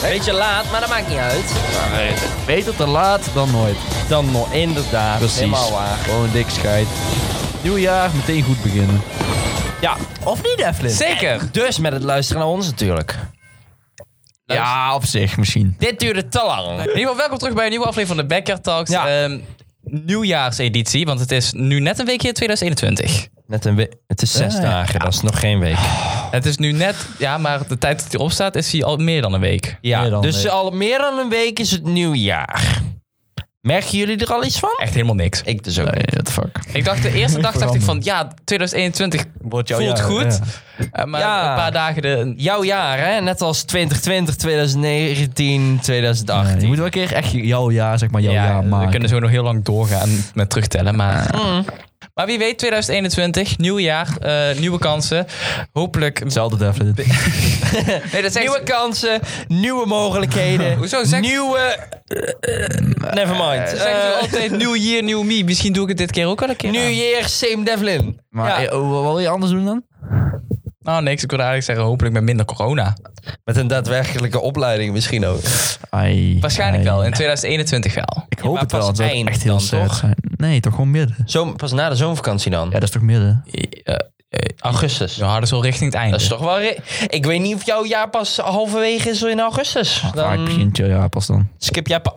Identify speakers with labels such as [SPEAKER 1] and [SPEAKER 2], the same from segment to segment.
[SPEAKER 1] Beetje laat, maar dat maakt niet uit.
[SPEAKER 2] Beter te laat dan nooit.
[SPEAKER 1] Dan nog, inderdaad.
[SPEAKER 2] Precies.
[SPEAKER 1] Helemaal waar.
[SPEAKER 2] Gewoon dik scheid. Nieuw jaar, meteen goed beginnen.
[SPEAKER 1] Ja,
[SPEAKER 2] Of niet, Eflin?
[SPEAKER 1] zeker. Dus met het luisteren naar ons natuurlijk.
[SPEAKER 2] Ja, op zich misschien.
[SPEAKER 1] Dit duurde te lang.
[SPEAKER 3] In ieder geval, welkom terug bij een nieuwe aflevering van de Backyard Talks.
[SPEAKER 1] Ja.
[SPEAKER 3] Ehm, nieuwjaarseditie, want het is nu net een weekje 2021.
[SPEAKER 1] Net een we- Het is zes
[SPEAKER 2] Eh,
[SPEAKER 1] dagen, dat is nog geen week.
[SPEAKER 3] Het is nu net, ja, maar de tijd dat hij opstaat is hij al meer dan een week.
[SPEAKER 1] Ja,
[SPEAKER 2] Meer dan
[SPEAKER 1] dus
[SPEAKER 2] een week.
[SPEAKER 1] al meer dan een week is het nieuwjaar. Merken jullie er al iets van?
[SPEAKER 3] Echt helemaal niks.
[SPEAKER 1] Ik dus ook.
[SPEAKER 2] Nee, what the fuck.
[SPEAKER 3] Ik dacht de eerste dag dacht ik
[SPEAKER 2] veranderd.
[SPEAKER 3] van, ja, 2021
[SPEAKER 2] Wordt
[SPEAKER 3] voelt goed. Eh, Maar
[SPEAKER 1] Ja.
[SPEAKER 3] een paar dagen de...
[SPEAKER 1] Jouw jaar, hè? Net als 2020, 2019, 2018.
[SPEAKER 2] je moet wel een keer echt jouw jaar, zeg maar, jouw
[SPEAKER 3] ja,
[SPEAKER 2] jaar
[SPEAKER 3] we
[SPEAKER 2] maken.
[SPEAKER 3] kunnen zo nog heel lang doorgaan met terugtellen, maar...
[SPEAKER 1] Mm.
[SPEAKER 3] Maar wie weet, 2021, nieuw jaar, eh, nieuwe kansen. Hopelijk...
[SPEAKER 2] Hetzelfde, Eflin.
[SPEAKER 3] Nee, dat
[SPEAKER 1] Nieuwe kansen, nieuwe mogelijkheden.
[SPEAKER 3] Hoezo? Zeg-
[SPEAKER 1] Nieuwe... Nevermind.
[SPEAKER 3] Zeg
[SPEAKER 1] Eh,
[SPEAKER 3] altijd nieuw year, nieuw me. Misschien doe ik het dit keer ook wel een keer.
[SPEAKER 1] New Year, same Devlin.
[SPEAKER 2] Maar
[SPEAKER 1] Ja.
[SPEAKER 2] eh, oh, wat wil je anders doen dan?
[SPEAKER 3] Nou, niks. Ik wilde eigenlijk zeggen, hopelijk met minder corona.
[SPEAKER 1] Met een daadwerkelijke opleiding misschien ook.
[SPEAKER 2] Ai,
[SPEAKER 3] Waarschijnlijk
[SPEAKER 2] ai.
[SPEAKER 3] wel. In 2021 wel.
[SPEAKER 2] Ik hoop
[SPEAKER 1] maar
[SPEAKER 2] het wel.
[SPEAKER 1] pas
[SPEAKER 2] Het zou
[SPEAKER 1] eind
[SPEAKER 2] echt heel
[SPEAKER 1] dan,
[SPEAKER 2] sad
[SPEAKER 1] toch?
[SPEAKER 2] zijn. Nee, toch gewoon midden.
[SPEAKER 1] Zo, pas na de zomervakantie dan.
[SPEAKER 2] Ja, dat is toch midden?
[SPEAKER 1] Augustus.
[SPEAKER 3] Ja, dat is wel richting het einde.
[SPEAKER 1] Dat is toch wel... re- Ik weet niet of jouw jaar pas halverwege is in augustus.
[SPEAKER 2] Ah, ik
[SPEAKER 1] Dan
[SPEAKER 2] begin het ja, pas dan.
[SPEAKER 1] skip jij... pa-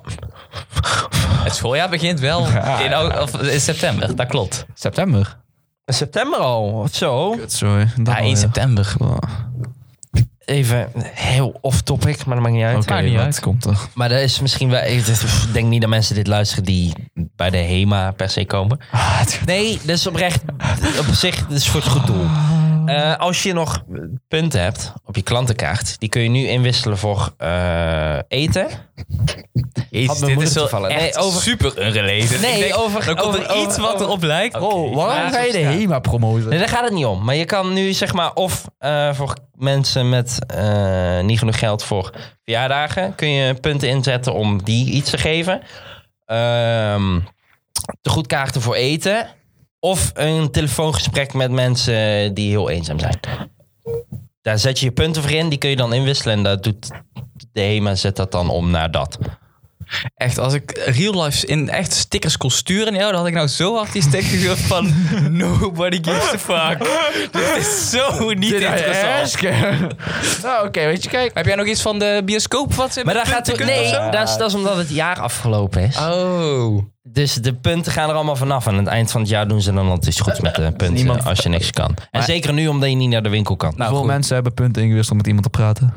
[SPEAKER 3] Het schooljaar begint wel in, au- of in september. Dat klopt.
[SPEAKER 2] September.
[SPEAKER 1] September al, of zo.
[SPEAKER 2] Kut, sorry. Dat
[SPEAKER 3] Ja, 1
[SPEAKER 2] alweer.
[SPEAKER 3] september.
[SPEAKER 2] Oh,
[SPEAKER 1] Even heel off-topic, maar dat maakt niet uit.
[SPEAKER 2] Oké,
[SPEAKER 3] maakt niet
[SPEAKER 2] wat
[SPEAKER 3] uit.
[SPEAKER 2] komt er?
[SPEAKER 1] Maar dat is misschien wel... Ik denk niet dat mensen dit luisteren die bij de HEMA per se komen.
[SPEAKER 2] Ah,
[SPEAKER 1] Nee, dat is oprecht... Op zich, dat is voor het goed doel. Eh, als je nog punten hebt op je klantenkaart... die kun je nu inwisselen voor eh, eten.
[SPEAKER 3] Jezus,
[SPEAKER 1] mijn
[SPEAKER 3] dit
[SPEAKER 1] moeder
[SPEAKER 3] is wel
[SPEAKER 1] toevallig.
[SPEAKER 3] echt
[SPEAKER 1] Nee, over-
[SPEAKER 3] super unrelated.
[SPEAKER 1] Nee,
[SPEAKER 3] Ik denk,
[SPEAKER 1] over-
[SPEAKER 3] Dan komt
[SPEAKER 1] over-
[SPEAKER 3] er
[SPEAKER 1] over-
[SPEAKER 3] iets wat
[SPEAKER 1] over-
[SPEAKER 3] erop lijkt.
[SPEAKER 2] Oh, waarom
[SPEAKER 3] laat
[SPEAKER 2] ga je de
[SPEAKER 3] het staan.
[SPEAKER 2] HEMA promoten?
[SPEAKER 1] Nee, daar gaat het niet om. Maar je kan nu zeg maar of eh, voor mensen met eh, niet genoeg geld voor verjaardagen kun je punten inzetten om die iets te geven. Ehm te goed kaarten voor eten. Of een telefoongesprek met mensen die heel eenzaam zijn. Daar zet je je punten voor in, die kun je dan inwisselen. En dat doet de HEMA zet dat dan om naar dat.
[SPEAKER 3] Echt, als ik real life in echt stickers kon sturen, ja, dan had ik nou zo hard die sticker gehuurd van nobody gives a fuck. Dit is zo niet
[SPEAKER 2] Dit is
[SPEAKER 3] interessant.
[SPEAKER 2] erg. nou, oké, weet je, kijk.
[SPEAKER 3] Heb jij nog iets van de bioscoop wat ze
[SPEAKER 1] Maar
[SPEAKER 3] met
[SPEAKER 1] daar gaat
[SPEAKER 3] punten
[SPEAKER 1] het.
[SPEAKER 3] kunnen
[SPEAKER 1] Nee,
[SPEAKER 3] of zo?
[SPEAKER 1] dat is, dat is omdat het jaar afgelopen is.
[SPEAKER 3] Oh.
[SPEAKER 1] Dus de punten gaan er allemaal vanaf. Aan het eind van het jaar doen ze dan altijd iets goeds met de punten.
[SPEAKER 2] niemand-
[SPEAKER 1] Als je niks kan. En zeker nu omdat je niet naar de winkel kan.
[SPEAKER 3] Nou,
[SPEAKER 2] Hoeveel
[SPEAKER 3] goed.
[SPEAKER 2] mensen hebben punten ingewisseld om met iemand te praten?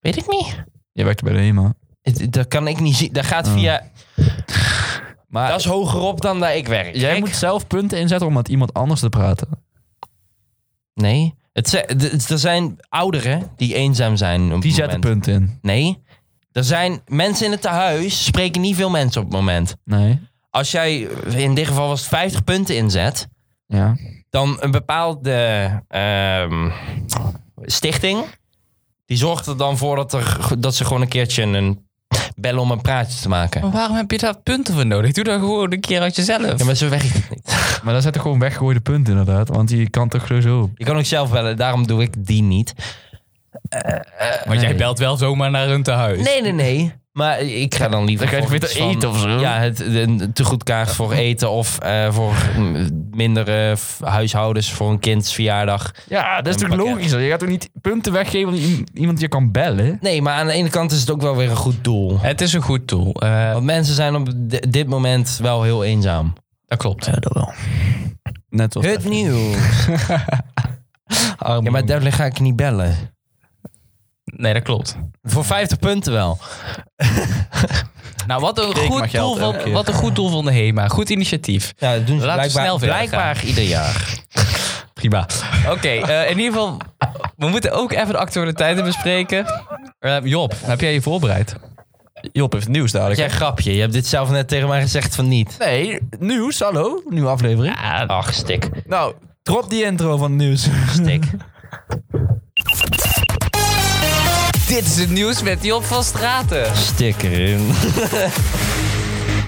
[SPEAKER 1] Weet ik niet.
[SPEAKER 2] Je werkt bij de HEMA.
[SPEAKER 1] Het- Dat kan ik niet zien. Dat gaat via...
[SPEAKER 2] Mm. Maar
[SPEAKER 1] Dat is hoger op dan dat ik werk.
[SPEAKER 2] jij
[SPEAKER 1] Ik-
[SPEAKER 2] moet zelf punten inzetten om met iemand anders te praten.
[SPEAKER 1] Nee. Het, zi- d- er zijn ouderen die eenzaam zijn op
[SPEAKER 2] Die
[SPEAKER 1] het
[SPEAKER 2] zetten
[SPEAKER 1] moment.
[SPEAKER 2] punten in.
[SPEAKER 1] Nee. Er zijn mensen in het tehuis... spreken niet veel mensen op het moment.
[SPEAKER 2] Nee.
[SPEAKER 1] Als jij in dit geval was het 50 punten inzet...
[SPEAKER 2] Ja.
[SPEAKER 1] dan een bepaalde ehm, stichting. Die zorgt er dan voor dat, er, dat ze gewoon een keertje een bellen om een praatje te maken.
[SPEAKER 2] Oh.
[SPEAKER 3] Maar waarom heb je daar punten voor nodig? Doe dat gewoon een keer uit jezelf.
[SPEAKER 1] Ja, maar zo werkt het niet.
[SPEAKER 2] Maar dan zetten gewoon weggegooide punten inderdaad. Want je kan toch sowieso op.
[SPEAKER 1] Je kan ook zelf bellen, daarom doe ik die niet.
[SPEAKER 3] Want jij belt wel zomaar naar hun tehuis.
[SPEAKER 1] Nee, nee, nee. Maar ik ga dan liever...
[SPEAKER 2] Dan ga je
[SPEAKER 1] voor
[SPEAKER 2] beter
[SPEAKER 1] iets van-
[SPEAKER 2] eten of zo.
[SPEAKER 1] Ja, het, een te goed kaart voor eten of eh, voor mm, minder eh, f- huishoudens voor een kinds verjaardag.
[SPEAKER 2] Ja, dat is
[SPEAKER 1] Een
[SPEAKER 2] toch
[SPEAKER 1] pakket.
[SPEAKER 2] logischer? Je gaat toch niet punten weggeven aan i- iemand die je kan bellen?
[SPEAKER 1] Nee, maar aan de ene kant is het ook wel weer een goed doel.
[SPEAKER 3] Het is een goed doel. Eh,
[SPEAKER 1] Want mensen zijn op di- dit moment wel heel eenzaam.
[SPEAKER 3] dat klopt.
[SPEAKER 2] dat wel. Net als
[SPEAKER 1] Het nieuws. Ja, maar Devlin ga ik niet bellen.
[SPEAKER 3] Nee, dat klopt.
[SPEAKER 1] Voor 50 punten wel.
[SPEAKER 3] Nou, wat een,
[SPEAKER 2] maar
[SPEAKER 3] goed
[SPEAKER 2] geld
[SPEAKER 3] doel,
[SPEAKER 2] elke
[SPEAKER 3] van,
[SPEAKER 2] keer.
[SPEAKER 3] wat een goed doel van de HEMA. Goed initiatief.
[SPEAKER 1] Ja, dat doen ze
[SPEAKER 3] Laten we snel
[SPEAKER 1] blijkbaar,
[SPEAKER 3] verder
[SPEAKER 1] blijkbaar ieder jaar.
[SPEAKER 3] Prima. Oké, eh, in ieder geval, we moeten ook even de actualiteiten bespreken. Eh, Job, heb jij je voorbereid?
[SPEAKER 2] Job heeft nieuws dadelijk.
[SPEAKER 1] Jij grapje, je hebt dit zelf net tegen mij gezegd van niet.
[SPEAKER 2] Nee, nieuws, hallo. Nieuwe aflevering.
[SPEAKER 1] Ach, stik.
[SPEAKER 2] Nou, drop die intro van het nieuws.
[SPEAKER 1] Stik.
[SPEAKER 3] Dit is het nieuws met Job van Straten.
[SPEAKER 1] Stik erin.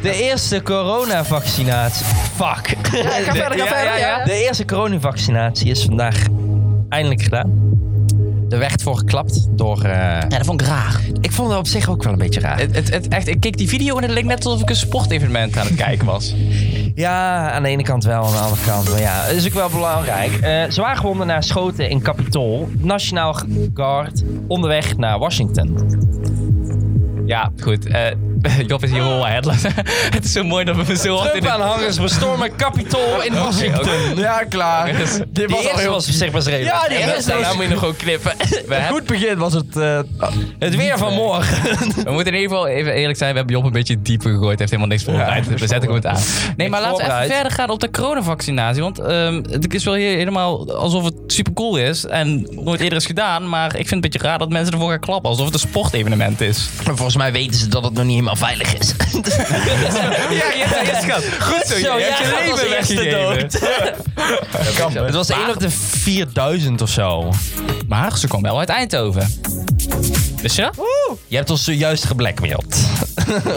[SPEAKER 1] De eerste coronavaccinatie. Fuck.
[SPEAKER 2] ga verder, ga verder, ja.
[SPEAKER 1] De eerste coronavaccinatie is vandaag eindelijk gedaan. er werd voor geklapt door... eh,
[SPEAKER 3] Ja, dat vond ik raar. Eh,
[SPEAKER 1] ik vond het op zich ook wel een beetje raar.
[SPEAKER 3] Het, het, het, echt, ik keek die video en het leek net alsof ik een sportevenement aan het kijken was.
[SPEAKER 1] Ja, aan de ene kant wel, aan de andere kant. Maar ja, is ook wel belangrijk. Eh zwaargewonden naar schoten in Capitool. Nationaal Guard onderweg naar Washington.
[SPEAKER 3] Ja, goed. eh, Job is hier wel headless. het is zo mooi dat we zo hard in de...
[SPEAKER 1] Trump-aanhangers bestormen Capitool in Washington.
[SPEAKER 2] Ja, klaar.
[SPEAKER 3] Dus
[SPEAKER 2] Dit
[SPEAKER 1] Die
[SPEAKER 2] was al
[SPEAKER 1] eerste
[SPEAKER 2] heel...
[SPEAKER 1] was op zich best redelijk.
[SPEAKER 2] Ja, die
[SPEAKER 1] En
[SPEAKER 2] eerste
[SPEAKER 1] daarna
[SPEAKER 2] was-
[SPEAKER 1] moet je nog gewoon knippen.
[SPEAKER 3] We, hebben-
[SPEAKER 2] Goed begin was het... eh,
[SPEAKER 1] Het weer van morgen.
[SPEAKER 3] we moeten in ieder geval even eerlijk zijn. We hebben Job een beetje dieper gegooid. Hij heeft helemaal niks voorbereid. we zetten hem het aan. Nee, maar laten we even
[SPEAKER 1] voorbereid.
[SPEAKER 3] verder gaan op de coronavaccinatie. Want ehm, het is wel hier helemaal alsof het super cool is. En nooit eerder is gedaan. Maar ik vind het een beetje raar dat mensen ervoor gaan klappen. Alsof het een sportevenement is.
[SPEAKER 1] Volgens mij weten ze dat het nog niet helemaal veilig is. Dus-
[SPEAKER 3] Ja, ja, ja, schat. Goed
[SPEAKER 1] Zo, jij gaat als eerste het was 1 op de 4000 of zo.
[SPEAKER 3] Maar ze kwam wel uit Eindhoven. Wist je dat?
[SPEAKER 1] Je hebt ons zojuist geblackmailed.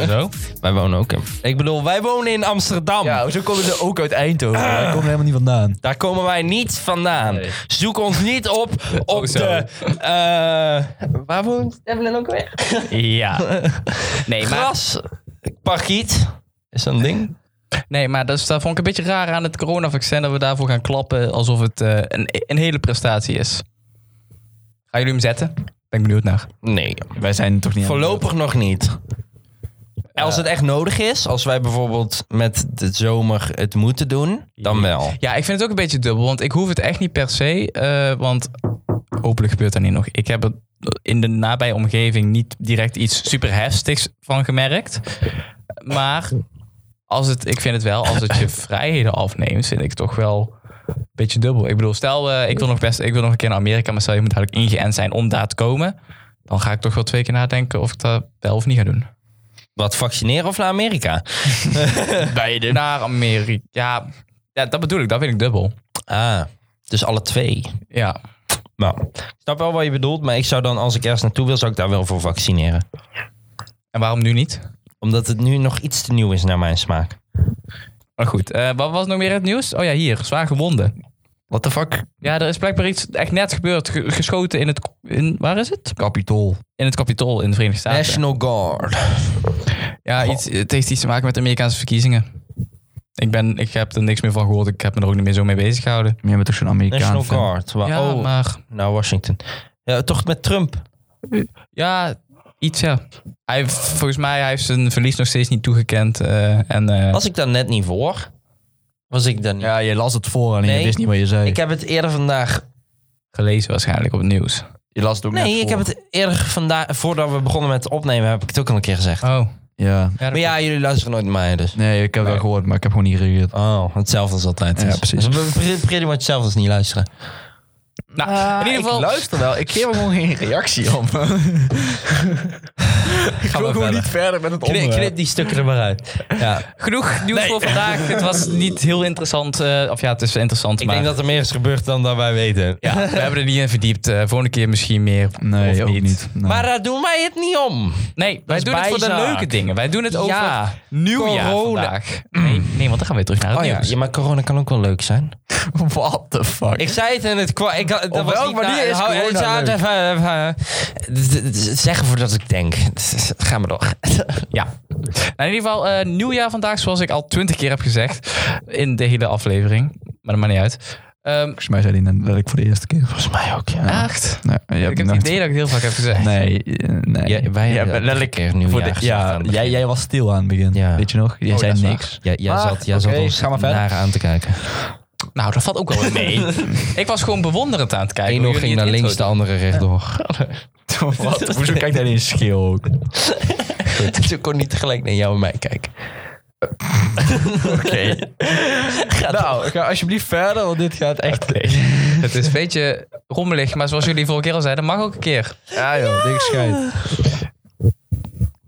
[SPEAKER 3] Zo.
[SPEAKER 1] Wij wonen ook in... Ik bedoel, wij wonen in Amsterdam.
[SPEAKER 2] ja, zo komen ze ook uit Eindhoven. Daar komen ze helemaal niet vandaan.
[SPEAKER 1] Daar komen wij niet vandaan.
[SPEAKER 3] Nee.
[SPEAKER 1] Zoek ons niet op op
[SPEAKER 3] Oh, zo.
[SPEAKER 1] de... eh, waar woont Evelyn ook weer?
[SPEAKER 3] Ja. Nee, maar,
[SPEAKER 1] Gras. Parkiet. Is dat een ding?
[SPEAKER 3] nee, maar dat, is, dat vond ik een beetje raar aan het coronavaccin. Dat we daarvoor gaan klappen alsof het eh, een, een hele prestatie is. Gaan jullie hem zetten? Ben ik benieuwd naar.
[SPEAKER 1] Nee.
[SPEAKER 2] Wij zijn toch niet...
[SPEAKER 1] Voorlopig nog niet. Als het echt nodig is, als wij bijvoorbeeld met de zomer het moeten doen, dan wel.
[SPEAKER 3] Ja, ik vind het ook een beetje dubbel, want ik hoef het echt niet per se. eh, want hopelijk gebeurt dat niet nog. Ik heb er in de nabije omgeving niet direct iets super heftigs van gemerkt. Maar als het, ik vind het wel, als het je vrijheden afneemt, vind ik het toch wel een beetje dubbel. Ik bedoel, stel eh, ik, wil nog best, ik wil nog een keer naar Amerika, maar stel je moet eigenlijk ingeënt zijn om daar te komen. Dan ga ik toch wel twee keer nadenken of ik dat wel of niet ga doen.
[SPEAKER 1] Wat vaccineren of naar Amerika?
[SPEAKER 3] Beide. Naar Amerika. Ja, ja, dat bedoel ik. Dat vind ik dubbel.
[SPEAKER 1] Ah, dus alle twee.
[SPEAKER 3] Ja.
[SPEAKER 1] Nou, ik snap wel wat je bedoelt, maar ik zou dan, als ik ergens naartoe wil, zou ik daar wel voor vaccineren.
[SPEAKER 3] En waarom nu niet?
[SPEAKER 1] Omdat het nu nog iets te nieuw is naar mijn smaak.
[SPEAKER 3] Maar goed, eh, wat was nog meer het nieuws? Oh ja, hier, zwaar gewonden.
[SPEAKER 2] What the fuck?
[SPEAKER 3] Ja, er is blijkbaar iets echt net gebeurd. ge- geschoten in het... In, waar is het?
[SPEAKER 2] Kapitool.
[SPEAKER 3] In het Capitool in de Verenigde Staten.
[SPEAKER 1] National Guard.
[SPEAKER 3] Ja, iets, het heeft iets te maken met de Amerikaanse verkiezingen. Ik, ben, ik heb er niks meer van gehoord. Ik heb me er ook niet meer zo mee bezig gehouden.
[SPEAKER 2] Jij bent toch zo'n Amerikaan
[SPEAKER 1] National
[SPEAKER 2] fan?
[SPEAKER 1] Guard. Wa-
[SPEAKER 3] Ja,
[SPEAKER 1] oh,
[SPEAKER 3] maar...
[SPEAKER 1] naar Washington. Ja, toch met Trump.
[SPEAKER 3] Ja, iets ja. Hij, heeft- volgens mij hij heeft zijn verlies nog steeds niet toegekend. eh, en, eh,
[SPEAKER 1] Was ik daar net niet voor? Was ik daar niet?
[SPEAKER 2] Ja, je las het voor en
[SPEAKER 1] Nee.
[SPEAKER 2] je wist niet wat je zei.
[SPEAKER 1] Ik heb het eerder vandaag.
[SPEAKER 3] Gelezen waarschijnlijk op het nieuws.
[SPEAKER 2] je las het ook net
[SPEAKER 1] Nee, ik
[SPEAKER 2] voor.
[SPEAKER 1] heb het eerder vandaag. Voordat we begonnen met opnemen, heb ik het ook al een keer gezegd.
[SPEAKER 3] Oh.
[SPEAKER 2] Ja.
[SPEAKER 3] Ja, dat-
[SPEAKER 1] Maar ja, jullie luisteren nooit naar mij, dus.
[SPEAKER 2] Nee, ik heb wel gehoord, maar ik heb gewoon niet gereageerd.
[SPEAKER 1] Oh, hetzelfde als altijd.
[SPEAKER 2] Ja,
[SPEAKER 1] dus.
[SPEAKER 2] precies.
[SPEAKER 1] Dus we pre- pretty much hetzelfde als niet luisteren.
[SPEAKER 3] Nou,
[SPEAKER 1] eh,
[SPEAKER 3] in ieder geval...
[SPEAKER 2] luister wel, ik geef er gewoon geen reactie op. ik
[SPEAKER 1] maar verder.
[SPEAKER 2] verder met het
[SPEAKER 1] Knip, knip die stukken er maar uit. eh, Ja.
[SPEAKER 3] Genoeg nieuws voor vandaag. Het was niet heel interessant. eh, of ja, het is interessant,
[SPEAKER 1] Ik
[SPEAKER 3] maar
[SPEAKER 1] denk dat er meer is gebeurd dan dat wij weten.
[SPEAKER 3] ja, we hebben er niet in verdiept. Eh volgende keer misschien meer.
[SPEAKER 2] Nee,
[SPEAKER 3] of
[SPEAKER 2] ook niet. Nee.
[SPEAKER 1] Maar daar doen wij het niet om.
[SPEAKER 3] Nee, wij
[SPEAKER 1] is
[SPEAKER 3] doen het voor de
[SPEAKER 1] Dus bijzaak.
[SPEAKER 3] leuke dingen. Wij doen het over
[SPEAKER 1] Ja,
[SPEAKER 3] nieuwjaar
[SPEAKER 1] corona.
[SPEAKER 3] vandaag. Nee, nee, want dan gaan we weer terug naar het
[SPEAKER 1] Oh ja,
[SPEAKER 3] nieuws.
[SPEAKER 1] ja, maar corona kan ook wel leuk zijn.
[SPEAKER 2] what the fuck?
[SPEAKER 1] Ik zei het in het kwa- ik had- dat
[SPEAKER 2] Op
[SPEAKER 1] was
[SPEAKER 2] welke
[SPEAKER 1] niet
[SPEAKER 2] manier is
[SPEAKER 1] hou-
[SPEAKER 2] corona
[SPEAKER 1] zou het
[SPEAKER 2] leuk?
[SPEAKER 1] even- even- d- d- d- Zeggen voordat ik denk. Ga maar door.
[SPEAKER 3] Ja. Nou, in ieder geval, eh, nieuwjaar vandaag, zoals ik al twintig keer heb gezegd. In de hele aflevering. Maar dat maakt niet uit. Ehm
[SPEAKER 2] Volgens mij zei hij net dat ik voor de eerste keer was.
[SPEAKER 1] Volgens mij ook, ja.
[SPEAKER 3] echt?
[SPEAKER 2] Nee, je
[SPEAKER 3] Ik heb het idee dat ik het heel vaak heb gezegd.
[SPEAKER 2] Nee, eh, nee.
[SPEAKER 1] Ja, wij hebben
[SPEAKER 2] bent
[SPEAKER 1] letterlijk een keer
[SPEAKER 2] voor de-
[SPEAKER 1] nieuwjaar gezegd aan
[SPEAKER 2] Ja,
[SPEAKER 1] het
[SPEAKER 2] jij,
[SPEAKER 1] begin.
[SPEAKER 2] jij was stil aan het begin.
[SPEAKER 1] Ja.
[SPEAKER 2] Weet je nog? Jij
[SPEAKER 3] Oh, dat
[SPEAKER 2] zei
[SPEAKER 3] is
[SPEAKER 2] niks.
[SPEAKER 1] Ja, jij
[SPEAKER 2] Maar,
[SPEAKER 1] zat, jij zat
[SPEAKER 2] Ah, oké,
[SPEAKER 1] ons
[SPEAKER 2] ga maar verder.
[SPEAKER 1] naar aan te kijken.
[SPEAKER 3] Nou, dat valt ook wel weer mee. ik was gewoon bewonderend aan het kijken.
[SPEAKER 1] Eén
[SPEAKER 3] hoe
[SPEAKER 1] oog
[SPEAKER 3] jullie
[SPEAKER 1] ging
[SPEAKER 3] het
[SPEAKER 1] naar
[SPEAKER 3] intro
[SPEAKER 1] links, de andere rechtdoor.
[SPEAKER 2] Wat? Hoezo kijkt hij in schil ook?
[SPEAKER 1] Ze kon niet tegelijk naar jou en mij kijken.
[SPEAKER 2] Oké. nou, ga alsjeblieft verder, want dit gaat echt...
[SPEAKER 3] Het is een beetje rommelig, maar zoals jullie vorige keer al zeiden, mag ook een keer.
[SPEAKER 2] Ja joh, dik schijt.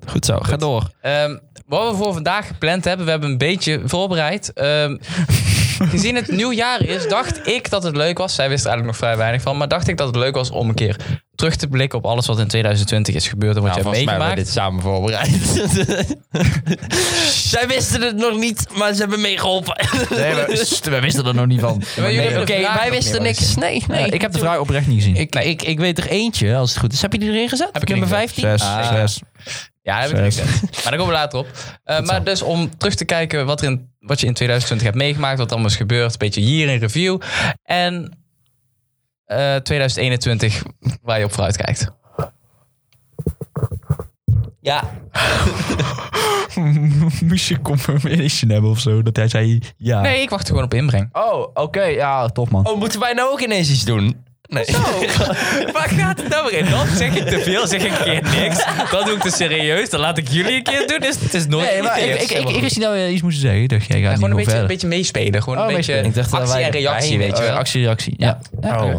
[SPEAKER 1] Goed zo, ga door.
[SPEAKER 3] Ehm, wat we voor vandaag gepland hebben, we hebben een beetje voorbereid. Ehm, gezien het nieuwjaar is, dacht ik dat het leuk was. Zij wist er eigenlijk nog vrij weinig van, maar dacht ik dat het leuk was om een keer terug te blikken op alles wat in 2020 is gebeurd en wat je
[SPEAKER 1] Nou,
[SPEAKER 3] hebt
[SPEAKER 1] volgens mij hebben we
[SPEAKER 3] meegemaakt.
[SPEAKER 1] dit samen voorbereid. Zij wisten het nog niet, maar ze hebben meegeholpen.
[SPEAKER 2] Nee, we, we wisten er nog niet van.
[SPEAKER 3] jullie
[SPEAKER 2] Nee, eh,
[SPEAKER 3] hebben
[SPEAKER 1] Oké,
[SPEAKER 3] de vraag
[SPEAKER 1] wij
[SPEAKER 3] ook
[SPEAKER 1] wisten
[SPEAKER 3] niet,
[SPEAKER 1] niks. Nee, nee.
[SPEAKER 2] ik heb de vraag oprecht niet gezien.
[SPEAKER 1] Ik, nou, ik, ik weet er eentje, als het goed is. Heb je die erin gezet?
[SPEAKER 3] Heb ik
[SPEAKER 1] Nummer
[SPEAKER 3] erin gezet.
[SPEAKER 1] 15?
[SPEAKER 2] eh, Zes,
[SPEAKER 3] Ah.
[SPEAKER 2] zes.
[SPEAKER 3] Ja, dat heb ik
[SPEAKER 2] Zes.
[SPEAKER 3] gezegd. Maar daar komen we later op. Eh, maar dus om terug te kijken wat, er in, wat je in 2020 hebt meegemaakt, wat er allemaal is gebeurd. Een beetje hier in review. En eh, 2021 waar je op vooruit kijkt.
[SPEAKER 1] Ja.
[SPEAKER 2] Moest je confirmation hebben of zo? Dat hij zei
[SPEAKER 1] Ah.
[SPEAKER 2] ja.
[SPEAKER 3] Nee, ik wacht er gewoon op inbreng.
[SPEAKER 2] Oh, oké. ja, tof man.
[SPEAKER 1] Oh, moeten wij nou ook ineens iets doen? Nee.
[SPEAKER 3] Waar gaat het nou weer in? Dan zeg ik te veel, zeg ik een keer niks. Dan doe ik te serieus, dan laat ik jullie een keer doen. Dus het is nooit
[SPEAKER 2] Oh, Nee, maar ik, ik, ik, ik wist niet dat we iets moesten zeggen. Ik dacht, jij gaat niet
[SPEAKER 3] gewoon een
[SPEAKER 2] nog
[SPEAKER 3] beetje, een
[SPEAKER 2] verder.
[SPEAKER 3] beetje meespelen. Gewoon
[SPEAKER 2] Oh,
[SPEAKER 3] een beetje
[SPEAKER 2] meespelen. Ik
[SPEAKER 1] dacht dat
[SPEAKER 3] actie
[SPEAKER 1] wij
[SPEAKER 3] en reactie,
[SPEAKER 1] erbij-
[SPEAKER 3] weet je wel.
[SPEAKER 2] Eh, actie, reactie. Ja.
[SPEAKER 3] Ja.
[SPEAKER 1] Oh.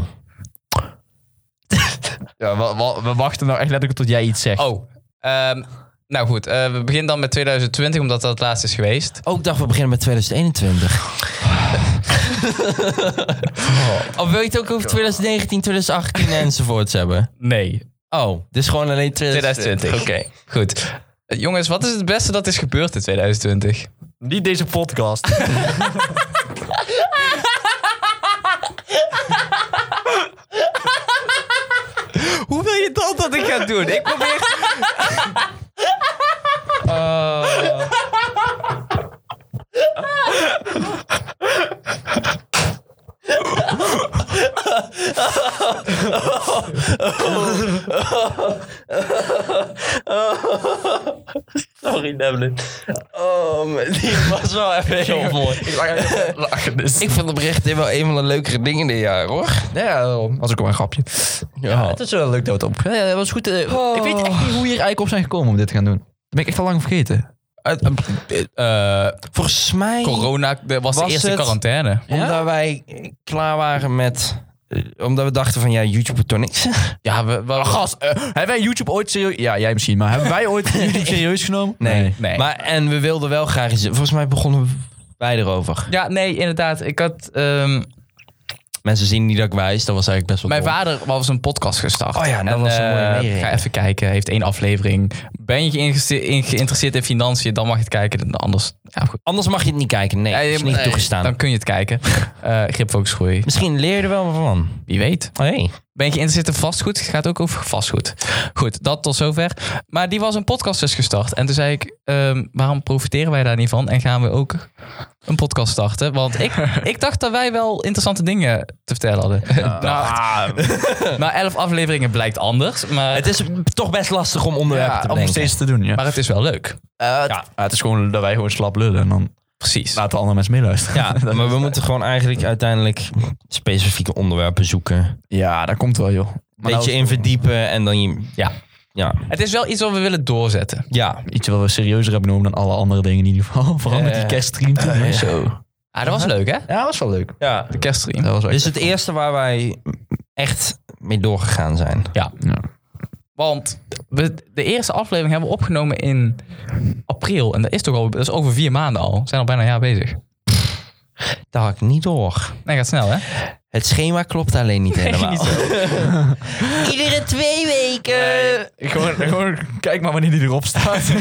[SPEAKER 2] Ja, we, we- we wachten nou echt letterlijk tot jij iets zegt.
[SPEAKER 3] Oh, ehm, nou goed. eh, we beginnen dan met 2020, omdat dat het laatste is geweest.
[SPEAKER 1] Ook Oh, dacht, we beginnen met 2021. Of wil Oh, je het ook over 2019, 2018 enzovoorts hebben?
[SPEAKER 3] Nee.
[SPEAKER 1] Oh, dus gewoon alleen 2020.
[SPEAKER 3] 2020. Oké, goed. Eh, jongens, wat is het beste dat is gebeurd in 2020?
[SPEAKER 2] Niet deze podcast.
[SPEAKER 3] Hoe wil je dat dat ik ga doen? Ik probeer... Oh.
[SPEAKER 1] Sorry, Dublin. Oh, man, die was wel even heel mooi.
[SPEAKER 2] Lachen dus.
[SPEAKER 1] Ik vond oprecht dit wel een van de leukere dingen dit jaar, hoor.
[SPEAKER 2] Ja, daarom. was ook wel een grapje. Ja, het is wel leuk dat we het op. Ja, dat was goed. eh,
[SPEAKER 1] Oh.
[SPEAKER 2] Ik weet echt niet hoe we hier eigenlijk op zijn gekomen om dit te gaan doen. Dat ben ik echt al lang vergeten. Uit- eh,
[SPEAKER 1] Volgens mij,
[SPEAKER 3] corona de- was,
[SPEAKER 1] Was
[SPEAKER 3] de eerste
[SPEAKER 1] het-
[SPEAKER 3] quarantaine.
[SPEAKER 1] omdat wij klaar waren met... eh, Omdat we dachten van, ja, Oh, YouTube doet toch niks.
[SPEAKER 2] Ja, we, we- gast, eh, hebben wij YouTube ooit serieus... Ja, jij misschien, maar hebben wij ooit YouTube serieus genomen?
[SPEAKER 3] Nee.
[SPEAKER 1] Maar, en we wilden wel graag iets... Volgens mij begonnen wij erover.
[SPEAKER 3] Ja, nee, inderdaad. Ik had... ehm,
[SPEAKER 1] Mensen zien niet dat ik wijs, dat was eigenlijk best wel
[SPEAKER 3] Mijn
[SPEAKER 1] dom.
[SPEAKER 3] vader was een podcast gestart.
[SPEAKER 1] Oh ja, dat was een mooie
[SPEAKER 3] eh,
[SPEAKER 1] meerekening.
[SPEAKER 3] Ga even kijken, heeft één aflevering. Ben je geïnteresse- in- geïnteresseerd in financiën, dan mag je het kijken. Anders, ja, goed.
[SPEAKER 1] Anders mag je het niet kijken. Nee,
[SPEAKER 3] Ja,
[SPEAKER 1] dat
[SPEAKER 3] je-
[SPEAKER 1] is niet
[SPEAKER 3] nee,
[SPEAKER 1] toegestaan.
[SPEAKER 3] Dan kun je het kijken. Eh grip, focus, groei.
[SPEAKER 1] Misschien leer je er wel van.
[SPEAKER 3] Wie weet.
[SPEAKER 1] Oh, hey.
[SPEAKER 3] Ben je geïnteresseerd in vastgoed? Het gaat ook over vastgoed. Goed, dat tot zover. Maar die was een podcast dus gestart. En toen zei ik, ehm, waarom profiteren wij daar niet van? En gaan we ook een podcast starten? Want ik, ik dacht dat wij wel interessante dingen te vertellen hadden. Nou, na elf afleveringen blijkt anders. Maar
[SPEAKER 1] Het is toch best lastig om eh, onderwerpen te
[SPEAKER 2] om
[SPEAKER 1] bedenken.
[SPEAKER 2] steeds te doen, ja.
[SPEAKER 3] Maar het is wel leuk.
[SPEAKER 1] ja,
[SPEAKER 2] Ja, het is gewoon dat wij gewoon slap lullen en dan
[SPEAKER 3] Precies.
[SPEAKER 2] laten andere mensen meeluisteren.
[SPEAKER 1] ja, maar we moeten gewoon eigenlijk uiteindelijk specifieke onderwerpen zoeken.
[SPEAKER 2] Ja, dat komt wel, joh. Maar
[SPEAKER 1] Beetje
[SPEAKER 2] nou,
[SPEAKER 1] in verdiepen en dan je... Ja. Ja.
[SPEAKER 3] het is wel iets wat we willen doorzetten.
[SPEAKER 1] Ja.
[SPEAKER 2] Iets wat we serieuzer hebben genomen dan alle andere dingen in ieder geval. Vooral met die
[SPEAKER 1] Eh,
[SPEAKER 2] kerststream toen. en zo.
[SPEAKER 3] Ah, dat was leuk, hè?
[SPEAKER 2] Ja, dat was wel leuk.
[SPEAKER 1] ja.
[SPEAKER 3] De kerststream.
[SPEAKER 2] Dat was wel
[SPEAKER 1] Dit is
[SPEAKER 2] echt-
[SPEAKER 1] Dus het eerste waar wij echt mee doorgegaan zijn.
[SPEAKER 3] Want we, de eerste aflevering hebben we opgenomen in april. En dat is toch al dat is over vier maanden al. We zijn al bijna een jaar bezig.
[SPEAKER 1] Daar had ik niet door.
[SPEAKER 3] Nee, gaat snel, hè?
[SPEAKER 1] Het schema klopt alleen niet helemaal.
[SPEAKER 3] niet
[SPEAKER 1] Iedere twee weken.
[SPEAKER 2] Gewoon, gewoon kijk maar wanneer die erop staat.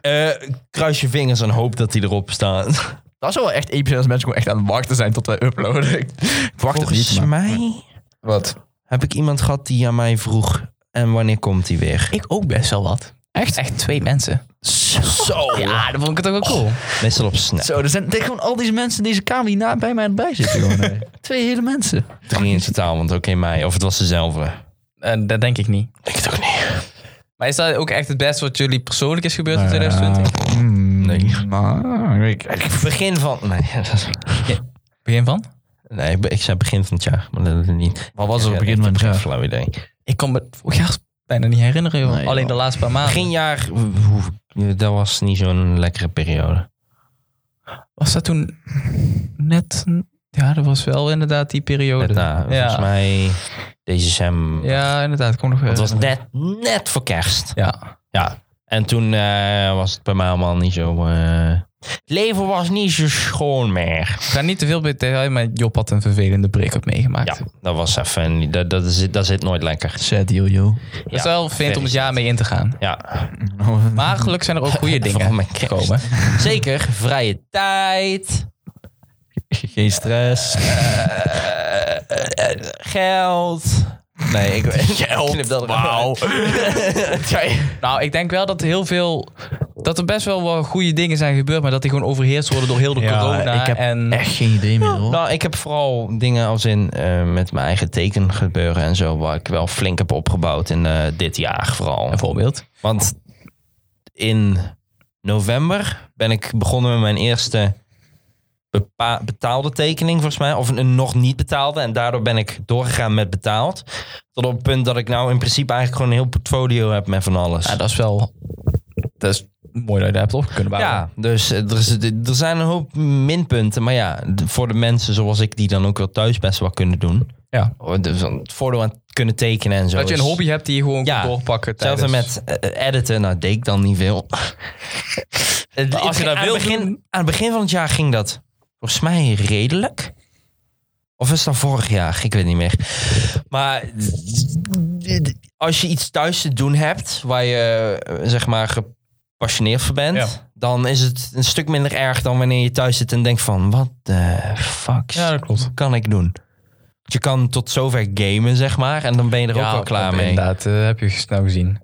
[SPEAKER 1] Eh, kruis je vingers en hoop dat die erop staat.
[SPEAKER 2] dat is wel echt episch als mensen gewoon echt aan het wachten zijn tot wij uploaden. Ik wacht het
[SPEAKER 1] Volgens
[SPEAKER 2] niet, maar...
[SPEAKER 1] mij
[SPEAKER 2] Wat?
[SPEAKER 1] heb ik iemand gehad die aan mij vroeg... en wanneer komt die weer?
[SPEAKER 3] Ik ook best wel wat. Echt? Echt twee mensen.
[SPEAKER 2] Zo!
[SPEAKER 3] Ja, Oh. dat vond ik het ook wel cool.
[SPEAKER 1] Meestal op Snap.
[SPEAKER 2] Zo, er zijn er zijn gewoon al deze mensen in deze kamer die na, bij mij aan het bij zitten. Gewoon, hè. Twee hele mensen.
[SPEAKER 1] Drie in totaal, want ook in mij. Of het was dezelfde.
[SPEAKER 3] En Eh, dat denk ik niet.
[SPEAKER 1] Ik het ook niet.
[SPEAKER 3] Maar is dat ook echt het beste wat jullie persoonlijk is gebeurd in 2020?
[SPEAKER 2] nee. Eh, mm, Maar, ik,
[SPEAKER 1] Begin van... Nee,
[SPEAKER 3] Begin van?
[SPEAKER 1] nee ik zei begin van het jaar. Maar dat is niet...
[SPEAKER 2] wat was er op
[SPEAKER 1] Ja,
[SPEAKER 2] het begin
[SPEAKER 1] ik
[SPEAKER 2] van
[SPEAKER 1] heb
[SPEAKER 2] het
[SPEAKER 1] geen
[SPEAKER 2] jaar?
[SPEAKER 1] flauw idee.
[SPEAKER 3] Ik kan me vorig jaar bijna niet herinneren, joh.
[SPEAKER 2] Nee,
[SPEAKER 3] Alleen
[SPEAKER 2] joh.
[SPEAKER 3] de laatste paar maanden.
[SPEAKER 1] Begin jaar... hoe- Dat was niet zo'n lekkere periode.
[SPEAKER 3] Was dat toen net... Ja, dat was wel inderdaad die periode.
[SPEAKER 1] Daarna, Volgens
[SPEAKER 3] Oh, ja.
[SPEAKER 1] mij december.
[SPEAKER 3] Ja, inderdaad. Ik kon nog
[SPEAKER 1] Het was net, net voor kerst.
[SPEAKER 3] Ja.
[SPEAKER 1] Ja. En toen eh, was het bij mij allemaal niet zo... eh, Het leven was niet zo schoon meer.
[SPEAKER 3] Ik ga niet te veel bij detail, maar Job had een vervelende break-up meegemaakt.
[SPEAKER 1] Ja, dat was even... Dat, dat, zit, dat zit nooit lekker.
[SPEAKER 2] Sad deal, joh.
[SPEAKER 3] Dat is wel vindt om het jaar mee in te gaan.
[SPEAKER 1] Ja,
[SPEAKER 3] Maar gelukkig zijn er ook goede
[SPEAKER 1] Vooral
[SPEAKER 3] dingen
[SPEAKER 1] met kerst.
[SPEAKER 3] gekomen.
[SPEAKER 1] zeker. Vrije tijd,
[SPEAKER 2] Geen stress.
[SPEAKER 1] geld. Nee, ik geld, knip dat eruit.
[SPEAKER 3] Nou, ik denk wel dat heel veel... Dat er best wel wat goede dingen zijn gebeurd, maar dat die gewoon overheerst worden door heel de corona.
[SPEAKER 2] ik heb
[SPEAKER 3] en
[SPEAKER 2] echt geen idee meer, hoor.
[SPEAKER 1] Nou, ik heb vooral dingen als in eh, met mijn eigen tekengebeuren en zo, waar ik wel flink heb opgebouwd in eh, dit jaar vooral.
[SPEAKER 3] een voorbeeld.
[SPEAKER 1] Want in november ben ik begonnen met mijn eerste bepa- betaalde tekening, volgens mij. Of een nog niet betaalde. En daardoor ben ik doorgegaan met betaald. Tot op het punt dat ik nou in principe eigenlijk gewoon een heel portfolio heb met van alles.
[SPEAKER 3] Ja, dat is wel... Dat is mooi dat je dat hebt op kunnen bouwen.
[SPEAKER 1] Ja, dus eh, er, is, er zijn een hoop minpunten. Maar ja, d- voor de mensen zoals ik die dan ook wel thuis best wel kunnen doen.
[SPEAKER 3] Ja.
[SPEAKER 1] Oh, dus dan Het voordeel aan het kunnen tekenen en zo.
[SPEAKER 3] Dat je een
[SPEAKER 1] is-
[SPEAKER 3] hobby hebt die je gewoon
[SPEAKER 1] Ja,
[SPEAKER 3] kan doorpakken.
[SPEAKER 1] Hetzelfde
[SPEAKER 3] tijdens-
[SPEAKER 1] met eh, editen. Nou, deed ik dan niet veel. Het-
[SPEAKER 3] Als je
[SPEAKER 1] het-
[SPEAKER 3] dat
[SPEAKER 1] aan,
[SPEAKER 3] wil
[SPEAKER 1] het begin,
[SPEAKER 3] doen.
[SPEAKER 1] aan het begin van het jaar ging dat volgens mij redelijk. Of is dat vorig jaar? Ik weet niet meer. Maar als je iets thuis te doen hebt waar je eh, zeg maar gepassioneerd voor bent,
[SPEAKER 3] Ja.
[SPEAKER 1] dan is het een stuk minder erg dan wanneer je thuis zit en denkt van wat de fuck
[SPEAKER 3] Ja, dat klopt.
[SPEAKER 1] kan ik doen? Want Je kan tot zover gamen, zeg maar, en dan ben je er ook wel klaar mee.
[SPEAKER 3] Inderdaad, eh, heb je snel gezien.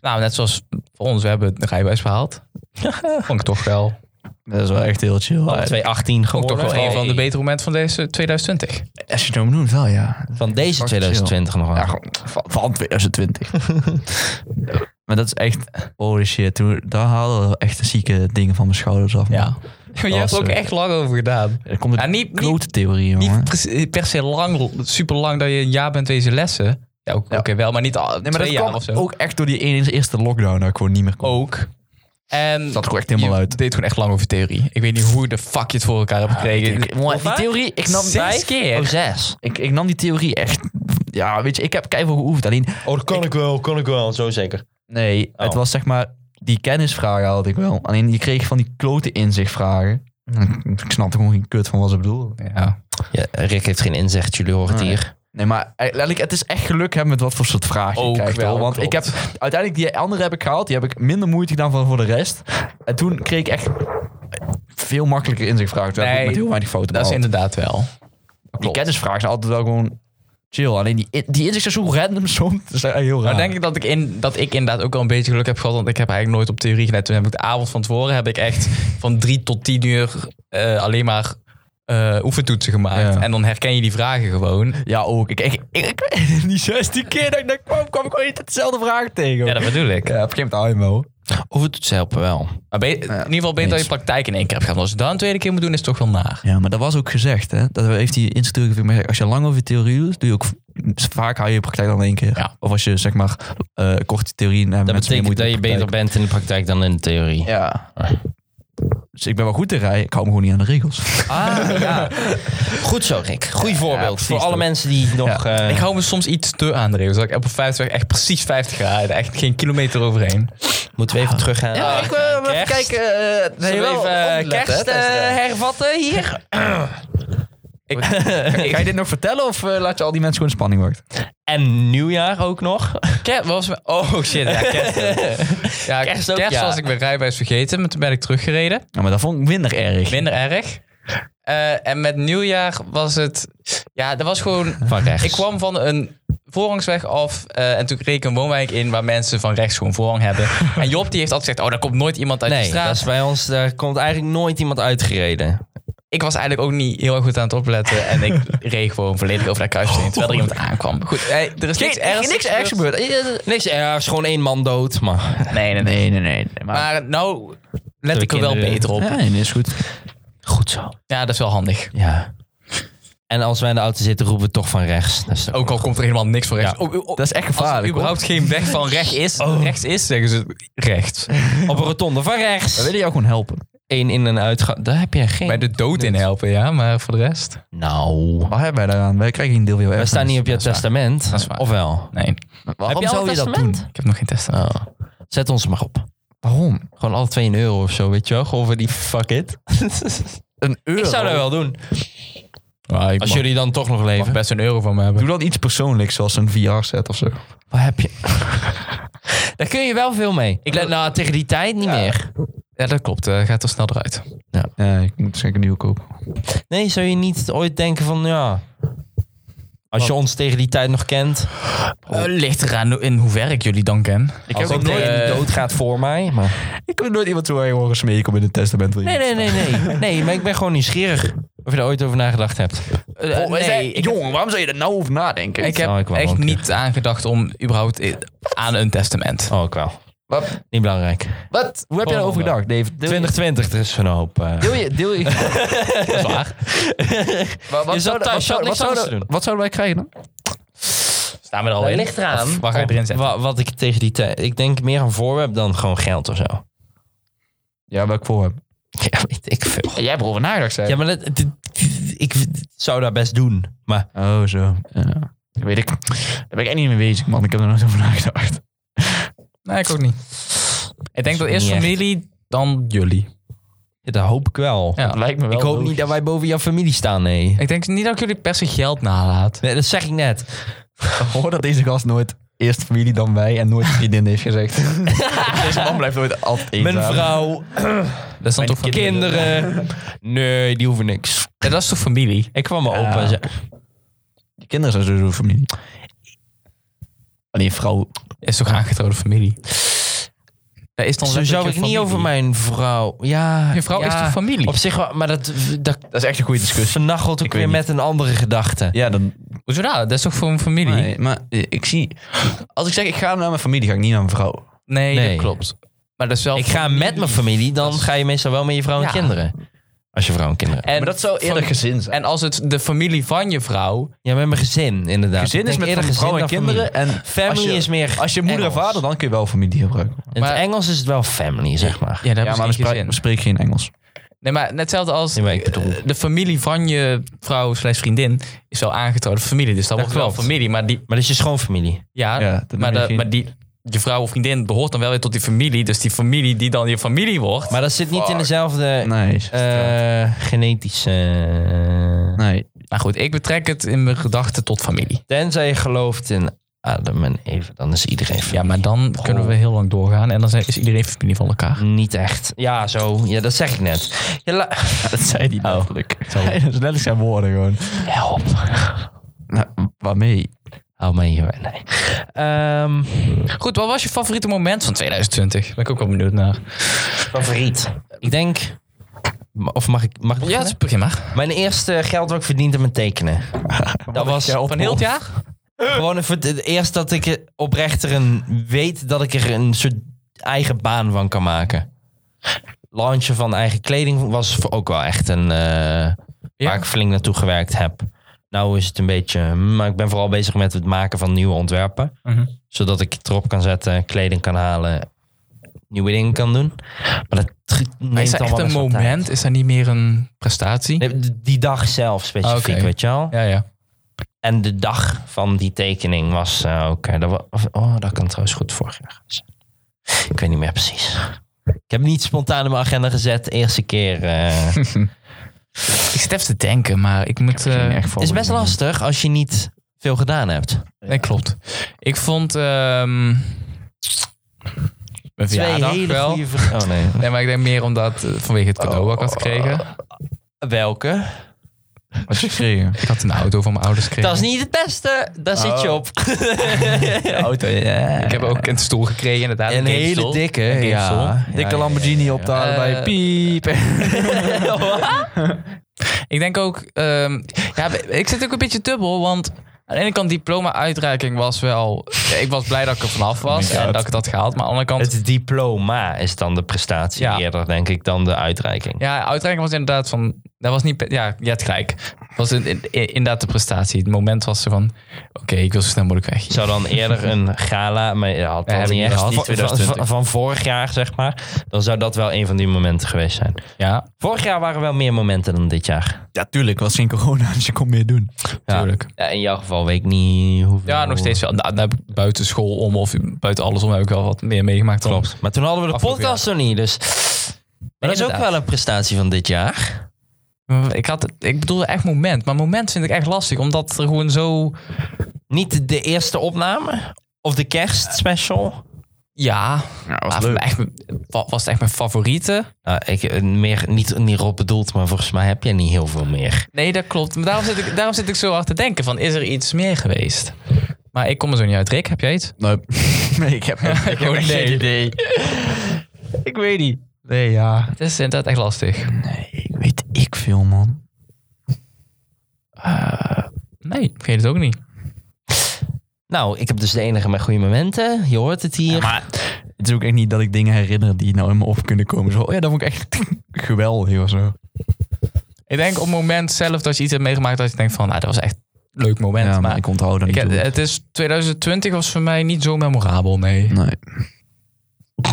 [SPEAKER 3] Nou, net zoals voor ons, we hebben het rijbewijs verhaald. Vond ik toch wel.
[SPEAKER 2] Dat is wel echt heel chill.
[SPEAKER 1] Al 218
[SPEAKER 3] Ook
[SPEAKER 1] geworden.
[SPEAKER 3] toch wel
[SPEAKER 1] Hey.
[SPEAKER 3] een van de betere momenten van deze 2020.
[SPEAKER 2] Als je het noemt, wel, ja.
[SPEAKER 1] Van deze
[SPEAKER 2] Fucking
[SPEAKER 1] 2020 nog wel.
[SPEAKER 2] Ja, gewoon van, van 2020. maar dat is echt... Holy shit, toen, daar haalden we echt de zieke dingen van mijn schouders af. man.
[SPEAKER 3] Ja. je hebt er ook
[SPEAKER 2] eh,
[SPEAKER 3] echt lang over gedaan.
[SPEAKER 2] Er komt
[SPEAKER 3] Ja,
[SPEAKER 2] een
[SPEAKER 3] niet, niet,
[SPEAKER 2] klote theorie, jongen.
[SPEAKER 3] niet pre- per se lang, super lang dat je een jaar bent deze lessen. Ja, ook- oké
[SPEAKER 2] Ja.
[SPEAKER 3] wel, maar niet al,
[SPEAKER 2] Nee, maar
[SPEAKER 3] twee
[SPEAKER 2] dat
[SPEAKER 3] jaar of zo.
[SPEAKER 2] kwam ook echt door die ene eerste lockdown dat ik gewoon niet meer kon.
[SPEAKER 3] Ook. En
[SPEAKER 2] Dat kwam echt helemaal
[SPEAKER 3] je
[SPEAKER 2] uit. Ah,
[SPEAKER 3] deed gewoon echt lang over theorie. Ik weet niet hoe de fuck je het voor elkaar hebt gekregen.
[SPEAKER 2] die theorie, ik nam,
[SPEAKER 3] Zes keer.
[SPEAKER 1] Oh, zes.
[SPEAKER 2] ik, ik nam die theorie echt... Ja, weet je, ik heb keihard geoefend. Alleen,
[SPEAKER 1] Oh, dat kan ik, wel, kan ik wel. Zo zeker.
[SPEAKER 2] nee, het
[SPEAKER 1] Oh.
[SPEAKER 2] was zeg maar... Die kennisvragen had ik wel. Alleen, je kreeg van die klote inzichtvragen. Ik snapte gewoon geen kut van wat ze bedoelden.
[SPEAKER 3] Ja.
[SPEAKER 1] Ja, Rick heeft geen inzicht, jullie horen het
[SPEAKER 2] Nee.
[SPEAKER 1] hier.
[SPEAKER 2] Nee, maar eigenlijk, het is echt geluk hebben met wat voor soort vraag je
[SPEAKER 3] Ook
[SPEAKER 2] krijgt.
[SPEAKER 3] wel,
[SPEAKER 2] hoor. Want
[SPEAKER 3] klopt.
[SPEAKER 2] ik heb uiteindelijk die andere heb ik gehaald. Die heb ik minder moeite gedaan van voor de rest. En toen kreeg ik echt veel makkelijker inzichtvragen. Terwijl
[SPEAKER 3] Nee,
[SPEAKER 2] ik met heel weinig fouten
[SPEAKER 3] Dat is
[SPEAKER 2] behaald.
[SPEAKER 3] inderdaad wel.
[SPEAKER 2] Die kennisvragen zijn altijd wel gewoon chill. Alleen die, die inzichten zijn zo random soms. Dat is echt heel raar.
[SPEAKER 3] Nou, denk ik dat ik, in, dat ik inderdaad ook wel een beetje geluk heb gehad. Want ik heb eigenlijk nooit op theorie gelet. Toen heb ik de avond van tevoren heb ik echt van drie tot tien uur eh, alleen maar eh, oefentoetsen gemaakt.
[SPEAKER 2] Ja.
[SPEAKER 3] En dan herken je die vragen gewoon.
[SPEAKER 2] Ja, ook. Ik, ik, ik, ik- die 16 keer dat ik daar kwam, kwam ik gewoon niet dezelfde vraag tegen.
[SPEAKER 3] Ja,
[SPEAKER 2] Ja,
[SPEAKER 3] dat bedoel ik.
[SPEAKER 2] op een gegeven moment hou je me hoor.
[SPEAKER 1] Overtoetsen helpen wel.
[SPEAKER 3] Maar be- in ieder geval beter dat je praktijk in één keer hebt gehad. Want Als je dat een tweede keer moet doen, is het toch wel naar.
[SPEAKER 2] Ja, maar dat was ook gezegd, hè? Dat heeft die instructeur ook gezegd. Als je lang over theorie doet, doe je ook vaak hou je je praktijk dan in één keer.
[SPEAKER 3] Ja.
[SPEAKER 2] Of als je zeg maar eh korte theorie naar
[SPEAKER 1] Dat betekent dat je beter bent in de praktijk dan in de theorie.
[SPEAKER 2] Ja. Dus ik ben wel goed in rijden. Ik hou me gewoon niet aan de regels.
[SPEAKER 1] Ah, ja. Goed zo, Rick. Goed voorbeeld.
[SPEAKER 2] precies,
[SPEAKER 1] Voor alle
[SPEAKER 2] toch.
[SPEAKER 1] mensen die nog... eh,
[SPEAKER 3] Ik hou me soms iets te aan de regels. Dat ik op 50 echt precies 50 ga. rijden. Echt geen kilometer overheen.
[SPEAKER 1] Moeten we even teruggaan?
[SPEAKER 2] ik wil
[SPEAKER 1] eh, even kerst. kijken,
[SPEAKER 2] nee,
[SPEAKER 1] Zullen we even eh, kerst eh, hervatten hier?
[SPEAKER 2] Ga je dit nog vertellen of eh, laat je al die mensen gewoon in spanning worden?
[SPEAKER 1] En nieuwjaar ook nog.
[SPEAKER 3] Kerst was... me- Oh shit, ja, kerst. ja, kerst,
[SPEAKER 1] Kerst ook, ja.
[SPEAKER 3] was ik mijn rijbewijs vergeten. Maar toen ben ik teruggereden.
[SPEAKER 2] Nou, maar dat vond ik minder erg.
[SPEAKER 3] Minder erg. Eh, en met nieuwjaar was het... Ja, dat was gewoon...
[SPEAKER 1] Van rechts.
[SPEAKER 3] Ik kwam van een voorrangsweg af. eh, en toen kreeg ik een woonwijk in waar mensen van rechts gewoon voorrang hebben. En Job die heeft altijd gezegd... Oh, daar komt nooit iemand uit de
[SPEAKER 1] Nee,
[SPEAKER 3] straat.
[SPEAKER 1] dat is bij ons, daar komt eigenlijk nooit iemand uitgereden.
[SPEAKER 3] Ik was eigenlijk ook niet heel erg goed aan het opletten. En ik reed gewoon volledig over dat kruisje heen. Terwijl er
[SPEAKER 1] Oh.
[SPEAKER 3] iemand aankwam. Goed, eh, er is niks ergs
[SPEAKER 2] gebeurd.
[SPEAKER 1] Niks ergs, gewoon één man dood. Maar
[SPEAKER 3] Nee, nee, nee.
[SPEAKER 2] Nee, nee, nee. Maar,
[SPEAKER 3] Maar nou let
[SPEAKER 1] Door
[SPEAKER 3] ik er wel
[SPEAKER 1] kinderen.
[SPEAKER 3] beter op.
[SPEAKER 2] ja, nee, is goed.
[SPEAKER 1] goed zo.
[SPEAKER 3] Ja, dat is wel handig.
[SPEAKER 1] Ja. En als wij in de auto zitten, roepen we toch van rechts. Dus
[SPEAKER 3] Ook al komt er helemaal niks van rechts.
[SPEAKER 1] Ja.
[SPEAKER 3] Oh, oh, oh.
[SPEAKER 2] Dat is echt
[SPEAKER 3] Als er
[SPEAKER 2] gevaarlijk. hoor.
[SPEAKER 3] überhaupt geen weg van recht is,
[SPEAKER 1] Oh.
[SPEAKER 3] rechts is, zeggen ze rechts.
[SPEAKER 1] op een rotonde van
[SPEAKER 2] We
[SPEAKER 1] rechts.
[SPEAKER 2] willen jou gewoon helpen.
[SPEAKER 1] Eén in en uitgaan. Daar heb je geen.
[SPEAKER 3] Bij de dood in helpen, ja, maar voor de rest.
[SPEAKER 1] Nou.
[SPEAKER 2] Wat hebben wij daaraan? Wij krijgen geen deel van jouw
[SPEAKER 1] We staan niet op je
[SPEAKER 3] is waar.
[SPEAKER 1] testament.
[SPEAKER 3] Dat is waar.
[SPEAKER 1] Of wel?
[SPEAKER 3] Nee,
[SPEAKER 2] Waarom
[SPEAKER 1] al
[SPEAKER 2] zou
[SPEAKER 1] een
[SPEAKER 2] je dat doen?
[SPEAKER 1] testament?
[SPEAKER 3] ik heb nog geen testament.
[SPEAKER 1] Oh. Zet ons maar op.
[SPEAKER 2] Waarom?
[SPEAKER 1] Gewoon alle twee een euro of zo, weet je wel? Gewoon voor die fuck it.
[SPEAKER 2] Een euro?
[SPEAKER 1] ik zou dat wel doen.
[SPEAKER 3] Ah, ik
[SPEAKER 1] Als
[SPEAKER 3] mag-
[SPEAKER 1] jullie dan toch nog
[SPEAKER 3] mag
[SPEAKER 1] leven.
[SPEAKER 3] best een euro van me
[SPEAKER 2] Doe
[SPEAKER 3] hebben.
[SPEAKER 2] dan iets persoonlijks, zoals een VR-set of zo.
[SPEAKER 1] Wat heb je? Daar kun je wel veel mee. Ik nou, tegen die tijd niet meer.
[SPEAKER 3] Ja, dat klopt. eh, gaat er snel eruit.
[SPEAKER 2] Ja, ik moet zeker een nieuwe kopen.
[SPEAKER 1] Nee, zou je niet ooit denken van, ja... Als je ons tegen die tijd nog kent.
[SPEAKER 3] Eh, ligt eraan in hoeverre ik jullie dan ken.
[SPEAKER 1] Ik
[SPEAKER 2] heb
[SPEAKER 1] als
[SPEAKER 2] ook
[SPEAKER 1] ik
[SPEAKER 2] nooit-
[SPEAKER 1] tegen die dood gaat voor mij. Maar...
[SPEAKER 2] Ik heb nooit iemand zo horen smeken om in het testament.
[SPEAKER 1] Nee, nee, nee, nee. Nee, maar ik ben gewoon nieuwsgierig. Of je er ooit over nagedacht hebt.
[SPEAKER 3] Eh, nee, ik,
[SPEAKER 2] Oh, jongen, waarom zou je er nou over nadenken?
[SPEAKER 3] ik heb
[SPEAKER 1] Oh, ik wou
[SPEAKER 3] echt
[SPEAKER 1] ook, ja.
[SPEAKER 3] niet aangedacht om überhaupt i- aan een testament.
[SPEAKER 1] Oh, ik wel.
[SPEAKER 2] Wat?
[SPEAKER 1] Niet belangrijk.
[SPEAKER 2] Wat? Hoe heb je
[SPEAKER 1] Oh,
[SPEAKER 2] daarover
[SPEAKER 1] wat?
[SPEAKER 2] gedacht, Dave? Deel
[SPEAKER 1] 2020, er is van een hoop. eh,
[SPEAKER 2] Deel je... Deel je
[SPEAKER 1] dat is waar.
[SPEAKER 2] wat,
[SPEAKER 1] Je zat thuis, je
[SPEAKER 2] zouden- wat
[SPEAKER 1] had
[SPEAKER 2] zouden-
[SPEAKER 1] niks
[SPEAKER 2] wat zouden-
[SPEAKER 1] anders te doen.
[SPEAKER 2] Wat zouden wij krijgen dan?
[SPEAKER 3] Staan we er al in?
[SPEAKER 1] ligt eraan.
[SPEAKER 3] Of Waar ga je erin zetten?
[SPEAKER 1] Wa- wat ik tegen die tijd... Ik denk meer een voorwerp dan gewoon geld of zo.
[SPEAKER 2] Ja, welk voorwerp?
[SPEAKER 1] Ja, weet ik veel.
[SPEAKER 2] Jij hebt erover nagedacht, zei
[SPEAKER 1] Ja, maar dat- dit- dit- ik zou dat best doen. Maar
[SPEAKER 2] Oh, zo. Ja. Dat weet ik. Daar ben ik echt niet mee bezig, man. Ik heb er nooit over nagedacht.
[SPEAKER 3] Nee, ik ook niet. Ik denk dat eerst
[SPEAKER 1] Niet echt.
[SPEAKER 3] familie, dan jullie.
[SPEAKER 1] ja, dat hoop ik wel.
[SPEAKER 3] Ja.
[SPEAKER 2] Dat lijkt me wel.
[SPEAKER 1] ik hoop
[SPEAKER 2] logisch.
[SPEAKER 1] niet dat wij boven jouw familie staan, nee.
[SPEAKER 3] Ik denk niet dat ik jullie per se geld nalaat.
[SPEAKER 1] Nee, dat zeg ik net.
[SPEAKER 2] Hoor dat deze gast nooit eerst familie dan wij en nooit vriendin heeft gezegd. deze man blijft nooit altijd eenzaam.
[SPEAKER 1] Mijn vrouw,
[SPEAKER 3] Dat is dan toch familie?
[SPEAKER 1] kinderen. Nee, die hoeven niks.
[SPEAKER 3] Ja, dat is toch familie?
[SPEAKER 1] Ik kwam mijn opa en zei...
[SPEAKER 2] Je kinderen zijn sowieso familie. Alleen vrouw.
[SPEAKER 3] Is toch aangetrouwde familie? Dat is dan
[SPEAKER 1] Zo zou ik
[SPEAKER 3] letterlijk je
[SPEAKER 1] niet
[SPEAKER 3] familie.
[SPEAKER 1] over mijn vrouw... Ja,
[SPEAKER 3] Je vrouw is
[SPEAKER 1] ja,
[SPEAKER 3] toch familie?
[SPEAKER 1] Op zich wel, maar dat, dat
[SPEAKER 2] Dat is echt een goede discussie.
[SPEAKER 1] vernachelt ook
[SPEAKER 2] weet
[SPEAKER 1] weer met een andere gedachte.
[SPEAKER 2] Ja, dan...
[SPEAKER 3] Hoezo nou? Dat is toch voor een familie?
[SPEAKER 2] Nee, maar eh, ik zie... Als ik zeg ik ga naar mijn familie, ga ik niet naar mijn vrouw.
[SPEAKER 3] Nee,
[SPEAKER 1] Nee.
[SPEAKER 3] dat klopt. Maar dat is wel
[SPEAKER 1] Ik ga met mijn familie, dan ga je meestal wel met je vrouw en
[SPEAKER 3] Ja.
[SPEAKER 1] kinderen. Als je vrouw en kinderen.
[SPEAKER 3] En,
[SPEAKER 2] maar dat zou eerder
[SPEAKER 3] van-
[SPEAKER 2] gezin zijn.
[SPEAKER 3] en als het de familie van je vrouw...
[SPEAKER 1] Ja, met mijn gezin, inderdaad. Ik
[SPEAKER 2] gezin is
[SPEAKER 1] denk
[SPEAKER 2] met
[SPEAKER 1] eerder
[SPEAKER 2] van vrouw en
[SPEAKER 1] gezin dan
[SPEAKER 2] kinderen. En
[SPEAKER 1] Family,
[SPEAKER 2] als je,
[SPEAKER 1] is meer.
[SPEAKER 2] Als je moeder en
[SPEAKER 1] Engels.
[SPEAKER 2] vader, dan kun je wel familie gebruiken.
[SPEAKER 1] In
[SPEAKER 3] Maar-
[SPEAKER 1] het Engels is het wel family, zeg maar.
[SPEAKER 3] Ja, daar
[SPEAKER 2] ja,
[SPEAKER 3] heb
[SPEAKER 2] maar
[SPEAKER 3] ik
[SPEAKER 2] we
[SPEAKER 3] geen
[SPEAKER 2] spreken
[SPEAKER 3] zin.
[SPEAKER 2] geen Engels.
[SPEAKER 3] Nee, maar net hetzelfde als
[SPEAKER 1] Nee, maar ik bedoel-
[SPEAKER 3] eh, de familie van je vrouw slash vriendin is wel aangetrouwde familie. Dus dat, wordt wel
[SPEAKER 1] klopt.
[SPEAKER 3] familie. Maar die,
[SPEAKER 1] Maar dat is je schoonfamilie.
[SPEAKER 3] ja,
[SPEAKER 2] Ja, dat
[SPEAKER 3] Ah, maar,
[SPEAKER 2] noem je
[SPEAKER 3] de-
[SPEAKER 2] geen-
[SPEAKER 3] maar die, je vrouw of vriendin behoort dan wel weer tot die familie. Dus die familie die dan je familie wordt.
[SPEAKER 1] Maar dat zit niet in dezelfde
[SPEAKER 2] Nee.
[SPEAKER 1] eh, genetische.
[SPEAKER 2] nee.
[SPEAKER 3] maar goed, ik betrek het in mijn gedachten tot familie.
[SPEAKER 1] Tenzij je gelooft in Adam en Eva, dan is iedereen familie.
[SPEAKER 3] Ja, maar dan kunnen we heel lang doorgaan. En dan zijn, is iedereen familie van elkaar.
[SPEAKER 1] Niet echt. Ja, zo. Ja, dat zeg ik net. Ja, la- Oh.
[SPEAKER 2] Dat zei hij letterlijk. Hij dat is letterlijk zijn woorden gewoon.
[SPEAKER 1] Help.
[SPEAKER 2] Nou, waarmee?
[SPEAKER 1] Hou mij hier. Nee. Ehm,
[SPEAKER 3] Goed, wat was je favoriete moment van 2020? Daar ben ik ook wel benieuwd naar.
[SPEAKER 1] favoriet. Ik denk. Of mag ik. Mag ik
[SPEAKER 3] Ja,
[SPEAKER 1] beginnen?
[SPEAKER 3] dus begin maar.
[SPEAKER 1] Mijn eerste geld wat ik verdiend heb met tekenen. Dat was
[SPEAKER 3] Van heel het jaar?
[SPEAKER 1] gewoon een verd- het eerst dat ik er oprecht er een weet dat ik er een soort eigen baan van kan maken. Launchen van eigen kleding was voor- ook wel echt een eh, waar ik flink naartoe gewerkt heb. Nou is het een beetje, maar ik ben vooral bezig met het maken van nieuwe ontwerpen,
[SPEAKER 3] Mhm.
[SPEAKER 1] zodat ik het erop kan zetten, kleding kan halen, nieuwe dingen kan doen. Maar dat tr-
[SPEAKER 3] Maar
[SPEAKER 1] neemt
[SPEAKER 3] is dat echt
[SPEAKER 1] allemaal
[SPEAKER 3] een
[SPEAKER 1] best wel tijd.
[SPEAKER 3] moment? Is dat niet meer een prestatie?
[SPEAKER 1] Nee, d- Die dag zelf specifiek,
[SPEAKER 3] Ah, Oké.
[SPEAKER 1] weet je wel.
[SPEAKER 3] Ja, ja.
[SPEAKER 1] En de dag van die tekening was eh, ook... eh, dat wa- of- oh, dat kan trouwens goed vorig jaar zijn. Ik weet niet meer precies. Ik heb niet spontaan in mijn agenda gezet. Eerste keer. eh. Het
[SPEAKER 3] Ik zit even te denken, maar ik moet... eh,
[SPEAKER 1] is best lastig als je niet veel gedaan hebt.
[SPEAKER 3] Nee, klopt. Ik vond... ehm mijn
[SPEAKER 1] Twee
[SPEAKER 3] verjaardag
[SPEAKER 1] hele
[SPEAKER 3] wel.
[SPEAKER 1] goede... ver- Oh nee.
[SPEAKER 3] Nee, maar ik denk meer omdat eh, vanwege het cadeau wat ik had
[SPEAKER 1] Oh.
[SPEAKER 3] gekregen.
[SPEAKER 1] Welke?
[SPEAKER 2] Wat je gekregen?
[SPEAKER 3] Ik had een auto van mijn ouders gekregen.
[SPEAKER 1] Dat is niet het beste. Daar zit je
[SPEAKER 2] Oh.
[SPEAKER 1] op.
[SPEAKER 2] De auto, ja.
[SPEAKER 3] Ik heb ook een stoel gekregen, inderdaad.
[SPEAKER 1] Een hele
[SPEAKER 3] gamesstoel.
[SPEAKER 1] dikke.
[SPEAKER 3] Een
[SPEAKER 1] Ja.
[SPEAKER 3] gamesstoel.
[SPEAKER 1] Ja, ja,
[SPEAKER 2] Dikke
[SPEAKER 1] ja,
[SPEAKER 2] Lamborghini op te halen bij
[SPEAKER 3] Eh,
[SPEAKER 2] piep.
[SPEAKER 3] Ik denk ook... ehm, ja, ik zit ook een beetje dubbel, want... Aan de ene kant, diploma-uitreiking was wel... Ik was blij dat ik er vanaf was
[SPEAKER 2] God.
[SPEAKER 3] en dat ik het had gehaald. Maar aan de andere kant...
[SPEAKER 1] Het diploma is dan de prestatie
[SPEAKER 3] Ja.
[SPEAKER 1] eerder, denk ik, dan de uitreiking.
[SPEAKER 3] Ja, uitreiking was inderdaad van. Dat was niet. pe- Ja, je hebt gelijk. Het was in, in- in- inderdaad de prestatie. Het moment was er van. Oké, ik wil zo snel mogelijk weg.
[SPEAKER 1] zou dan eerder een gala, maar je had dat
[SPEAKER 3] Ja, heb ik
[SPEAKER 1] niet
[SPEAKER 3] niet
[SPEAKER 1] echt
[SPEAKER 3] gehad.
[SPEAKER 1] van,
[SPEAKER 3] 2020.
[SPEAKER 1] van- van vorig jaar, zeg maar. Dan zou dat wel een van die momenten geweest zijn.
[SPEAKER 3] Ja,
[SPEAKER 1] Vorig jaar waren wel meer momenten dan dit jaar.
[SPEAKER 2] Ja, tuurlijk. Was geen corona, dus je kon meer doen.
[SPEAKER 1] Ja.
[SPEAKER 3] tuurlijk.
[SPEAKER 1] Ja, in jouw geval wel, weet ik niet hoeveel.
[SPEAKER 3] Ja, nog steeds wel. Nou, nou, buiten school om of buiten alles om heb ik wel wat meer meegemaakt. dan-
[SPEAKER 1] Klopt. Maar toen hadden we de
[SPEAKER 3] Afgelopen
[SPEAKER 1] podcast nog niet, dus... Maar dat is ook
[SPEAKER 3] inderdaad.
[SPEAKER 1] wel een prestatie van dit jaar.
[SPEAKER 3] Ik, had, ik bedoelde echt moment. Maar moment vind ik echt lastig. Omdat er gewoon zo...
[SPEAKER 1] Niet de eerste opname? Of de kerstspecial?
[SPEAKER 3] Ja,
[SPEAKER 2] Ja, was
[SPEAKER 3] maar echt, wa- was het echt mijn favoriete?
[SPEAKER 1] Nou, ik, eh, meer, niet, niet erop bedoeld, maar volgens mij heb jij niet heel veel meer.
[SPEAKER 3] Nee, dat klopt. Maar daarom zit, ik, daarom zit ik zo hard te denken van, is er iets meer geweest? Maar ik kom er zo niet uit. Rick, heb jij iets?
[SPEAKER 2] Nee, nee ik heb, ik heb
[SPEAKER 3] Oh,
[SPEAKER 2] echt
[SPEAKER 3] nee.
[SPEAKER 2] geen idee.
[SPEAKER 3] Ik weet niet.
[SPEAKER 2] Nee, ja.
[SPEAKER 3] Het is inderdaad echt lastig.
[SPEAKER 2] Nee, ik weet ik veel, man.
[SPEAKER 3] Nee, ik weet het ook niet.
[SPEAKER 1] Nou, ik heb dus de enige met goede momenten. Je hoort het hier.
[SPEAKER 2] maar het is ook echt niet dat ik dingen herinner die nou in me op kunnen komen. Zo, oh ja, dat vond ik echt geweldig of zo.
[SPEAKER 3] Ik denk op het moment zelf dat je iets hebt meegemaakt dat je denkt van, nou, dat was echt een leuk moment.
[SPEAKER 2] Ja,
[SPEAKER 3] maar
[SPEAKER 2] maar ik onthoud dat
[SPEAKER 3] ik
[SPEAKER 2] niet.
[SPEAKER 3] heb-
[SPEAKER 2] goed.
[SPEAKER 3] het is 2020 was voor mij niet zo memorabel, nee.
[SPEAKER 2] Nee.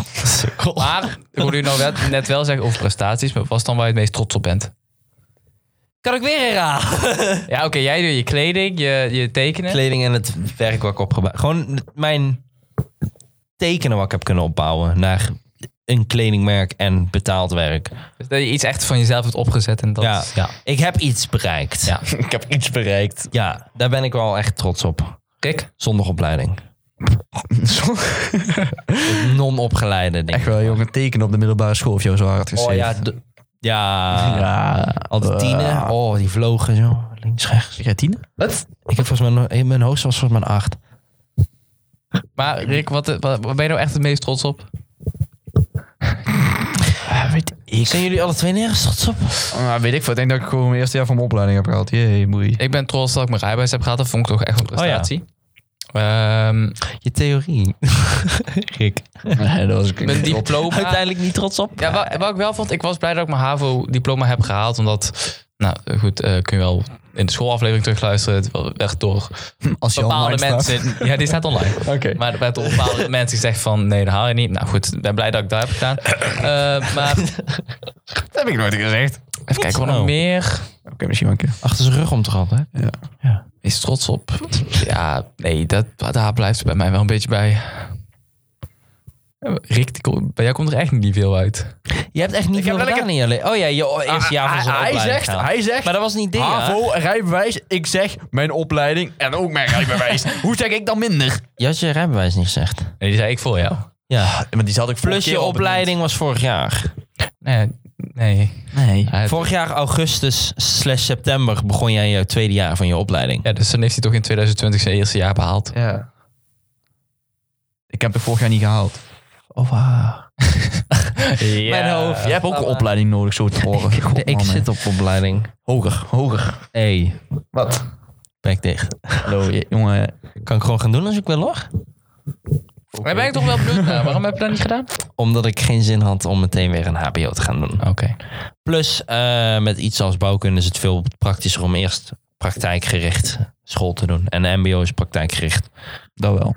[SPEAKER 3] Maar, ik hoorde u nou net, net wel zeggen over prestaties, maar wat is dan waar je het meest trots op bent?
[SPEAKER 1] Kan ik weer herhalen?
[SPEAKER 3] Ja, oké, jij doet je kleding, je, je tekenen.
[SPEAKER 1] Kleding en het werk wat ik opgebouwd Gewoon mijn tekenen wat ik heb kunnen opbouwen naar een kledingmerk en betaald werk.
[SPEAKER 3] Dus dat je iets echt van jezelf hebt opgezet en dat...
[SPEAKER 1] ja.
[SPEAKER 3] ja.
[SPEAKER 1] ik heb iets bereikt.
[SPEAKER 3] Ja.
[SPEAKER 2] ik heb iets bereikt.
[SPEAKER 1] Ja, daar ben ik wel echt trots op.
[SPEAKER 3] Rick?
[SPEAKER 1] Zonder opleiding. Non-opgeleide denk
[SPEAKER 2] Echt
[SPEAKER 1] ik.
[SPEAKER 2] wel, jongen. Tekenen op de middelbare school of jou zo hard
[SPEAKER 1] Oh
[SPEAKER 2] geschreven.
[SPEAKER 1] ja, d- ja,
[SPEAKER 2] ja.
[SPEAKER 1] al die
[SPEAKER 2] Eh,
[SPEAKER 1] tienen. Oh, die vlogen zo. Links, rechts.
[SPEAKER 2] Jij tienen?
[SPEAKER 1] Wat? Ik heb volgens mij, nog- in mijn hoogste was volgens mij een acht.
[SPEAKER 3] Maar Rick, wat, wat, waar ben je nou echt het meest trots op?
[SPEAKER 2] weet ik.
[SPEAKER 1] Zijn jullie alle twee nergens trots op?
[SPEAKER 3] Nou,
[SPEAKER 2] weet ik veel. Ik denk dat ik gewoon mijn eerste jaar van mijn opleiding heb gehad. Jee, moei.
[SPEAKER 3] Ik ben trots dat ik mijn rijbewijs heb gehad. Dat vond ik toch echt een prestatie. Ehm,
[SPEAKER 1] Je theorie. Rick.
[SPEAKER 2] Nee, dat was ik
[SPEAKER 3] mijn
[SPEAKER 2] niet op.
[SPEAKER 3] diploma.
[SPEAKER 1] Uiteindelijk niet trots op?
[SPEAKER 3] Ja, wat, wat ik wel vond, ik was blij dat ik mijn HAVO-diploma heb gehaald. Omdat, nou goed, eh, kun je wel in de schoolaflevering terugluisteren. Het wel- werd door
[SPEAKER 2] Als je
[SPEAKER 3] bepaalde
[SPEAKER 2] online staat.
[SPEAKER 3] mensen... Ja, die staat online.
[SPEAKER 2] Oké.
[SPEAKER 3] Maar er werd door bepaalde mensen gezegd van, nee, dat haal je niet. Nou goed, ik ben blij dat ik dat heb gedaan. Eh, maar even
[SPEAKER 2] Dat heb ik nooit gezegd. Oké,
[SPEAKER 3] kijken, wat nog
[SPEAKER 1] Nou.
[SPEAKER 3] meer?
[SPEAKER 2] misschien wel een keer.
[SPEAKER 1] Achter zijn rug om te hè?
[SPEAKER 3] Is trots op? Ja, nee, dat, daar blijft het bij mij wel een beetje bij. Rick, die kom- bij jou komt er echt niet veel uit.
[SPEAKER 1] Je hebt echt niet veel
[SPEAKER 2] heb wel Ah,
[SPEAKER 1] gedaan in je leven. Oh ja, je eerste jaar van zijn
[SPEAKER 2] hij,
[SPEAKER 1] opleiding
[SPEAKER 2] zegt,
[SPEAKER 1] gehaald.
[SPEAKER 2] hij zegt,
[SPEAKER 1] Maar dat was niet ding, hè?
[SPEAKER 2] HAVO, rijbewijs. Ik zeg mijn opleiding en ook mijn rijbewijs. Hoe zeg ik dan minder?
[SPEAKER 1] Je had je rijbewijs niet gezegd.
[SPEAKER 3] Nee, die zei ik voor jou.
[SPEAKER 1] Ja.
[SPEAKER 2] Maar die zat ik
[SPEAKER 1] Plus je opleiding was vorig jaar.
[SPEAKER 3] Nee, nee.
[SPEAKER 2] Nee.
[SPEAKER 3] Hij-
[SPEAKER 1] Vorig jaar augustus slash september begon jij je tweede jaar van je opleiding.
[SPEAKER 3] Ja, dus dan heeft hij toch in 2020 zijn eerste jaar behaald.
[SPEAKER 2] Ja. Ik heb het vorig jaar niet gehaald.
[SPEAKER 1] Oh,
[SPEAKER 3] Mijn hoofd.
[SPEAKER 2] Jij hebt ook een opleiding nodig, zo te horen. God,
[SPEAKER 1] ik
[SPEAKER 2] man, hè.
[SPEAKER 1] zit op opleiding.
[SPEAKER 2] hoger, hoger.
[SPEAKER 1] Hé, hey,
[SPEAKER 2] Wat?
[SPEAKER 1] bek dicht.
[SPEAKER 2] Hallo, je- jongen.
[SPEAKER 1] Kan ik gewoon gaan doen als ik wil, hoor?
[SPEAKER 3] Daar ben ik toch wel blut naar. Waarom heb je dat niet gedaan?
[SPEAKER 1] Omdat ik geen zin had om meteen weer een hbo te gaan doen.
[SPEAKER 3] Oké.
[SPEAKER 1] Plus, eh, met iets als bouwkunde is het veel praktischer om eerst praktijkgericht school te doen. En de mbo is praktijkgericht.
[SPEAKER 2] Dat wel.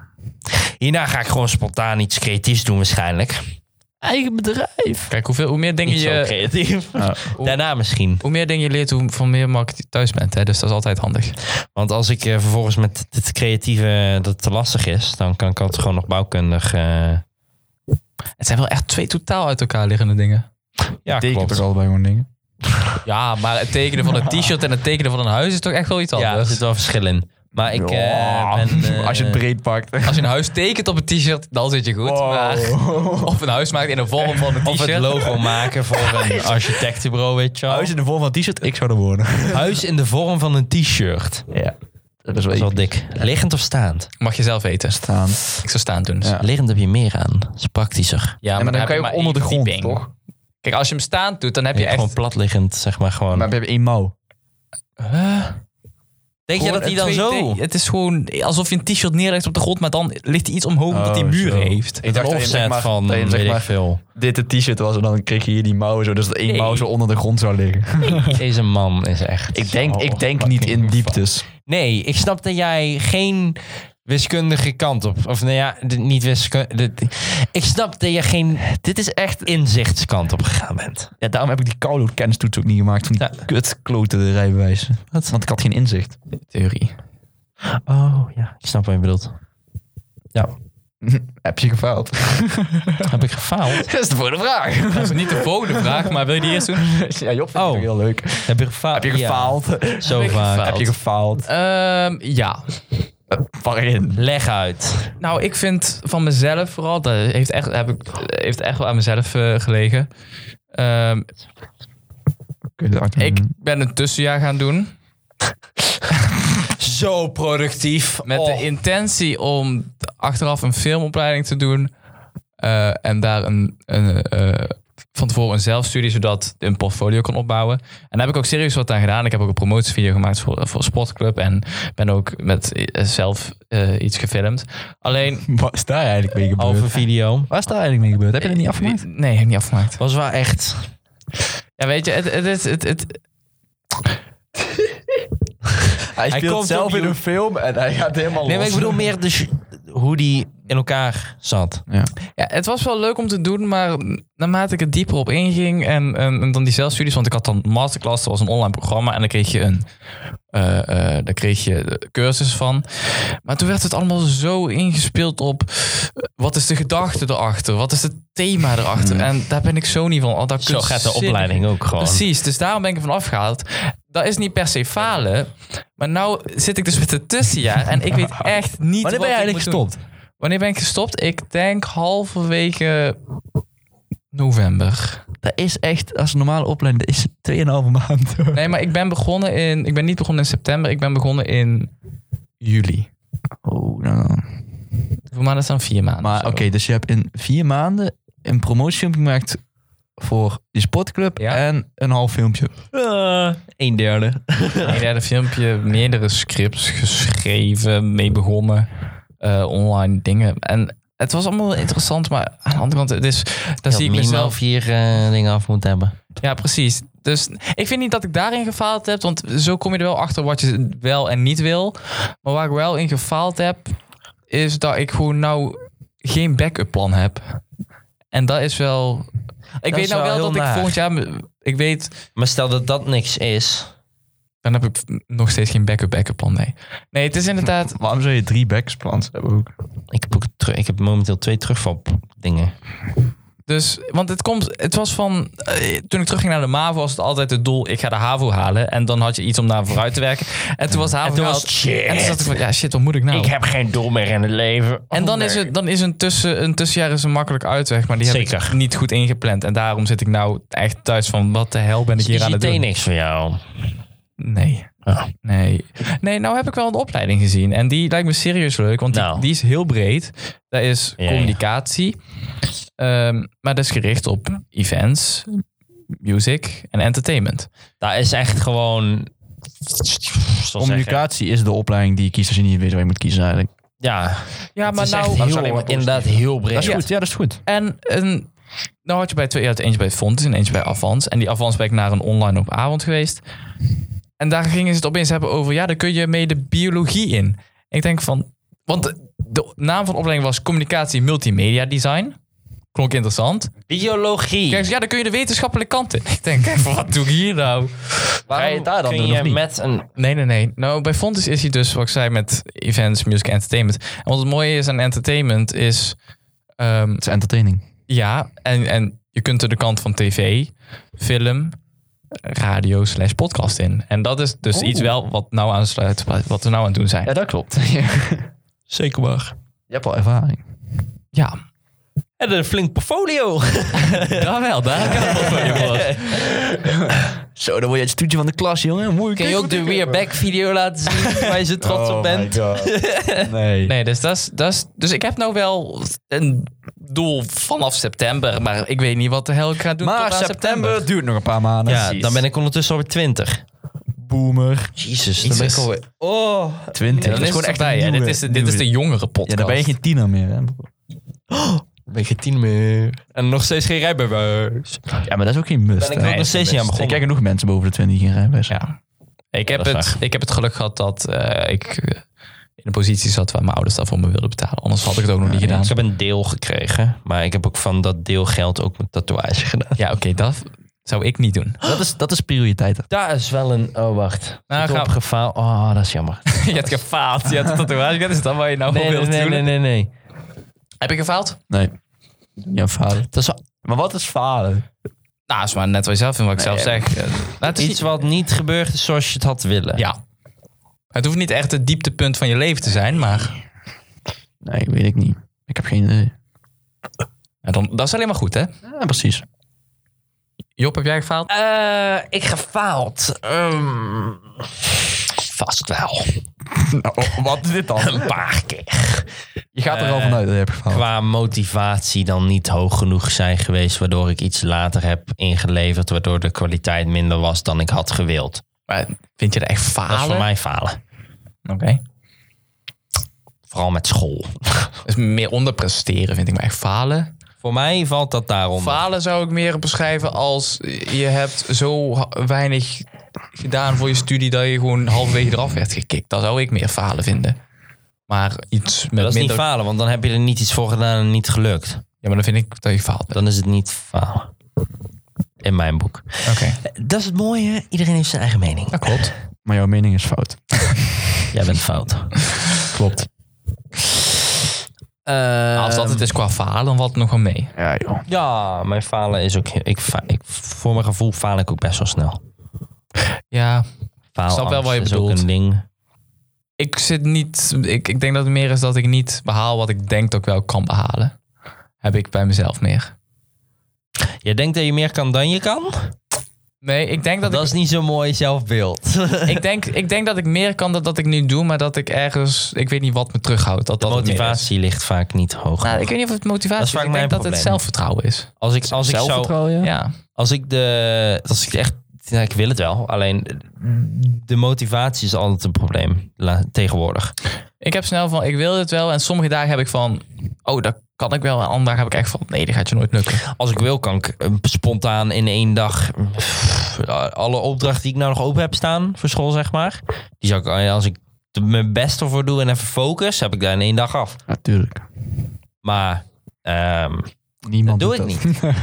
[SPEAKER 1] Hierna ga ik gewoon spontaan iets creatiefs doen waarschijnlijk. Eigen bedrijf.
[SPEAKER 3] Kijk, hoeveel, hoe meer dingen
[SPEAKER 1] Niet zo
[SPEAKER 3] je...
[SPEAKER 1] creatief.
[SPEAKER 2] Ja.
[SPEAKER 1] Daarna misschien.
[SPEAKER 3] Hoe meer dingen je leert, hoe van meer markt je thuis bent. Hè? Dus dat is altijd handig.
[SPEAKER 1] Want als ik eh, vervolgens met dit creatieve dat te lastig is, dan kan ik altijd gewoon nog bouwkundig. eh,
[SPEAKER 3] Het zijn wel echt twee totaal uit elkaar liggende dingen.
[SPEAKER 1] ja, klopt.
[SPEAKER 2] allebei gewoon dingen.
[SPEAKER 3] Ja, maar het tekenen van een t-shirt en het tekenen van een huis is toch echt wel iets
[SPEAKER 1] Ja, er
[SPEAKER 3] anders.
[SPEAKER 1] zit wel verschil in. Maar ik eh,
[SPEAKER 2] Ja,
[SPEAKER 1] ben. eh,
[SPEAKER 2] Als je het breed pakt.
[SPEAKER 3] Als je een huis tekent op een t-shirt, dan zit je goed. Maar
[SPEAKER 2] Wow.
[SPEAKER 3] of een huis maakt in de vorm van een
[SPEAKER 1] of het
[SPEAKER 3] t-shirt.
[SPEAKER 1] logo maken voor een architectenbureau, weet je wel.
[SPEAKER 2] Huis in de vorm van t-shirt, ik zou er wonen.
[SPEAKER 1] Huis in de vorm van een t-shirt.
[SPEAKER 2] Ja. Dat is wel
[SPEAKER 1] Dat is wel
[SPEAKER 2] iets
[SPEAKER 1] dik. Liggend of staand?
[SPEAKER 3] Mag je zelf weten.
[SPEAKER 2] staan.
[SPEAKER 3] Ik zou staan doen.
[SPEAKER 2] Ja.
[SPEAKER 1] Liggend heb je meer aan. Dat is praktischer.
[SPEAKER 3] Ja,
[SPEAKER 2] En dan,
[SPEAKER 3] heb
[SPEAKER 2] kan je
[SPEAKER 3] maar
[SPEAKER 2] ook onder de
[SPEAKER 3] één
[SPEAKER 2] grond,
[SPEAKER 3] verdieping.
[SPEAKER 2] toch?
[SPEAKER 3] Kijk, als je hem staand doet, dan heb je
[SPEAKER 1] Je Gewoon
[SPEAKER 3] echt...
[SPEAKER 1] platliggend, zeg maar gewoon.
[SPEAKER 2] Maar we hebben één mouw.
[SPEAKER 1] Denk je
[SPEAKER 3] Gewoon
[SPEAKER 1] dat die dan
[SPEAKER 3] een
[SPEAKER 1] zo...
[SPEAKER 3] 2D Het is gewoon alsof je een t-shirt neerlegt op de grond, maar dan ligt hij iets omhoog omdat hij
[SPEAKER 2] Oh,
[SPEAKER 3] muren
[SPEAKER 2] zo.
[SPEAKER 3] heeft.
[SPEAKER 2] Ik dacht
[SPEAKER 1] een
[SPEAKER 2] dat je, zeg
[SPEAKER 1] offset
[SPEAKER 2] maar-
[SPEAKER 1] van,
[SPEAKER 2] dat je, zeg
[SPEAKER 1] weet ik
[SPEAKER 2] maar-
[SPEAKER 1] veel.
[SPEAKER 2] Dit het t-shirt was en dan kreeg je hier die mouwen zo. Dus dat één
[SPEAKER 3] Nee.
[SPEAKER 2] mouw zo onder de grond zou liggen.
[SPEAKER 1] Deze man is echt...
[SPEAKER 2] Ik denk,
[SPEAKER 1] zo
[SPEAKER 2] ik denk niet in
[SPEAKER 1] fucking
[SPEAKER 2] dieptes.
[SPEAKER 1] Nee, ik snap dat jij geen wiskundige kant op... Of nou ja, d- niet wiskundige... Ik snap dat je geen... Dit is echt inzichtskant op gegaan bent.
[SPEAKER 2] Ja, daarom heb ik die koude kennistoets ook niet gemaakt. Van die
[SPEAKER 1] Ja.
[SPEAKER 2] kutkloten de rijbewijs. Want ik had geen inzicht.
[SPEAKER 3] Theorie.
[SPEAKER 1] Oh ja, ik snap wat je bedoelt.
[SPEAKER 2] Heb je gefaald?
[SPEAKER 1] Heb ik gefaald?
[SPEAKER 2] Dat is de volgende vraag.
[SPEAKER 3] Dat is niet de volgende vraag, maar wil je die eerst doen?
[SPEAKER 2] ja, Job vindt
[SPEAKER 1] Oh.
[SPEAKER 2] het heel leuk.
[SPEAKER 1] Heb je gefaald?
[SPEAKER 2] Heb je
[SPEAKER 1] Ja,
[SPEAKER 2] gefaald?
[SPEAKER 1] zo
[SPEAKER 3] Heb ik
[SPEAKER 1] vaak.
[SPEAKER 3] gefaald?
[SPEAKER 2] Heb je gefaald?
[SPEAKER 3] Ehm, ja.
[SPEAKER 2] Waarin?
[SPEAKER 1] Leg uit.
[SPEAKER 3] Nou, ik vind van mezelf vooral, dat heeft echt, heb ik, heeft echt wel aan mezelf eh, gelegen. Ehm, ik
[SPEAKER 2] Mhm.
[SPEAKER 3] ben een tussenjaar gaan doen.
[SPEAKER 1] Zo productief.
[SPEAKER 3] Met
[SPEAKER 1] Oh.
[SPEAKER 3] de intentie om t- achteraf een filmopleiding te doen. eh, en daar een, een, eh, van tevoren een zelfstudie, zodat je een portfolio kon opbouwen. En daar heb ik ook serieus wat aan gedaan. Ik heb ook een promotievideo gemaakt voor, voor Sportclub. En ben ook met eh, zelf eh, iets gefilmd. Alleen...
[SPEAKER 2] Wat is daar eigenlijk mee gebeurd?
[SPEAKER 1] Over video.
[SPEAKER 2] Wat is daar eigenlijk mee gebeurd? Heb je dat niet afgemaakt?
[SPEAKER 3] Nee, heb ik niet afgemaakt.
[SPEAKER 1] Was wel echt.
[SPEAKER 3] Ja, weet je, het, het, is- het, het,
[SPEAKER 2] Hij
[SPEAKER 1] speelt zelf in een
[SPEAKER 2] film en hij gaat helemaal
[SPEAKER 1] Nee, maar ik bedoel meer de sh- hoe die in elkaar zat.
[SPEAKER 3] ja, het was wel leuk om te doen, maar naarmate ik er dieper op inging en, en, en dan die zelfstudies, want ik had dan masterclass, dat was een online programma en dan kreeg je een eh, eh, daar kreeg je de cursus van. Maar toen werd het allemaal zo ingespeeld op eh, wat is de gedachte erachter, wat is het thema erachter. En daar ben ik zo niet van. Oh, dat
[SPEAKER 1] Mhm. Zo gaat de opleiding ook gewoon.
[SPEAKER 3] Precies, dus daarom ben ik ervan afgehaald. Dat is niet per se falen, maar nou zit ik dus met het tussenjaar en ik weet echt niet
[SPEAKER 2] Wanneer ben
[SPEAKER 3] wat
[SPEAKER 2] je
[SPEAKER 3] ik
[SPEAKER 2] eigenlijk
[SPEAKER 3] moet doen.
[SPEAKER 2] gestopt?
[SPEAKER 3] Wanneer ben ik gestopt? Ik denk halverwege november.
[SPEAKER 2] Dat is echt, als een normale opleiding, dat is 2,5 maand.
[SPEAKER 3] Nee, maar ik ben begonnen in. Ik ben niet begonnen in september. Ik ben begonnen in juli.
[SPEAKER 2] Oh, nou.
[SPEAKER 3] Hoeveel maanden is dan vier maanden?
[SPEAKER 2] Maar
[SPEAKER 3] of
[SPEAKER 2] oké,
[SPEAKER 3] zo.
[SPEAKER 2] dus je hebt in vier maanden een promotiefilmpje gemaakt voor je sportclub
[SPEAKER 3] Ja.
[SPEAKER 2] en een half filmpje. Eh,
[SPEAKER 1] een derde.
[SPEAKER 3] Een derde filmpje, meerdere scripts geschreven, mee begonnen, eh, online dingen. En het was allemaal interessant, maar aan de andere kant, het is, daar
[SPEAKER 1] Dat
[SPEAKER 3] zie ik mezelf.
[SPEAKER 1] vier eh, dingen af moet hebben.
[SPEAKER 3] Ja, precies. Dus ik vind niet dat ik daarin gefaald heb, want zo kom je er wel achter wat je wel en niet wil. Maar waar ik wel in gefaald heb, is dat ik gewoon nou geen backup plan heb. En dat is wel. Ik
[SPEAKER 1] is
[SPEAKER 3] weet nou
[SPEAKER 1] wel
[SPEAKER 3] wel,
[SPEAKER 1] heel
[SPEAKER 3] dat ik
[SPEAKER 1] naar.
[SPEAKER 3] volgend jaar. Ik weet,
[SPEAKER 1] Maar stel dat dat niks is.
[SPEAKER 3] dan heb ik nog steeds geen backup backup plan. Nee, nee het is inderdaad.
[SPEAKER 2] Waarom zou je drie backsplans hebben ook?
[SPEAKER 1] Ik heb, ook teru- ik heb momenteel twee terugvalpdingen.
[SPEAKER 3] Dus, want het komt, het was van, eh, toen ik terugging naar de MAVO was het altijd het doel, ik ga de HAVO halen. En dan had je iets om daar vooruit te werken. En toen was de HAVO
[SPEAKER 1] toen was
[SPEAKER 3] gehaald.
[SPEAKER 1] het shit.
[SPEAKER 3] En toen zat ik van, ja shit, wat moet ik nou?
[SPEAKER 1] Ik heb geen doel meer in het leven.
[SPEAKER 3] en dan is, het, dan is een, tussen, een tussenjaar is een makkelijk uitweg, maar die heb ik
[SPEAKER 1] Zeker.
[SPEAKER 3] niet goed ingepland. En daarom zit ik nou echt thuis van, wat de hel ben ik hier aan het doen?
[SPEAKER 1] niks voor jou.
[SPEAKER 3] Nee.
[SPEAKER 1] Ah.
[SPEAKER 3] Nee. nee, nou heb ik wel een opleiding gezien. En die lijkt me serieus leuk, want die,
[SPEAKER 1] Nou.
[SPEAKER 3] die is heel breed. Daar is
[SPEAKER 1] Ja, ja.
[SPEAKER 3] communicatie, ehm, maar dat is gericht op events, music en entertainment.
[SPEAKER 1] Dat is echt gewoon... Communicatie.
[SPEAKER 2] Communicatie is de opleiding die je kiest als je niet weet waar je moet kiezen eigenlijk.
[SPEAKER 1] Ja,
[SPEAKER 3] Ja,
[SPEAKER 1] maar
[SPEAKER 3] maar nou...
[SPEAKER 1] nou,
[SPEAKER 2] is alleen maar
[SPEAKER 1] inderdaad heel
[SPEAKER 2] Dat
[SPEAKER 1] breed.
[SPEAKER 2] is goed, ja dat is goed.
[SPEAKER 3] En een, nou had je bij twee, je had eentje bij Fontes en eentje bij Avans. En die Avans ben ik naar een online op avond geweest. En daar gingen ze het opeens hebben over, ja, dan kun je mee de biologie in. En ik denk van, want de, de naam van de opleiding was communicatie multimedia design. Klonk interessant.
[SPEAKER 1] Biologie.
[SPEAKER 3] Kijk, ja, dan kun je de wetenschappelijke kant in. Ik denk, even, wat doe ik hier nou?
[SPEAKER 1] Waarom
[SPEAKER 2] Ga je daar dan
[SPEAKER 1] kun
[SPEAKER 2] doen,
[SPEAKER 1] je
[SPEAKER 2] of niet?
[SPEAKER 1] met een...
[SPEAKER 3] Nee, nee, nee. Nou, bij Fontes is hij dus, wat ik zei, met events, music, entertainment. En wat het mooie is aan entertainment is... ehm,
[SPEAKER 2] Het is entertaining.
[SPEAKER 3] Ja, en, en je kunt er de kant van tv, film, radio slash podcast in. En dat is dus
[SPEAKER 2] Oeh.
[SPEAKER 1] Oh.
[SPEAKER 3] iets wel wat nou aansluit wat- wat we nou aan het doen zijn.
[SPEAKER 2] dat klopt. je
[SPEAKER 1] Zeker waar.
[SPEAKER 2] hebt wel ervaring.
[SPEAKER 3] Ja,
[SPEAKER 1] En een flink portfolio.
[SPEAKER 3] daar wel. Daar kan ik wel van je voor.
[SPEAKER 2] Zo, dan word je het stoetje van de klas, jongen. Moeilijk.
[SPEAKER 1] Kun je ook de We're Back video laten zien waar je zo trots op bent?
[SPEAKER 2] Oh Nee.
[SPEAKER 3] Oh Nee, dus, dat is, dat is, dus ik heb nou wel een doel vanaf september, maar ik weet niet wat de hel ik ga doen
[SPEAKER 2] Maar
[SPEAKER 3] tot aan
[SPEAKER 2] september duurt nog een paar maanden.
[SPEAKER 1] Ja, dan ben ik ondertussen alweer 20.
[SPEAKER 2] boomer.
[SPEAKER 1] Jezus,
[SPEAKER 3] Dan ben ik
[SPEAKER 1] alweer...
[SPEAKER 3] alweer-
[SPEAKER 2] 20.
[SPEAKER 3] Ja, dan is het erbij. hè. Dit is, de- dit is de jongere podcast.
[SPEAKER 2] Ja, dan ben je geen tiener meer. Hè?
[SPEAKER 1] Ben ik geen tien meer. En nog steeds geen rijbewijs.
[SPEAKER 2] Ja, maar dat is ook geen must.
[SPEAKER 1] Ben ik
[SPEAKER 2] hè?
[SPEAKER 1] ook nog steeds niet aan
[SPEAKER 2] Ik
[SPEAKER 1] begonnen.
[SPEAKER 2] ken genoeg mensen boven de 20 die geen rijbewijs hebben.
[SPEAKER 3] Ja. Ik heb,
[SPEAKER 1] dat is
[SPEAKER 3] het,
[SPEAKER 1] waar.
[SPEAKER 3] ik heb het geluk gehad dat eh, ik eh, in een positie zat waar mijn ouders dat voor me wilden betalen. Anders had ik het ook nog niet gedaan.
[SPEAKER 1] Ik heb een deel gekregen, maar ik heb ook van dat deelgeld ook mijn tatoeage gedaan.
[SPEAKER 3] Ja, oké, dat, Zou ik niet doen.
[SPEAKER 2] Dat is, dat is prioriteiten.
[SPEAKER 1] Daar is wel een... Oh, wacht.
[SPEAKER 3] Nou,
[SPEAKER 1] Nou, ik
[SPEAKER 3] ga-
[SPEAKER 1] op gefaald. Oh, dat is jammer.
[SPEAKER 3] je hebt gefaald. Je hebt een tatoeage. Dat is dan waar je nou
[SPEAKER 1] Nee,
[SPEAKER 3] op
[SPEAKER 1] nee,
[SPEAKER 3] wilt
[SPEAKER 1] nee,
[SPEAKER 3] doen.
[SPEAKER 1] nee, nee, nee.
[SPEAKER 3] Heb je gefaald?
[SPEAKER 2] Nee. Ja, falen.
[SPEAKER 1] Dat is
[SPEAKER 2] Maar wat is falen?
[SPEAKER 3] Nou, dat is maar net wat je zelf vindt, wat ik
[SPEAKER 2] Nee,
[SPEAKER 3] zelf zeg. Eh, nou, het is
[SPEAKER 1] iets wat niet gebeurd is zoals je het had willen.
[SPEAKER 3] Ja. Het hoeft niet echt het dieptepunt van je leven te zijn, maar
[SPEAKER 2] Nee, weet ik niet. Ik heb geen idee.
[SPEAKER 3] ja, dan, dat is alleen maar goed, hè?
[SPEAKER 2] Ja, precies.
[SPEAKER 3] Job, heb jij gefaald?
[SPEAKER 1] Eh, ik gefaald. Ehm, vast wel.
[SPEAKER 2] Oh, wat is dit dan?
[SPEAKER 1] Een paar keer.
[SPEAKER 2] Je gaat er al
[SPEAKER 1] Eh,
[SPEAKER 2] vanuit dat je hebt gefaald.
[SPEAKER 1] Qua motivatie dan niet hoog genoeg zijn geweest, waardoor ik iets later heb ingeleverd, waardoor de kwaliteit minder was dan ik had gewild.
[SPEAKER 3] Maar vind je dat echt
[SPEAKER 1] Dat is
[SPEAKER 3] falen?
[SPEAKER 1] voor mij falen.
[SPEAKER 3] Oké.
[SPEAKER 1] Vooral met school.
[SPEAKER 3] Dat is meer onderpresteren, vind ik maar echt falen.
[SPEAKER 1] voor mij valt dat daarom.
[SPEAKER 3] Falen zou ik meer beschrijven als je hebt zo ha- weinig gedaan voor je studie dat je gewoon halverwege eraf werd gekikt. Dat zou ik meer falen vinden. Maar iets met
[SPEAKER 1] dat is
[SPEAKER 3] minder...
[SPEAKER 1] niet falen, want dan heb je er niet iets voor gedaan en niet gelukt.
[SPEAKER 3] ja, maar dan vind ik dat je faalt bent.
[SPEAKER 1] Dan is het niet falen. In mijn boek.
[SPEAKER 3] Oké,
[SPEAKER 1] Dat is het mooie, hè? iedereen heeft zijn eigen mening.
[SPEAKER 3] dat klopt.
[SPEAKER 2] Maar jouw mening is fout.
[SPEAKER 1] Jij bent fout.
[SPEAKER 2] Klopt.
[SPEAKER 1] Ehm.
[SPEAKER 3] Als dat het Ah, is qua falen, dan valt het nog wel mee.
[SPEAKER 2] Ja, joh.
[SPEAKER 1] Eh, Ja, mijn falen is ook... Ik, fa- ik, voor mijn gevoel faal ik ook best wel snel.
[SPEAKER 3] Ja,
[SPEAKER 1] Faal
[SPEAKER 3] snap wel wat je
[SPEAKER 1] is ook
[SPEAKER 3] bedoelt.
[SPEAKER 1] een ding.
[SPEAKER 3] ik zit niet. Ik, ik denk dat het meer is dat ik niet behaal wat ik denk dat ik wel kan behalen. Heb ik bij mezelf meer.
[SPEAKER 1] Je denkt dat je meer kan dan je kan?
[SPEAKER 3] Nee, ik denk dat,
[SPEAKER 1] Dat is niet zo'n mooi zelfbeeld.
[SPEAKER 3] ik, ik, denk, ik denk dat ik meer kan dan dat ik nu doe, maar dat ik ergens. Ik weet niet wat me terughoudt. Dat
[SPEAKER 1] De
[SPEAKER 3] dat het meer is.
[SPEAKER 1] motivatie ligt vaak niet hoog.
[SPEAKER 3] Nou, ik weet niet of het motivatie
[SPEAKER 1] Dat
[SPEAKER 3] is.
[SPEAKER 1] is vaak
[SPEAKER 3] Ik denk
[SPEAKER 1] mijn
[SPEAKER 3] dat het
[SPEAKER 1] probleem.
[SPEAKER 3] zelfvertrouwen is.
[SPEAKER 1] Als ik, als ik zou
[SPEAKER 2] ja.
[SPEAKER 3] Ja.
[SPEAKER 1] Als ik de. Als ik echt. ja, ik wil het wel. Alleen de motivatie is altijd een probleem la- tegenwoordig.
[SPEAKER 3] Ik heb snel van, ik wil dit wel. En sommige dagen heb ik van, oh, dat kan ik wel. En andere dagen heb ik echt van, nee, dat gaat je nooit lukken.
[SPEAKER 1] Als ik wil, kan ik eh, spontaan in één dag. pff, alle opdrachten die ik nou nog open heb staan voor school, zeg maar. Die zou ik, eh, als ik er mijn best ervoor doe en even focus, heb ik daar in één dag af.
[SPEAKER 2] Natuurlijk.
[SPEAKER 1] Maar. ehm,
[SPEAKER 2] Niemand
[SPEAKER 1] Dat doe
[SPEAKER 2] doet
[SPEAKER 1] ik
[SPEAKER 2] dat.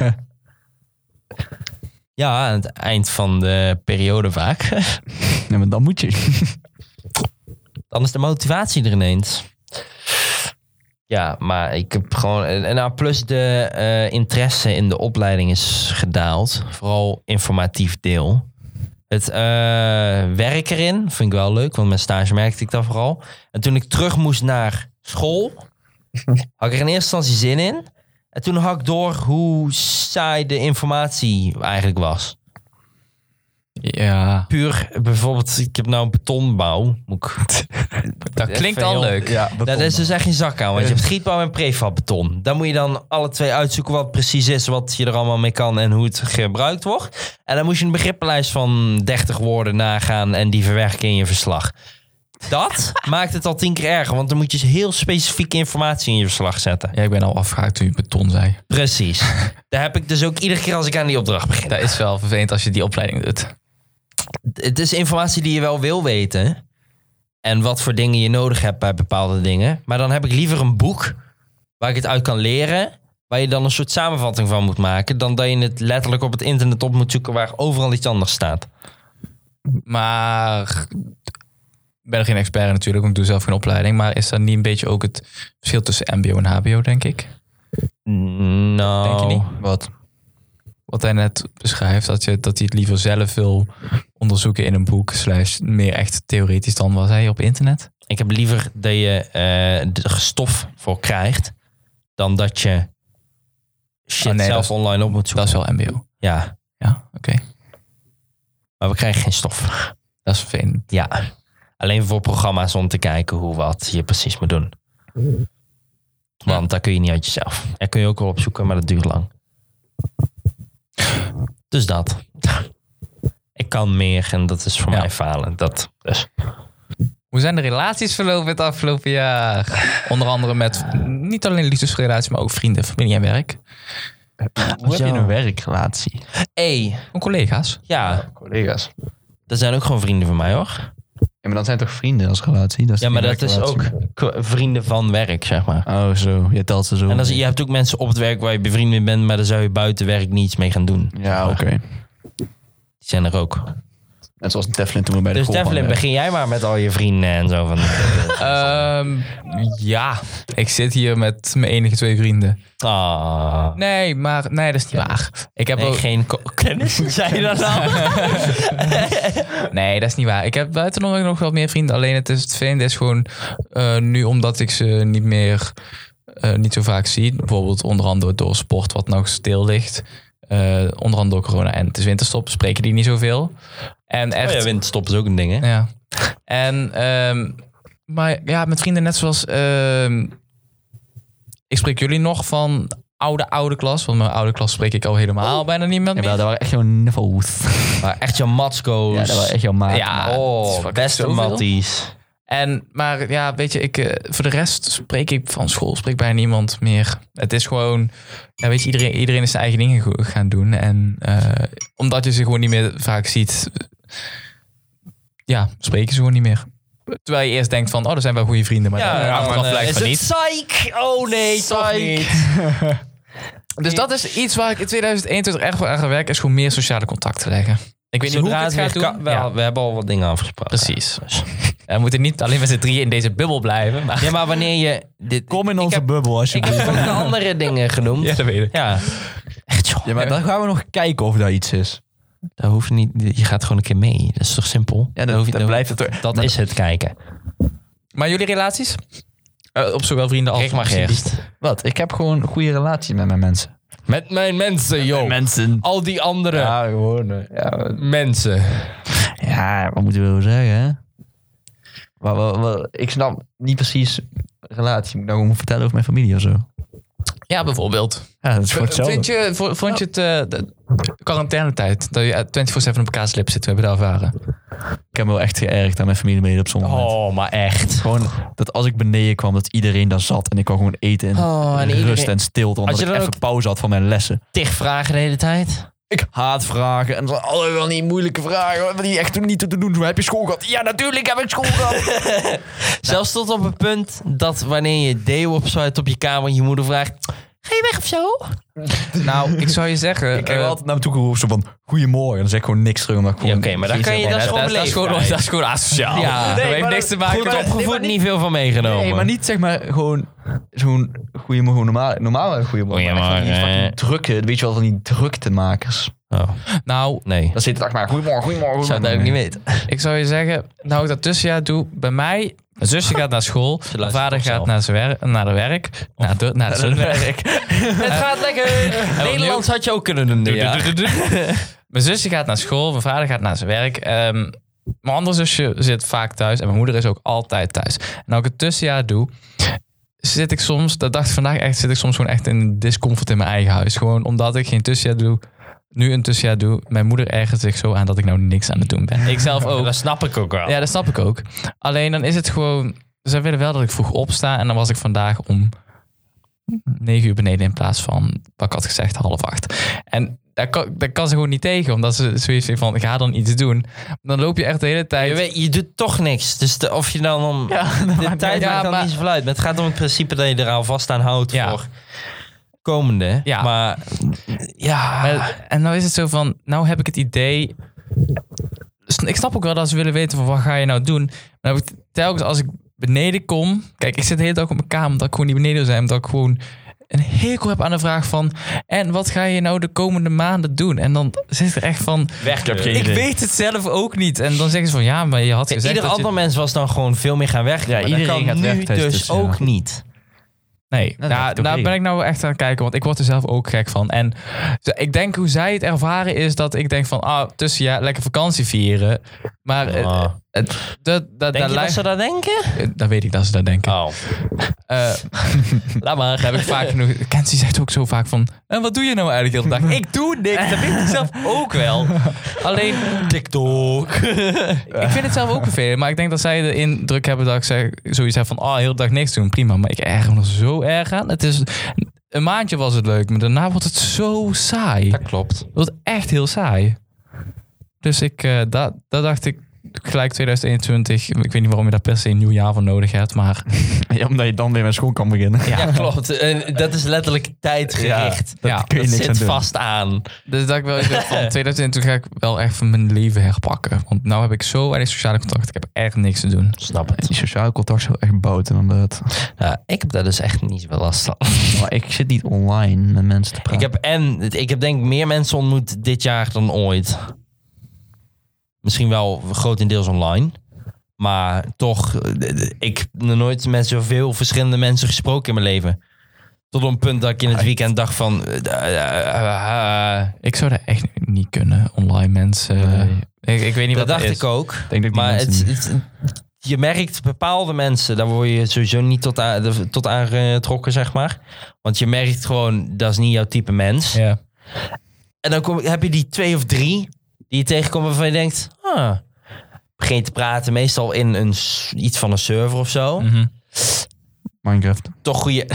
[SPEAKER 1] ja, aan het eind van de periode vaak.
[SPEAKER 2] Nee, maar dan moet je.
[SPEAKER 1] Dan is de motivatie er ineens. Ja, maar ik heb gewoon. En en nou, plus de eh, interesse in de opleiding is gedaald. Vooral informatief deel. Het eh, werk erin vind ik wel leuk, want met stage merkte ik dat vooral. En toen ik terug moest naar school, had ik er in eerste instantie zin in. En toen had ik door hoe saai de informatie eigenlijk was
[SPEAKER 3] Ja.
[SPEAKER 1] puur bijvoorbeeld, ik heb nou een betonbouw. Moet ik-
[SPEAKER 3] Dat klinkt al
[SPEAKER 1] Veel.
[SPEAKER 3] leuk.
[SPEAKER 2] Ja,
[SPEAKER 1] Daar is dus echt geen zak aan, want je hebt gietbouw en prefabbeton. Dan moet je dan alle twee uitzoeken wat precies is, wat je er allemaal mee kan en hoe het gebruikt wordt. En dan moest je een begrippenlijst van 30 woorden nagaan en die verwerken in je verslag. Dat maakt het al tien keer erger, want dan moet je heel specifieke informatie in je verslag zetten.
[SPEAKER 3] Ja, ik ben al afgehaakt toen je beton zei.
[SPEAKER 1] Precies. Daar heb ik dus ook iedere keer als ik aan die opdracht begin.
[SPEAKER 3] Dat is wel vervelend als je die opleiding doet.
[SPEAKER 1] het is informatie die je wel wil weten. En wat voor dingen je nodig hebt bij bepaalde dingen. Maar dan heb ik liever een boek waar ik het uit kan leren. Waar je dan een soort samenvatting van moet maken. Dan dat je het letterlijk op het internet op moet zoeken waar overal iets anders staat.
[SPEAKER 3] Maar ik ben geen expert natuurlijk, want ik doe zelf geen opleiding. Maar is dat niet een beetje ook het verschil tussen MBO en HBO, denk ik?
[SPEAKER 1] Nou,
[SPEAKER 3] Denk je niet?
[SPEAKER 2] Wat?
[SPEAKER 3] Wat hij net beschrijft, dat, je, dat hij het liever zelf wil onderzoeken in een boek, slash meer echt theoretisch dan was hij op internet.
[SPEAKER 1] ik heb liever dat je eh er stof voor krijgt. Dan dat je shit
[SPEAKER 3] Oh, nee,
[SPEAKER 1] zelf
[SPEAKER 3] dat
[SPEAKER 1] online op moet
[SPEAKER 3] Dat
[SPEAKER 1] zoeken.
[SPEAKER 3] is wel MBO.
[SPEAKER 1] Ja,
[SPEAKER 3] Ja, oké.
[SPEAKER 1] maar we krijgen geen stof.
[SPEAKER 3] Dat is vervelend.
[SPEAKER 1] Ja. Alleen voor programma's om te kijken hoe wat je precies moet doen. Want dat kun je niet uit jezelf. Daar kun je ook wel opzoeken, maar dat duurt lang. Dus dat. Ik kan meer en dat is voor
[SPEAKER 3] Ja.
[SPEAKER 1] mij falen. Dat, dus.
[SPEAKER 3] Hoe zijn de relaties verlopen het afgelopen jaar? Onder andere met niet alleen liefdesrelaties, maar ook vrienden, familie en werk.
[SPEAKER 2] Hoe heb je
[SPEAKER 1] Ja.
[SPEAKER 2] een werkrelatie?
[SPEAKER 1] Hé,
[SPEAKER 3] Ook collega's.
[SPEAKER 1] ja,
[SPEAKER 2] Collega's. Ja,
[SPEAKER 1] dat zijn ook gewoon vrienden van mij hoor.
[SPEAKER 2] maar dan zijn toch vrienden als relatie? Dat is
[SPEAKER 1] Ja, maar
[SPEAKER 2] geen
[SPEAKER 1] dat is ook
[SPEAKER 2] werkrelatie.
[SPEAKER 1] k- vrienden van werk, zeg maar.
[SPEAKER 2] Oh, zo. Je telt ze zo.
[SPEAKER 1] En dan, zie- je hebt ook mensen op het werk waar je bevriend mee bent, maar daar zou je buiten werk niets mee gaan doen.
[SPEAKER 2] Ja, oké.
[SPEAKER 1] zijn er ook.
[SPEAKER 2] Net zoals Devlin toen we bij de
[SPEAKER 1] Dus
[SPEAKER 2] koolpan
[SPEAKER 1] Devlin,
[SPEAKER 2] werkten.
[SPEAKER 1] begin jij maar met al je vrienden en zo. Van,
[SPEAKER 3] Ehm, ja, ik zit hier met mijn enige twee vrienden.
[SPEAKER 1] ah.
[SPEAKER 3] Nee, maar nee, dat is niet waar. Ik heb
[SPEAKER 1] Nee,
[SPEAKER 3] ook,
[SPEAKER 1] geen ko- kennis, zei je dat nou?
[SPEAKER 3] nee, dat is niet waar. Ik heb buiten nog, nog wel meer vrienden. Alleen het is het vreemde is gewoon eh, nu omdat ik ze niet meer eh, niet zo vaak zie. Bijvoorbeeld onder andere door sport wat nog stil ligt. Eh, onder andere door corona en het is winterstop. Spreken die niet zoveel. En echt,
[SPEAKER 1] Oh ja, windstop is ook een ding, hè?
[SPEAKER 3] Ja. En, ehm, maar ja, met vrienden net zoals... ehm, ik spreek jullie nog van oude, oude klas. Want mijn oude klas spreek ik al helemaal
[SPEAKER 1] Oh.
[SPEAKER 3] bijna niet met
[SPEAKER 2] Jawel,
[SPEAKER 3] meer.
[SPEAKER 2] dat waren echt jouw nipples.
[SPEAKER 1] Maar echt je matsko's.
[SPEAKER 2] Ja, dat waren echt jouw maat.
[SPEAKER 3] Ja, het is
[SPEAKER 1] oh,
[SPEAKER 3] fucking
[SPEAKER 1] beste
[SPEAKER 3] zoveel.
[SPEAKER 1] matties.
[SPEAKER 3] En, maar ja, weet je, ik, eh, voor de rest spreek ik van school, spreek bijna niemand meer. Het is gewoon, ja, weet je, iedereen, iedereen is zijn eigen dingen go- gaan doen. En eh, omdat je ze gewoon niet meer vaak ziet, ja, spreken ze gewoon niet meer. Terwijl je eerst denkt van, oh, dat zijn wel goede vrienden, maar dan achteraf
[SPEAKER 1] dan, eh,
[SPEAKER 3] blijkt
[SPEAKER 1] is
[SPEAKER 3] van
[SPEAKER 1] het
[SPEAKER 3] niet.
[SPEAKER 1] psych? Oh nee,
[SPEAKER 3] Toch
[SPEAKER 1] psych.
[SPEAKER 3] niet. Dus dat is iets waar ik in 2021 echt wel aan ga werken, is gewoon meer sociale contacten leggen. Ik weet
[SPEAKER 1] Zodra
[SPEAKER 3] niet hoe
[SPEAKER 1] het
[SPEAKER 3] ik het
[SPEAKER 1] weer
[SPEAKER 3] ga
[SPEAKER 1] kan-
[SPEAKER 3] doen.
[SPEAKER 1] wel,
[SPEAKER 3] Ja,
[SPEAKER 1] We hebben al wat dingen afgesproken.
[SPEAKER 3] precies. We moeten niet alleen met z'n drieën in deze bubbel blijven. Maar...
[SPEAKER 1] Ja, maar wanneer je... Dit,
[SPEAKER 2] Kom in onze
[SPEAKER 1] heb-
[SPEAKER 2] bubbel
[SPEAKER 1] ik
[SPEAKER 2] alsjeblieft.
[SPEAKER 1] heb ook de andere dingen genoemd. Ja.
[SPEAKER 3] dat weet ik.
[SPEAKER 1] Echt joh.
[SPEAKER 2] Ja, maar dan gaan we nog kijken of daar iets is.
[SPEAKER 1] Dat hoeft niet. Je gaat gewoon een keer mee. Dat is toch simpel?
[SPEAKER 2] Ja, dan,
[SPEAKER 1] hoef je-
[SPEAKER 2] dan blijft het er.
[SPEAKER 1] Dat is het kijken.
[SPEAKER 3] Maar jullie relaties? Eh, op zowel vrienden als...
[SPEAKER 1] Ik mag eerst.
[SPEAKER 2] Wat? Ik heb gewoon een goede relatie met mijn mensen.
[SPEAKER 1] Met mijn Oh. mensen, joh.
[SPEAKER 2] Mensen.
[SPEAKER 1] Al die andere
[SPEAKER 2] Ja, gewoon. eh, Ja, wat-
[SPEAKER 1] mensen.
[SPEAKER 2] ja, wat moeten we wel zeggen, hè? Maar, wel- wel- ik snap niet precies relatie. Moet ik nou gewoon vertellen over mijn familie of zo?
[SPEAKER 3] Ja, bijvoorbeeld.
[SPEAKER 2] Ja, dat is gewoon
[SPEAKER 3] Vind
[SPEAKER 2] hetzelfde.
[SPEAKER 3] je, vo- vond je het eh, de quarantainetijd? Dat je eh, 24-7 op elkaar slip zit? We hebben dat ervaren.
[SPEAKER 2] Ik heb me wel echt geërgerd aan mijn familie op
[SPEAKER 1] Oh.
[SPEAKER 2] sommige momenten.
[SPEAKER 1] maar echt.
[SPEAKER 2] Gewoon dat als ik beneden kwam, dat iedereen daar zat. En ik kon gewoon eten en
[SPEAKER 1] Oh, en
[SPEAKER 2] rust
[SPEAKER 1] iedereen-
[SPEAKER 2] en stilte. Omdat
[SPEAKER 1] je
[SPEAKER 2] ik
[SPEAKER 1] dan
[SPEAKER 2] even pauze had van mijn lessen.
[SPEAKER 1] Tig vragen de hele tijd.
[SPEAKER 2] Ik haat vragen. En dan alle wel niet moeilijke vragen. hoor, Die echt niet te doen. Zo, Heb je school gehad? Ja, natuurlijk heb ik school gehad.
[SPEAKER 1] Zelfs tot op het punt dat wanneer je deo opsluit op je kamer, je moeder vraagt: Ga je weg of zo?
[SPEAKER 3] nou, ik zou je zeggen...
[SPEAKER 2] Ik heb
[SPEAKER 3] eh,
[SPEAKER 2] altijd naar me toe geroepen zo van goedemorgen. Dan zeg ik gewoon niks terug. Omdat ik
[SPEAKER 1] Ja,
[SPEAKER 2] gewoon
[SPEAKER 1] Oké, maar dan
[SPEAKER 2] geen
[SPEAKER 1] kan je,
[SPEAKER 2] zin
[SPEAKER 1] dat is
[SPEAKER 2] heb.
[SPEAKER 1] gewoon
[SPEAKER 3] dat, is gewoon,
[SPEAKER 1] beleefdheid.
[SPEAKER 3] dat is gewoon asociaal.
[SPEAKER 1] Ja.
[SPEAKER 3] Ja,
[SPEAKER 1] Nee,
[SPEAKER 3] dat heeft
[SPEAKER 2] maar
[SPEAKER 3] niks te maken.
[SPEAKER 1] Goed
[SPEAKER 3] met-
[SPEAKER 1] opgevoed, niet veel van meegenomen.
[SPEAKER 2] Nee, maar niet zeg maar gewoon zo'n goeiemorgen, normaal, normaal goeiemorgen. Oh maar eh, echt van die
[SPEAKER 1] Goeiemorgen.
[SPEAKER 2] fucking drukke, weet je wel, van die druktemakers.
[SPEAKER 1] Oh,
[SPEAKER 3] Nou,
[SPEAKER 1] nee.
[SPEAKER 2] Dan zit het echt maar goeiemorgen, goeiemorgen.
[SPEAKER 1] Ik zou het ook niet weten.
[SPEAKER 3] ik zou je zeggen, nou ik dat tussenjaar doe, bij mij, mijn zusje gaat naar school, mijn vader
[SPEAKER 1] vanzelf.
[SPEAKER 3] gaat naar, zijn werk, naar de werk, naar, de, naar zijn werk.
[SPEAKER 1] Het gaat lekker. Nederlands had je ook kunnen doen. dit jaar.
[SPEAKER 3] Mijn zusje gaat naar school, mijn vader gaat naar zijn werk. ehm, mijn andere zusje zit vaak thuis en mijn moeder is ook altijd thuis. En als ik het tussenjaar doe, zit ik soms, dat dacht ik vandaag echt, zit ik soms gewoon echt in discomfort in mijn eigen huis. Gewoon omdat ik geen tussenjaar doe, nu een tussenjaar doe. Mijn moeder ergert zich zo aan dat ik nou niks aan het doen ben. Ik zelf ook.
[SPEAKER 1] Dat snap ik ook wel.
[SPEAKER 3] Ja, dat snap ik ook. Alleen dan is het gewoon. Ze willen wel dat ik vroeg opsta. En dan was ik vandaag om negen uur beneden in plaats van, wat ik had gezegd, half acht. En daar kan, daar kan ze gewoon niet tegen, omdat ze zoiets heeft van, ga dan iets doen. Dan loop je echt de hele tijd...
[SPEAKER 1] Je, weet- je doet toch niks. Dus de- of je dan om. de tijd
[SPEAKER 3] uit.
[SPEAKER 1] maakt
[SPEAKER 3] Ja,
[SPEAKER 1] dan
[SPEAKER 3] maar-
[SPEAKER 1] niet zoveel uit. Maar het gaat om het principe dat je er al vast aan houdt
[SPEAKER 3] Ja.
[SPEAKER 1] voor komende.
[SPEAKER 3] Ja.
[SPEAKER 1] Maar ja.
[SPEAKER 3] Maar- en nou is het zo van, nou heb ik het idee. S- Ik snap ook wel dat ze willen weten van wat ga je nou doen. Maar heb ik telkens als ik beneden kom. Kijk, ik zit de hele dag op mijn kamer omdat ik gewoon niet beneden wil zijn. Omdat ik gewoon een hekel heb aan de vraag van. En wat ga je nou de komende maanden doen? En dan zit er echt van.
[SPEAKER 1] Weg, heb
[SPEAKER 2] geen
[SPEAKER 3] Ik
[SPEAKER 2] idee.
[SPEAKER 3] weet het zelf ook niet. En dan zeggen ze van ja, maar je had gezegd.
[SPEAKER 1] Ieder
[SPEAKER 3] dat je-
[SPEAKER 1] ander mens was dan gewoon veel meer gaan werken.
[SPEAKER 2] Ja,
[SPEAKER 1] maar dat
[SPEAKER 2] iedereen
[SPEAKER 1] kan
[SPEAKER 2] gaat
[SPEAKER 1] nu
[SPEAKER 2] werken tijdens
[SPEAKER 1] dus
[SPEAKER 2] dit, ja.
[SPEAKER 1] ook niet.
[SPEAKER 3] Nee,
[SPEAKER 2] dat
[SPEAKER 3] daar,
[SPEAKER 2] is toch
[SPEAKER 3] daar
[SPEAKER 2] gek.
[SPEAKER 3] ben ik nou echt aan het kijken, want ik word er zelf ook gek van. En ze- ik denk hoe zij het ervaren is dat ik denk van, ah, tussenjaar, lekker vakantie vieren. Maar eh,
[SPEAKER 1] Ah.
[SPEAKER 3] eh, dat, dat,
[SPEAKER 1] Denk
[SPEAKER 3] dat,
[SPEAKER 1] je dat
[SPEAKER 3] lijkt-
[SPEAKER 1] ze dat denken?
[SPEAKER 3] eh, dat weet ik dat ze dat denken.
[SPEAKER 1] Oh.
[SPEAKER 3] Eh,
[SPEAKER 1] Laat maar.
[SPEAKER 3] dat heb ik vaak genoeg. Kenzie zegt ook zo vaak van, en wat doe je nou eigenlijk de hele dag? ik doe niks, dat weet ik zelf ook wel. Alleen,
[SPEAKER 1] TikTok.
[SPEAKER 3] ik vind het zelf ook vervelend, maar ik denk dat zij de indruk hebben dat ik zeg, zoiets heb van, ah, heel de dag niks doen, prima. Maar ik erger me er zo erg aan. Het is... Een maandje was het leuk, maar daarna wordt het zo saai.
[SPEAKER 1] Dat klopt.
[SPEAKER 3] Dat was echt heel saai. Dus ik, eh, da- daar dacht ik, gelijk 2021. Ik weet niet waarom je daar per se een nieuw jaar voor nodig hebt, maar
[SPEAKER 2] Ja, omdat je dan weer met school kan beginnen.
[SPEAKER 1] Ja, klopt. En dat is letterlijk tijdgericht.
[SPEAKER 2] dat
[SPEAKER 3] Ja,
[SPEAKER 2] kun je
[SPEAKER 1] dat
[SPEAKER 2] niks aan
[SPEAKER 1] zit
[SPEAKER 2] doen.
[SPEAKER 1] vast aan.
[SPEAKER 3] Dus dat ik wel eens dacht van 2020 ga ik wel echt van mijn leven herpakken. Want nou heb ik zo weinig sociale contact. Ik heb echt niks te doen.
[SPEAKER 1] Snap het.
[SPEAKER 2] Die sociale contact zou echt boten omdat...
[SPEAKER 1] Ja, ik heb daar dus echt niet zoveel last van.
[SPEAKER 2] Maar ik zit niet online met mensen te praten.
[SPEAKER 1] Ik heb, en, ik heb denk ik meer mensen ontmoet dit jaar dan ooit. Misschien wel grotendeels online. Maar toch, eh, eh, ik heb nog nooit met zoveel verschillende mensen gesproken in mijn leven. Tot op een punt dat ik in het weekend dacht van... eh, eh, eh, eh,
[SPEAKER 3] Ik zou dat echt niet kunnen. Online mensen. Ik, ik weet niet
[SPEAKER 1] dat
[SPEAKER 3] wat
[SPEAKER 1] dacht
[SPEAKER 3] is.
[SPEAKER 1] ik ook.
[SPEAKER 2] Ik denk dat ik die
[SPEAKER 1] Maar
[SPEAKER 2] mensen
[SPEAKER 1] het,
[SPEAKER 2] niet-
[SPEAKER 1] het- je merkt bepaalde mensen, daar word je sowieso niet tot, aan, tot aangetrokken, zeg maar. Want je merkt gewoon, dat is niet jouw type mens.
[SPEAKER 3] Ja.
[SPEAKER 1] En dan kom, heb je die twee of drie die je tegenkomt waarvan je denkt... Ah, begin te praten, meestal in een, s- iets van een server of zo.
[SPEAKER 3] Mhm.
[SPEAKER 2] Minecraft.
[SPEAKER 1] Toch goede...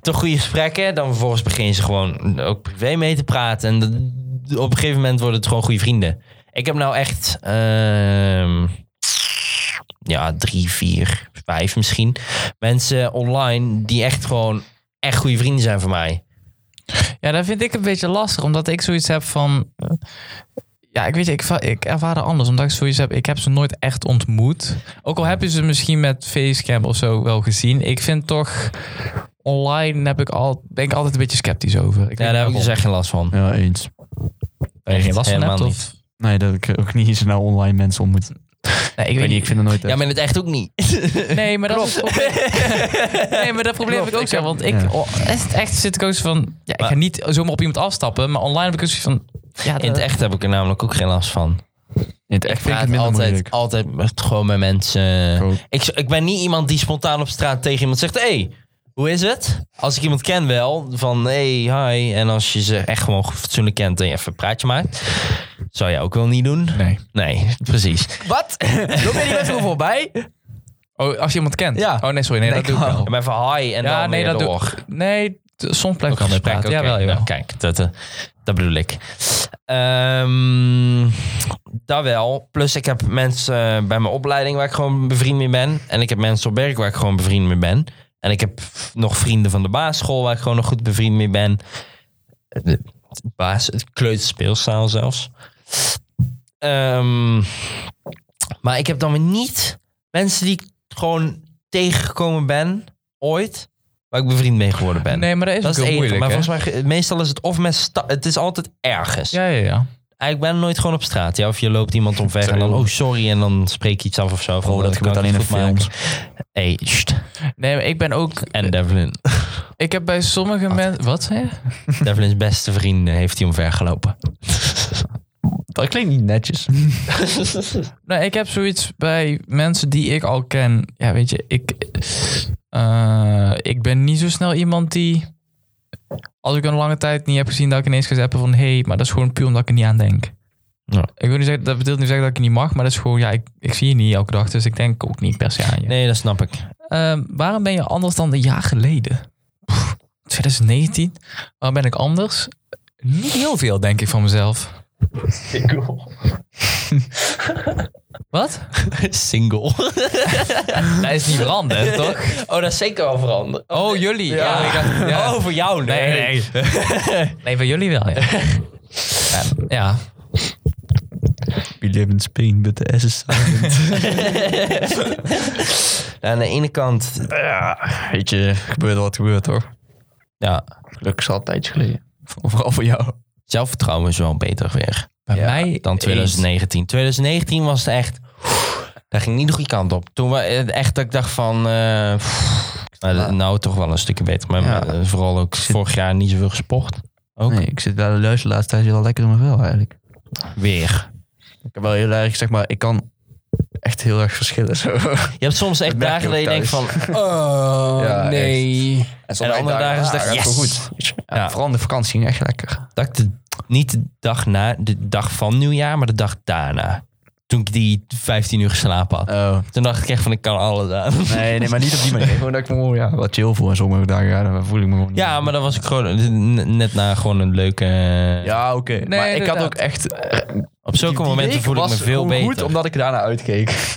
[SPEAKER 1] Toch goede gesprekken, dan vervolgens beginnen ze gewoon ook privé mee te praten. En dat- op een gegeven moment worden het gewoon goede vrienden. Ik heb nou echt, ehm, ja, drie, vier, vijf misschien. Mensen online die echt gewoon echt goede vrienden zijn voor mij.
[SPEAKER 3] Ja, dat vind ik een beetje lastig, omdat ik zoiets heb van. eh, Ja, ik weet je, ik, va- ik ervaar dat anders, omdat ik zoiets heb. Ik heb ze nooit echt ontmoet. Ook al heb je ze misschien met Facecam of zo wel gezien. Ik vind toch. Online heb ik al, ben ik altijd een beetje sceptisch over. Ik
[SPEAKER 1] Ja, daar heb ik dus echt geen last van.
[SPEAKER 2] Ja, eens.
[SPEAKER 3] Waar je geen last van hebt,
[SPEAKER 1] Helemaal
[SPEAKER 3] of?
[SPEAKER 2] Nee, dat ik ook niet zo snel online mensen ontmoet. Ik
[SPEAKER 3] Nee, ik
[SPEAKER 2] weet niet, ik vind het nooit...
[SPEAKER 1] Ja, maar in het echt ook niet.
[SPEAKER 3] Nee, maar dat is het probleem. Nee, maar dat probleem heb ik ook zo. Want ik,
[SPEAKER 2] Ja.
[SPEAKER 3] oh, echt, echt zit ik ook zo van... Ja, ik ga
[SPEAKER 1] Maar-
[SPEAKER 3] niet zomaar op iemand afstappen. Maar online heb ik ook zoiets van... Ja,
[SPEAKER 1] In het echt heb ik er namelijk ook geen last van.
[SPEAKER 2] In het echt vind ik het
[SPEAKER 1] praat
[SPEAKER 2] minder
[SPEAKER 1] altijd,
[SPEAKER 2] moeilijk.
[SPEAKER 1] altijd met, gewoon met mensen.
[SPEAKER 2] Ook.
[SPEAKER 1] Ik, ik ben niet iemand die spontaan op straat tegen iemand zegt: Hey, hoe is het? Als ik iemand ken, wel van hey, hi. En als je ze echt gewoon fatsoenlijk kent en je even een praatje maakt, zou jij ook wel niet doen?
[SPEAKER 3] Nee.
[SPEAKER 1] Nee, precies.
[SPEAKER 3] Wat? Dan ben je best wel voorbij. Oh, als je iemand kent?
[SPEAKER 1] Ja.
[SPEAKER 3] Oh nee, sorry. Nee, dat doe ik wel.
[SPEAKER 1] Maar even hi en
[SPEAKER 3] Ja,
[SPEAKER 1] dan
[SPEAKER 3] nee,
[SPEAKER 1] weer
[SPEAKER 3] dat doe-
[SPEAKER 1] door.
[SPEAKER 3] Nee, t- soms blijf
[SPEAKER 1] Ook
[SPEAKER 3] ik altijd
[SPEAKER 1] gesprek,
[SPEAKER 3] praten.
[SPEAKER 1] oké.
[SPEAKER 3] Jawel, jawel.
[SPEAKER 1] Nou, kijk, dat, eh, dat bedoel ik. Ehm dat wel. Plus ik heb mensen eh, bij mijn opleiding waar ik gewoon bevriend mee ben. En ik heb mensen op werk waar ik gewoon bevriend mee ben. En ik heb nog vrienden van de basisschool waar ik gewoon nog goed bevriend mee ben. De baas, het kleuterspeelzaal zelfs. Ehm, maar ik heb dan weer niet mensen die ik gewoon tegengekomen ben ooit. Waar ik bevriend mee geworden ben.
[SPEAKER 3] Nee, maar dat is,
[SPEAKER 1] Dat is
[SPEAKER 3] ook
[SPEAKER 1] het
[SPEAKER 3] heel
[SPEAKER 1] enige.
[SPEAKER 3] moeilijk,
[SPEAKER 1] maar
[SPEAKER 3] hè?
[SPEAKER 1] volgens mij, ge- meestal is het of met... sta- het is altijd ergens.
[SPEAKER 3] Ja, ja, ja.
[SPEAKER 1] Ik ben nooit gewoon op straat. Ja, of je loopt iemand omver en dan...
[SPEAKER 2] Sorry.
[SPEAKER 1] Oh, sorry. En dan spreek je iets af of zo. van,
[SPEAKER 2] Oh,
[SPEAKER 1] eh,
[SPEAKER 2] dat
[SPEAKER 1] kan
[SPEAKER 2] gebeurt alleen
[SPEAKER 1] ik
[SPEAKER 2] in
[SPEAKER 1] het goed
[SPEAKER 2] films.
[SPEAKER 1] maken? Hey, sst.
[SPEAKER 3] Nee, maar ik ben ook...
[SPEAKER 1] En Devlin.
[SPEAKER 3] Ik heb bij sommige mensen... Wat, hè?
[SPEAKER 1] Devlin's beste vriend eh, heeft hij omvergelopen.
[SPEAKER 2] Dat klinkt niet netjes.
[SPEAKER 3] Nou, ik heb zoiets bij mensen die ik al ken. Ja, weet je, ik, eh, ik ben niet zo snel iemand die. Als ik een lange tijd niet heb gezien, dat ik ineens ga zappen van hé, hey, maar dat is gewoon puur omdat ik er niet aan denk.
[SPEAKER 1] Ja.
[SPEAKER 3] Ik wil niet zeggen, dat betekent niet zeggen dat ik je niet mag, maar dat is gewoon, ja, ik, ik zie je niet elke dag, dus ik denk ook niet per se aan je.
[SPEAKER 1] Nee, dat snap ik.
[SPEAKER 3] Ehm, waarom ben je anders dan een jaar geleden? Pff, 2019? Waarom ben ik anders? Niet heel veel, denk ik van mezelf. Wat?
[SPEAKER 1] Single.
[SPEAKER 3] Dat is niet veranderd, toch?
[SPEAKER 1] Oh, dat is zeker wel veranderd.
[SPEAKER 3] Oh, jullie. Ja. ik dacht- ja.
[SPEAKER 1] Oh, voor jou. Nee,
[SPEAKER 3] Nee,
[SPEAKER 1] nee.
[SPEAKER 3] nee. Nee, van jullie wel, ja. Ja, ja.
[SPEAKER 2] We live in Spain, but the ass is silent.
[SPEAKER 1] Aan de ene kant...
[SPEAKER 2] ja, weet je, gebeurt wat gebeurt hoor.
[SPEAKER 1] Ja,
[SPEAKER 2] Gelukkig is al een tijdje geleden. Vooral voor jou.
[SPEAKER 1] zelfvertrouwen is wel beter weer.
[SPEAKER 3] Bij
[SPEAKER 2] Ja,
[SPEAKER 3] mij
[SPEAKER 1] dan
[SPEAKER 3] is-
[SPEAKER 1] 2019. 2019 was het echt. Daar ging niet de goede kant op. Toen we echt dat ik dacht van. eh, pff, nou, dat- nou, toch wel een stukje beter. Maar
[SPEAKER 2] Ja.
[SPEAKER 1] maar, eh, vooral ook vorig jaar niet zoveel gesport. Ook
[SPEAKER 2] Nee, ik zit wel de luisteren de laatste tijd wel lekker in mijn vel eigenlijk.
[SPEAKER 1] weer.
[SPEAKER 2] Ik heb wel heel erg, zeg maar, ik kan echt heel erg verschillen zo.
[SPEAKER 1] Je hebt soms echt
[SPEAKER 2] merk je
[SPEAKER 1] dagen dat
[SPEAKER 2] ook
[SPEAKER 1] je denkt van.
[SPEAKER 2] thuis.
[SPEAKER 1] Oh,
[SPEAKER 2] Ja,
[SPEAKER 1] nee. En andere dagen is het echt,
[SPEAKER 2] dat
[SPEAKER 1] yes!
[SPEAKER 2] goed. Weet je. Ja,
[SPEAKER 1] Ja.
[SPEAKER 2] Vooral in de vakantie ging echt lekker.
[SPEAKER 1] Dat ik de, niet de dag na, de dag van nieuwjaar, maar de dag daarna. Toen ik die 15 uur geslapen had.
[SPEAKER 2] Oh.
[SPEAKER 1] Toen dacht ik echt van, ik kan alles aan.
[SPEAKER 2] Nee, nee, maar niet op die manier. Gewoon dat ik me gewoon, ja, wat chill voor. En sommige dagen ja, dan voel ik me gewoon...
[SPEAKER 1] Ja, maar dat was ik gewoon net na gewoon een leuke...
[SPEAKER 2] Ja, oké. maar ik had
[SPEAKER 3] inderdaad.
[SPEAKER 2] ook echt eh,
[SPEAKER 1] Op zulke
[SPEAKER 4] Die- die
[SPEAKER 1] momenten
[SPEAKER 4] week
[SPEAKER 1] voel ik me
[SPEAKER 4] was
[SPEAKER 1] veel
[SPEAKER 4] gewoon
[SPEAKER 1] beter.
[SPEAKER 4] goed omdat ik daarna uitkeek.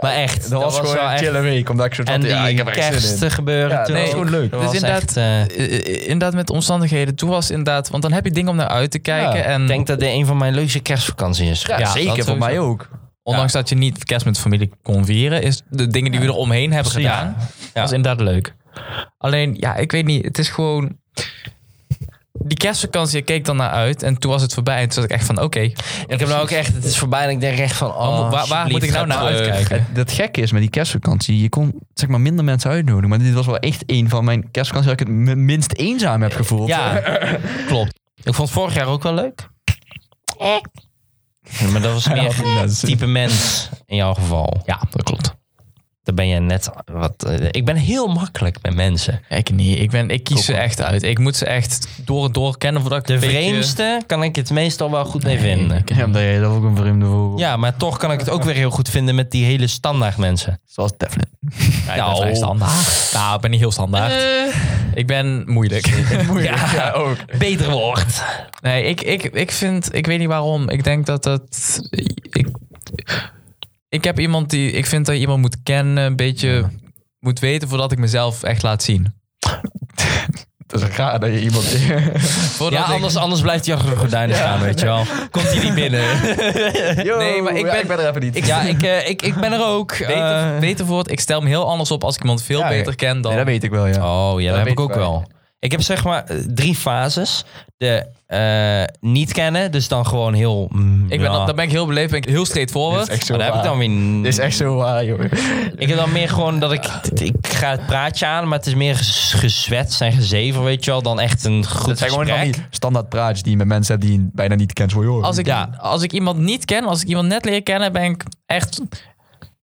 [SPEAKER 1] maar echt,
[SPEAKER 4] Dat, was, gewoon een chille week. Omdat ik zo
[SPEAKER 1] En
[SPEAKER 4] dacht,
[SPEAKER 1] die
[SPEAKER 4] ja, ik heb er echt zin in.
[SPEAKER 1] kersten gebeuren.
[SPEAKER 4] Ja,
[SPEAKER 1] toen
[SPEAKER 4] nee,
[SPEAKER 1] was
[SPEAKER 4] gewoon
[SPEAKER 1] ook-
[SPEAKER 4] leuk.
[SPEAKER 1] dat
[SPEAKER 3] Dus
[SPEAKER 1] was echt, eh,
[SPEAKER 3] Eh, eh, inderdaad, met omstandigheden. Toen was inderdaad, want dan heb je dingen om naar uit te kijken.
[SPEAKER 4] Ja,
[SPEAKER 3] en
[SPEAKER 1] ik denk dat dit een van mijn leukste kerstvakanties is.
[SPEAKER 4] Ja,
[SPEAKER 1] geweest.
[SPEAKER 3] dat
[SPEAKER 4] zeker, voor
[SPEAKER 3] sowieso.
[SPEAKER 4] mij ook.
[SPEAKER 3] ondanks dat je niet kerst met familie kon vieren, is de dingen die we er omheen hebben
[SPEAKER 1] Precies.
[SPEAKER 3] gedaan,
[SPEAKER 1] Ja.
[SPEAKER 3] was inderdaad leuk. Alleen, ja, ik weet niet, het is gewoon. Die kerstvakantie, ik keek dan naar uit en toen was het voorbij. En toen zat ik echt van, oké,
[SPEAKER 1] Ik heb nou ook echt, het is voorbij en ik denk echt van,
[SPEAKER 3] waar-
[SPEAKER 1] oh,
[SPEAKER 3] waar, waar moet ik nou naar uitkijken?
[SPEAKER 2] Het- dat gekke is met die kerstvakantie, je kon zeg maar minder mensen uitnodigen. Maar dit was wel echt een van mijn kerstvakanties waar ik het mi- minst eenzaam heb gevoeld.
[SPEAKER 1] Ja, klopt. Ik vond vorig jaar ook wel leuk. Echt? maar dat was meer het type mens in jouw geval.
[SPEAKER 3] Ja, dat klopt.
[SPEAKER 1] Dan ben je net wat... eh, ik ben heel makkelijk met mensen.
[SPEAKER 3] Ik niet, ik, ben, ik kies ze echt uit. Ik moet ze echt door en door kennen voordat ik
[SPEAKER 1] De
[SPEAKER 3] een beetje-
[SPEAKER 1] vreemdste kan ik het meestal wel goed mee vinden.
[SPEAKER 2] Ja, omdat jij dat ook een vreemde vogel.
[SPEAKER 1] Ja, maar toch kan ik het ook weer heel goed vinden met die hele standaard mensen.
[SPEAKER 2] Zoals Devlin.
[SPEAKER 3] Ja, ik ben vrij standaard. Nou, ik ben niet heel standaard. ik ben moeilijk. Oh.
[SPEAKER 1] Ja, ook. Beter woord.
[SPEAKER 3] Nee, ik, ik, ik vind, ik weet niet waarom. Ik denk dat dat. Ik, ik heb iemand die. Ik vind dat je iemand moet kennen, een beetje moet weten voordat ik mezelf echt laat zien.
[SPEAKER 4] Dat is raar dat je iemand...
[SPEAKER 3] Voordat
[SPEAKER 1] Ja,
[SPEAKER 3] ik-
[SPEAKER 1] anders, anders blijft hij achter de gordijnen gaan, weet je wel. Komt hij niet binnen.
[SPEAKER 4] Yo,
[SPEAKER 3] Nee, maar ik
[SPEAKER 4] ja,
[SPEAKER 3] ben-
[SPEAKER 4] er even niet.
[SPEAKER 1] Ja, ik, eh, ik, ik ben er ook.
[SPEAKER 3] Beter,
[SPEAKER 1] eh.
[SPEAKER 3] beter voor het- ik stel me heel anders op als ik iemand veel
[SPEAKER 4] Ja, ja.
[SPEAKER 3] beter ken dan.
[SPEAKER 2] Nee, dat weet ik wel, ja.
[SPEAKER 1] Oh ja, dat, heb
[SPEAKER 4] weet
[SPEAKER 1] ik ook
[SPEAKER 4] ik wel.
[SPEAKER 1] wel. Ik heb zeg maar eh, drie fases. De eh, niet kennen, dus dan gewoon heel... mm,
[SPEAKER 3] ik ben,
[SPEAKER 1] ja.
[SPEAKER 3] dan, dan ben ik heel beleefd, ben ik heel straightforward.
[SPEAKER 4] Dit is echt zo
[SPEAKER 1] Maar daar heb ik dan
[SPEAKER 4] waar.
[SPEAKER 1] weer...
[SPEAKER 4] Dit is echt zo waar, joh.
[SPEAKER 1] Ik heb dan meer gewoon dat ik... Ik ga het praatje aan, maar het is meer ges- gezwetst en gezever, weet je wel, dan echt een goed
[SPEAKER 4] Het zijn gewoon van
[SPEAKER 1] gesprek.
[SPEAKER 4] die standaard praatjes die je met mensen hebt die je bijna niet kent. Zo, joh.
[SPEAKER 3] Als ik,
[SPEAKER 1] Ja.
[SPEAKER 3] als ik iemand niet ken, als ik iemand net leer kennen, ben ik echt.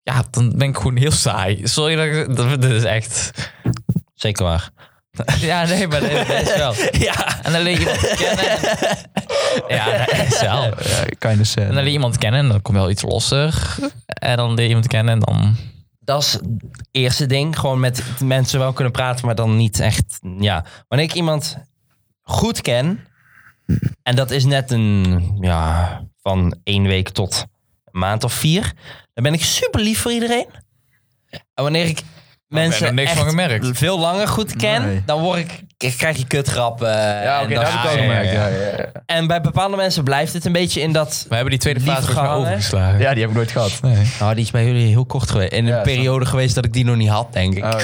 [SPEAKER 3] Ja, dan ben ik gewoon heel saai. Sorry dat ik. Dat, dat is echt.
[SPEAKER 1] Zeker waar.
[SPEAKER 3] Ja, nee, maar dat, dat is wel.
[SPEAKER 1] Ja.
[SPEAKER 3] En dan leer je iemand kennen. Ja, dat is wel.
[SPEAKER 4] eh,
[SPEAKER 2] Ja, kind of sad.
[SPEAKER 3] En dan leer je iemand kennen en dan komt wel iets losser. En dan leer je iemand kennen en dan...
[SPEAKER 1] Dat is het eerste ding. Gewoon met mensen wel kunnen praten, maar dan niet echt... Ja. Wanneer ik iemand goed ken... En dat is net een... Ja, van één week tot een maand of vier. Dan ben ik super lief voor iedereen. En wanneer ik mensen
[SPEAKER 3] er niks
[SPEAKER 1] echt
[SPEAKER 3] van gemerkt.
[SPEAKER 1] veel langer goed ken...
[SPEAKER 2] Nee.
[SPEAKER 1] dan word ik, ik krijg je kutgrappen.
[SPEAKER 4] Ja,
[SPEAKER 1] en
[SPEAKER 4] oké,
[SPEAKER 1] dat
[SPEAKER 4] dat heb ik
[SPEAKER 1] soort
[SPEAKER 4] ook
[SPEAKER 3] ja,
[SPEAKER 1] dingen.
[SPEAKER 4] gemerkt.
[SPEAKER 3] ja,
[SPEAKER 4] Ja, ja, ja.
[SPEAKER 1] En bij bepaalde mensen blijft het een beetje in dat...
[SPEAKER 3] We hebben die tweede fase
[SPEAKER 2] dus
[SPEAKER 1] Liefde
[SPEAKER 3] volgens mij
[SPEAKER 1] gaan, hè?
[SPEAKER 3] overgeslagen.
[SPEAKER 4] Ja, die heb ik nooit gehad.
[SPEAKER 1] Nou, die is bij jullie heel kort geweest. In een
[SPEAKER 4] Ja, snap ik.
[SPEAKER 1] periode geweest dat ik die nog niet had, denk ik.
[SPEAKER 4] Oh,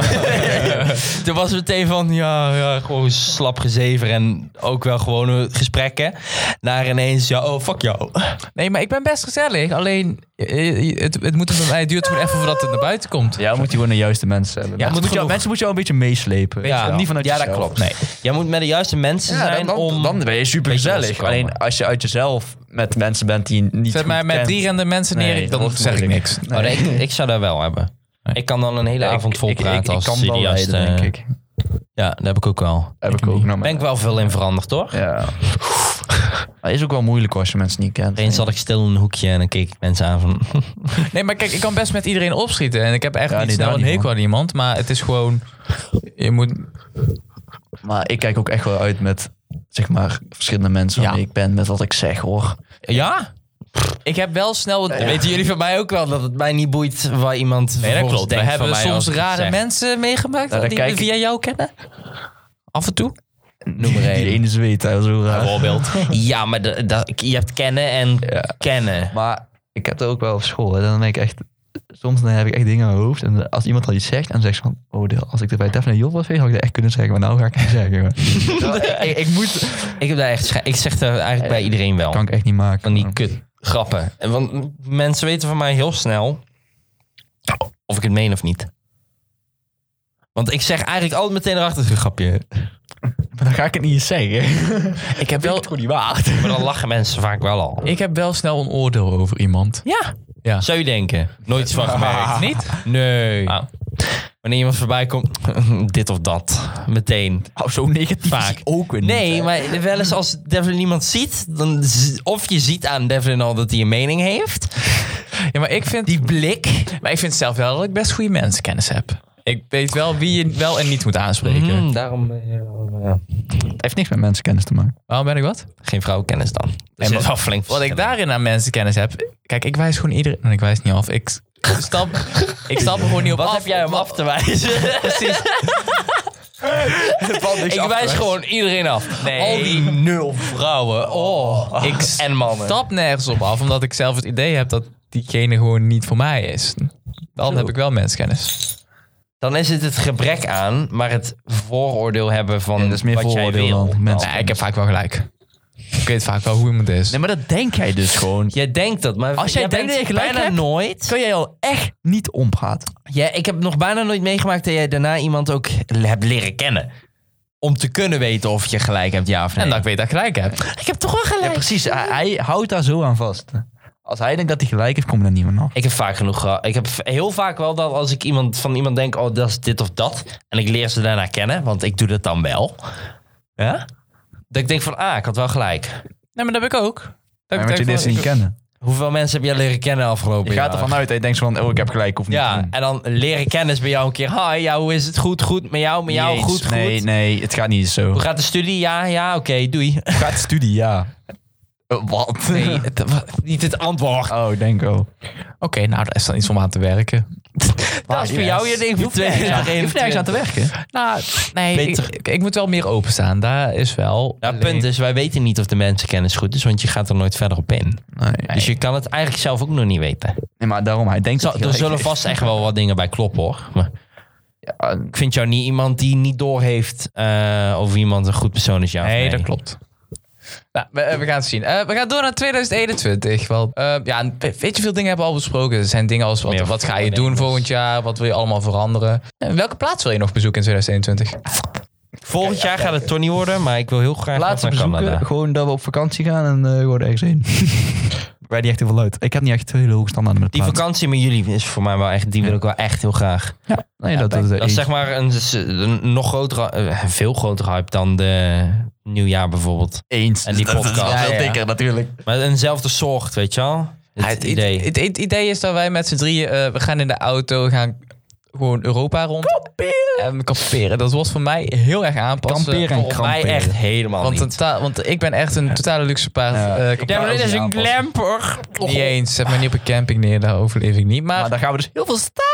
[SPEAKER 4] ja.
[SPEAKER 1] Toen was het meteen van, ja, ja, gewoon slap gezever en ook wel gewone gesprekken. Naar ineens, ja, oh, fuck jou.
[SPEAKER 3] Nee, maar ik ben best gezellig. Alleen, eh, eh, het, het, moet bij mij, het duurt gewoon even voordat het naar buiten komt.
[SPEAKER 2] Ja, dan moet je gewoon de juiste mensen hebben.
[SPEAKER 3] Ja,
[SPEAKER 2] mensen, moet je,
[SPEAKER 3] genoeg.
[SPEAKER 2] mensen moet je wel een beetje meeslepen. Weet je wel. niet vanuit
[SPEAKER 1] ja dat
[SPEAKER 2] jezelf.
[SPEAKER 1] klopt. Nee. Jij moet met de juiste mensen
[SPEAKER 2] Ja,
[SPEAKER 1] zijn
[SPEAKER 2] dan, dan,
[SPEAKER 1] om...
[SPEAKER 2] dan ben je super
[SPEAKER 1] Beetje
[SPEAKER 2] gezellig.
[SPEAKER 1] loskomen.
[SPEAKER 2] Alleen als je uit jezelf met mensen bent die je niet
[SPEAKER 3] Zet
[SPEAKER 2] goed
[SPEAKER 3] mij met
[SPEAKER 2] kent.
[SPEAKER 3] drie rende mensen neer,
[SPEAKER 2] Nee,
[SPEAKER 3] dan
[SPEAKER 2] dat wordt
[SPEAKER 3] zeg ik
[SPEAKER 2] moeilijk.
[SPEAKER 3] niks.
[SPEAKER 1] Oh, nee, ik, ik zou dat wel hebben. Ik kan dan een hele
[SPEAKER 2] Ja, ik-
[SPEAKER 1] avond vol
[SPEAKER 2] ik- ik-
[SPEAKER 1] praten
[SPEAKER 2] ik
[SPEAKER 1] als
[SPEAKER 2] kan wel
[SPEAKER 1] cineast,
[SPEAKER 2] leiden,
[SPEAKER 1] eh,
[SPEAKER 2] denk ik.
[SPEAKER 1] Ja, dat heb ik ook wel.
[SPEAKER 4] heb ik ook nog
[SPEAKER 1] Ben ik wel veel in veranderd, hoor.
[SPEAKER 2] Ja. Maar is ook wel moeilijk als je mensen niet kent.
[SPEAKER 1] Eens zat ik stil in een hoekje en dan keek ik mensen aan van...
[SPEAKER 3] Nee, maar kijk, ik kan best met iedereen opschieten. En ik heb echt
[SPEAKER 2] Ja,
[SPEAKER 3] niet
[SPEAKER 2] nee,
[SPEAKER 3] snel
[SPEAKER 2] daar
[SPEAKER 3] een
[SPEAKER 2] niet,
[SPEAKER 3] hekel aan iemand. Maar het is gewoon... Je moet...
[SPEAKER 2] Maar ik kijk ook echt wel uit met zeg maar verschillende mensen waarmee ik ben, met wat ik zeg hoor.
[SPEAKER 3] Ja? Ik heb wel snel...
[SPEAKER 1] Weten jullie van mij ook wel dat het mij niet boeit waar iemand
[SPEAKER 3] Nee, dat
[SPEAKER 1] vervolgens
[SPEAKER 3] klopt. We
[SPEAKER 1] denkt van
[SPEAKER 3] hebben
[SPEAKER 1] mij
[SPEAKER 3] soms
[SPEAKER 1] als ik het
[SPEAKER 3] rare
[SPEAKER 1] zeg.
[SPEAKER 3] mensen meegemaakt
[SPEAKER 2] Nou, dan
[SPEAKER 3] die
[SPEAKER 2] kijk
[SPEAKER 3] we
[SPEAKER 2] ik-
[SPEAKER 3] via jou kennen. Af en toe.
[SPEAKER 2] Noem maar één. Die ene zweet, hij was zo raar.
[SPEAKER 1] Bijvoorbeeld. Ja, maar de- dat- je hebt kennen en kennen.
[SPEAKER 2] Maar ik heb dat ook wel op school. Hè. Dan ben ik echt, soms dan heb ik echt dingen in mijn hoofd. En als iemand al iets zegt, dan zeg ik van, oh, dit- als ik er bij Daphne en Job was geweest, had ik dat echt kunnen zeggen. Maar nou ga ik het niet zeggen. hoor. Nou, ik, ik moet,
[SPEAKER 1] Ik, heb daar echt scha- ik zeg dat eigenlijk bij iedereen wel.
[SPEAKER 2] kan ik echt niet maken.
[SPEAKER 1] Van die kut grappen. En Want mensen weten van mij heel snel of ik het meen of niet. Want ik zeg eigenlijk altijd meteen erachter een grapje.
[SPEAKER 2] maar dan ga ik het niet eens zeggen.
[SPEAKER 3] Ik heb wel...
[SPEAKER 2] Goed niet waard.
[SPEAKER 1] Maar dan lachen mensen vaak wel al.
[SPEAKER 3] Ik heb wel snel een oordeel over iemand.
[SPEAKER 1] Ja.
[SPEAKER 3] Ja.
[SPEAKER 1] Zou je denken? Nooit iets van gemerkt.
[SPEAKER 3] Niet?
[SPEAKER 1] Nee. Wanneer iemand voorbij komt, dit of dat. Meteen.
[SPEAKER 2] Oh, zo negatief
[SPEAKER 1] Vaak.
[SPEAKER 2] Vaak. ook weer niet,
[SPEAKER 1] Nee,
[SPEAKER 2] hè.
[SPEAKER 1] maar wel eens als Devlin iemand ziet, dan z- of je ziet aan Devlin al dat hij een mening heeft.
[SPEAKER 3] Ja, maar ik vind...
[SPEAKER 1] Die blik.
[SPEAKER 3] Maar ik vind zelf wel dat ik best goede mensenkennis heb. Ik weet wel wie je wel en niet moet aanspreken.
[SPEAKER 1] Mhm, daarom... eh, ja.
[SPEAKER 2] Het heeft niks met mensenkennis te maken.
[SPEAKER 3] Waarom ben ik wat?
[SPEAKER 1] Geen vrouwenkennis dan. Dat
[SPEAKER 3] En
[SPEAKER 1] is
[SPEAKER 3] wat-
[SPEAKER 1] wel flink
[SPEAKER 3] Wat ik
[SPEAKER 1] verschil.
[SPEAKER 3] daarin aan mensenkennis heb. Kijk, ik wijs gewoon iedereen. En ik wijs niet af. Ik stap, ik stap er gewoon niet op
[SPEAKER 1] Wat
[SPEAKER 3] af.
[SPEAKER 1] heb jij om af te wijzen? Precies. ik wijs gewoon iedereen af.
[SPEAKER 3] Nee.
[SPEAKER 1] Al die nul vrouwen. Oh.
[SPEAKER 3] Ik
[SPEAKER 1] en mannen.
[SPEAKER 3] stap nergens op af, omdat ik zelf het idee heb dat diegene gewoon niet voor mij is. Dan heb ik wel mensenkennis.
[SPEAKER 1] Dan is het het gebrek aan, maar het vooroordeel hebben van
[SPEAKER 2] dat is meer
[SPEAKER 1] wat jij wil. Nou,
[SPEAKER 2] vooroordeel dan mensen.
[SPEAKER 3] Nee, ik heb vaak wel gelijk. Ik weet vaak wel hoe iemand is.
[SPEAKER 2] Nee, maar dat denk jij dus gewoon.
[SPEAKER 1] Jij denkt dat, maar
[SPEAKER 2] Als jij denkt
[SPEAKER 1] bent
[SPEAKER 2] dat je gelijk
[SPEAKER 1] bijna
[SPEAKER 2] hebt-
[SPEAKER 1] nooit.
[SPEAKER 2] Kan jij al echt niet ompraten?
[SPEAKER 1] Ja, ik heb nog bijna nooit meegemaakt dat jij daarna iemand ook hebt leren kennen. Om te kunnen weten of je gelijk hebt, ja of nee.
[SPEAKER 3] En dat ik weet dat ik gelijk heb.
[SPEAKER 1] ik heb toch wel
[SPEAKER 2] Ja,
[SPEAKER 1] gelijk.
[SPEAKER 2] precies. Hij, hij houdt daar zo aan vast. Als hij denkt dat hij gelijk heeft, komt er niemand af.
[SPEAKER 1] Ik heb vaak genoeg gehad. Ik heb v- heel vaak wel dat als ik iemand, van iemand denk, oh, dat is dit of dat. En ik leer ze daarna kennen, want ik doe dat dan wel. Ja? Dat ik denk van, ah, ik had wel gelijk.
[SPEAKER 3] Nee, maar dat heb ik ook. Dat
[SPEAKER 2] Maar want je leert ze niet kennen.
[SPEAKER 1] Hoeveel mensen heb jij leren kennen afgelopen
[SPEAKER 2] Je
[SPEAKER 1] jaar?
[SPEAKER 2] gaat ervan uit dat je denkt van, oh, ik heb gelijk of niet.
[SPEAKER 1] Ja, en dan leren kennis bij jou een keer. Hi, ja, hoe is het? Goed, goed. Met jou, met jou,
[SPEAKER 2] Jeets,
[SPEAKER 1] goed, goed.
[SPEAKER 2] Nee, nee, het gaat niet zo.
[SPEAKER 1] Hoe gaat de studie? Ja, ja, oké, doei.
[SPEAKER 4] Het gaat studie, ja.
[SPEAKER 2] Wat?
[SPEAKER 1] Niet het antwoord.
[SPEAKER 2] Oh, denk oh.
[SPEAKER 3] Oké, nou, daar is dan iets om aan te werken.
[SPEAKER 1] Dat is voor jou je ding voor twee.
[SPEAKER 3] Ja, je hoeft nergens aan te werken. Nou, nee,
[SPEAKER 1] Beter.
[SPEAKER 3] Ik, ik moet wel meer openstaan. Daar is wel...
[SPEAKER 1] Ja,
[SPEAKER 3] alleen-
[SPEAKER 1] punt is, wij weten niet of de mensenkennis goed is, want je gaat er nooit verder op in.
[SPEAKER 2] Nee.
[SPEAKER 1] Dus je kan het eigenlijk zelf ook nog niet weten.
[SPEAKER 2] nee, maar daarom, hij denkt
[SPEAKER 1] Zo,
[SPEAKER 2] dat hij
[SPEAKER 1] er
[SPEAKER 2] gelijk
[SPEAKER 1] zullen
[SPEAKER 2] is.
[SPEAKER 1] vast echt wel wat dingen bij kloppen hoor. Maar
[SPEAKER 2] Ja,
[SPEAKER 1] ik vind jou niet iemand die niet doorheeft eh of iemand een goed persoon is. Ja of
[SPEAKER 3] Nee,
[SPEAKER 1] nee,
[SPEAKER 3] dat klopt. Nou, we, eh, we gaan het zien. Eh, we gaan door naar 2021. Wel, eh, ja, en we- weet je, veel dingen hebben we al besproken. Er zijn dingen als wat,
[SPEAKER 1] Meer
[SPEAKER 3] wat ga je
[SPEAKER 1] voornemens.
[SPEAKER 3] doen volgend jaar? Wat wil je allemaal veranderen? En welke plaats wil je nog bezoeken in 2021?
[SPEAKER 1] Volgend jaar gaat het Tony worden, maar ik wil heel graag nog
[SPEAKER 2] Laatste
[SPEAKER 1] naar
[SPEAKER 2] bezoeken,
[SPEAKER 1] Canada.
[SPEAKER 2] gewoon dat we op vakantie gaan en eh gewoon ergens heen. Waar die echt heel veel uit. Ik heb niet echt hele hoge standaarden met
[SPEAKER 1] Die
[SPEAKER 2] plaatsen.
[SPEAKER 1] vakantie met jullie is voor mij wel echt, die wil ik wel echt heel graag.
[SPEAKER 2] Nee, dat, dat,
[SPEAKER 1] Dat is zeg maar een, een nog grotere, eh, veel grotere hype dan de nieuwjaar bijvoorbeeld.
[SPEAKER 2] eens.
[SPEAKER 1] en die
[SPEAKER 2] Dat is
[SPEAKER 1] podcast.
[SPEAKER 2] wel
[SPEAKER 3] Ja, ja.
[SPEAKER 2] dikker natuurlijk.
[SPEAKER 1] Maar eenzelfde soort, weet je wel? Het
[SPEAKER 3] Ja, Ah, het
[SPEAKER 1] idee.
[SPEAKER 3] Het, het idee is dat wij met z'n drieën, eh, we gaan in de auto, we gaan gewoon Europa rond. En kamperen. Dat was voor mij heel erg aanpassen.
[SPEAKER 2] Kamperen en
[SPEAKER 3] Voor
[SPEAKER 1] mij
[SPEAKER 2] kamperen.
[SPEAKER 1] echt helemaal
[SPEAKER 3] Want,
[SPEAKER 1] niet.
[SPEAKER 3] een ta- want ik ben echt een totale luxe paard.
[SPEAKER 2] Ja.
[SPEAKER 3] eh, qua auto aanpassen.
[SPEAKER 1] glamper.
[SPEAKER 3] Niet eens. Zet mij niet op een camping neer, daar overleef ik niet. Maar,
[SPEAKER 2] Maar
[SPEAKER 3] maar,
[SPEAKER 2] daar gaan we dus heel veel staan.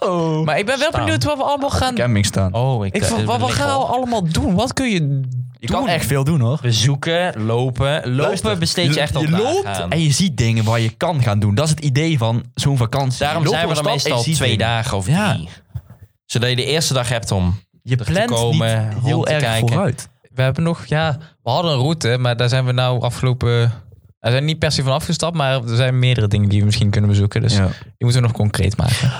[SPEAKER 2] Oh.
[SPEAKER 3] ik ben wel
[SPEAKER 1] Staan.
[SPEAKER 3] benieuwd wat we allemaal gaan
[SPEAKER 2] Camping staan.
[SPEAKER 1] Oh, ik,
[SPEAKER 3] Ik vond, wat, wat gaan we allemaal doen? Wat kun je
[SPEAKER 2] je
[SPEAKER 3] doen?
[SPEAKER 2] kan echt veel doen hoor.
[SPEAKER 1] Bezoeken, lopen. Lopen
[SPEAKER 2] Luister,
[SPEAKER 1] besteed je echt al
[SPEAKER 2] Je
[SPEAKER 1] dagen
[SPEAKER 2] loopt
[SPEAKER 1] aan.
[SPEAKER 2] en je ziet dingen waar je kan gaan doen. Dat is het idee van zo'n vakantie.
[SPEAKER 1] Daarom
[SPEAKER 2] Je loopt
[SPEAKER 1] zijn we
[SPEAKER 2] door
[SPEAKER 1] er
[SPEAKER 2] de stad
[SPEAKER 1] meestal
[SPEAKER 2] en je ziet
[SPEAKER 1] twee
[SPEAKER 2] dingen.
[SPEAKER 1] dagen of
[SPEAKER 2] Ja.
[SPEAKER 1] drie. Zodat je de eerste dag hebt om...
[SPEAKER 2] Je
[SPEAKER 1] te
[SPEAKER 2] plant
[SPEAKER 1] komen,
[SPEAKER 2] niet
[SPEAKER 1] rond
[SPEAKER 2] heel
[SPEAKER 1] te
[SPEAKER 2] erg
[SPEAKER 1] kijken.
[SPEAKER 2] vooruit.
[SPEAKER 3] We hebben nog, ja, we hadden een route, maar daar zijn we nou afgelopen. We zijn niet per se van afgestapt, maar er zijn meerdere dingen die we misschien kunnen bezoeken. Dus
[SPEAKER 2] Ja.
[SPEAKER 3] die moeten we nog concreet maken.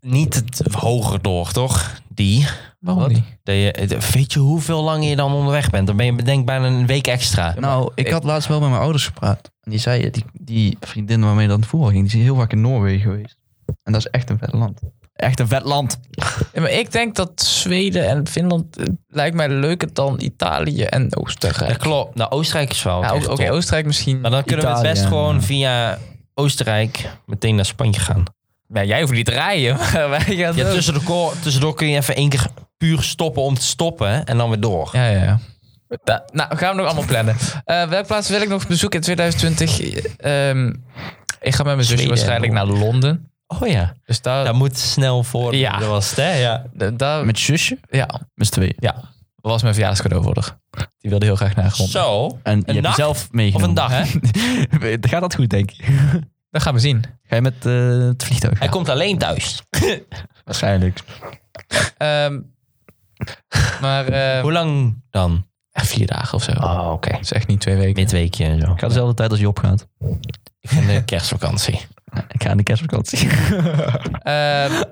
[SPEAKER 1] Niet het hoger door, toch? Die.
[SPEAKER 3] Waarom
[SPEAKER 2] Wat?
[SPEAKER 3] niet?
[SPEAKER 1] Dat je, het- weet je hoeveel lang je dan onderweg bent? Dan ben je bedenk bijna een week extra.
[SPEAKER 2] Nou, ik had laatst wel met mijn ouders gepraat. En die zei, die, die vriendin waarmee dan voetbal ging, die is heel vaak in Noorwegen geweest. En dat is echt een vet land. Echt een vet land.
[SPEAKER 3] Ja, maar ik denk dat Zweden en Finland eh, lijkt mij leuker dan Italië en
[SPEAKER 1] dat
[SPEAKER 3] Oostenrijk.
[SPEAKER 1] klopt. Nou, Oostenrijk is wel
[SPEAKER 3] Ja,
[SPEAKER 1] echt
[SPEAKER 3] Oké,
[SPEAKER 1] top.
[SPEAKER 3] Oostenrijk misschien.
[SPEAKER 1] Maar dan kunnen we het
[SPEAKER 2] Italië,
[SPEAKER 1] best
[SPEAKER 2] ja.
[SPEAKER 1] gewoon via Oostenrijk meteen naar Spanje gaan.
[SPEAKER 3] Ja, jij hoeft niet te rijden. maar wij gaan
[SPEAKER 1] Ja,
[SPEAKER 3] wel.
[SPEAKER 1] tussen de koor- tussendoor kun je even één keer puur stoppen om te stoppen en dan weer door.
[SPEAKER 3] Ja, ja, ja. Da- nou, gaan we nog allemaal plannen. Eh welke plaats wil ik nog bezoeken in 2020? Ehm, ik ga met mijn zusje
[SPEAKER 1] Zweden.
[SPEAKER 3] waarschijnlijk naar Londen.
[SPEAKER 1] Oh ja,
[SPEAKER 3] Dus daar...
[SPEAKER 1] dat moet snel voor.
[SPEAKER 3] Ja.
[SPEAKER 1] Dat was het, hè? Ja.
[SPEAKER 3] da- daar-
[SPEAKER 2] Met zusje,
[SPEAKER 3] ja,
[SPEAKER 2] met z'n tweeën.
[SPEAKER 3] ja. Was mijn verjaarscadeau voor haar. Die wilde heel graag naar Londen.
[SPEAKER 1] Zo.
[SPEAKER 2] En je hebt
[SPEAKER 1] nacht?
[SPEAKER 2] jezelf
[SPEAKER 1] Of
[SPEAKER 2] meegenomen.
[SPEAKER 1] een dag, hè?
[SPEAKER 2] Gaat dat goed, denk je?
[SPEAKER 3] Dat gaan we zien.
[SPEAKER 2] Ga je met eh, het vliegtuig?
[SPEAKER 1] Hij komt alleen thuis.
[SPEAKER 2] Waarschijnlijk.
[SPEAKER 3] Ehm, maar eh,
[SPEAKER 1] Hoe lang dan?
[SPEAKER 3] vier dagen of zo. Dat
[SPEAKER 1] Oh, oké.
[SPEAKER 3] is echt niet twee weken.
[SPEAKER 1] Midweekje en zo.
[SPEAKER 2] Ik ga dezelfde tijd als Job gaat.
[SPEAKER 1] In de kerstvakantie.
[SPEAKER 2] Ik ga in de kerstvakantie.
[SPEAKER 3] Ehm,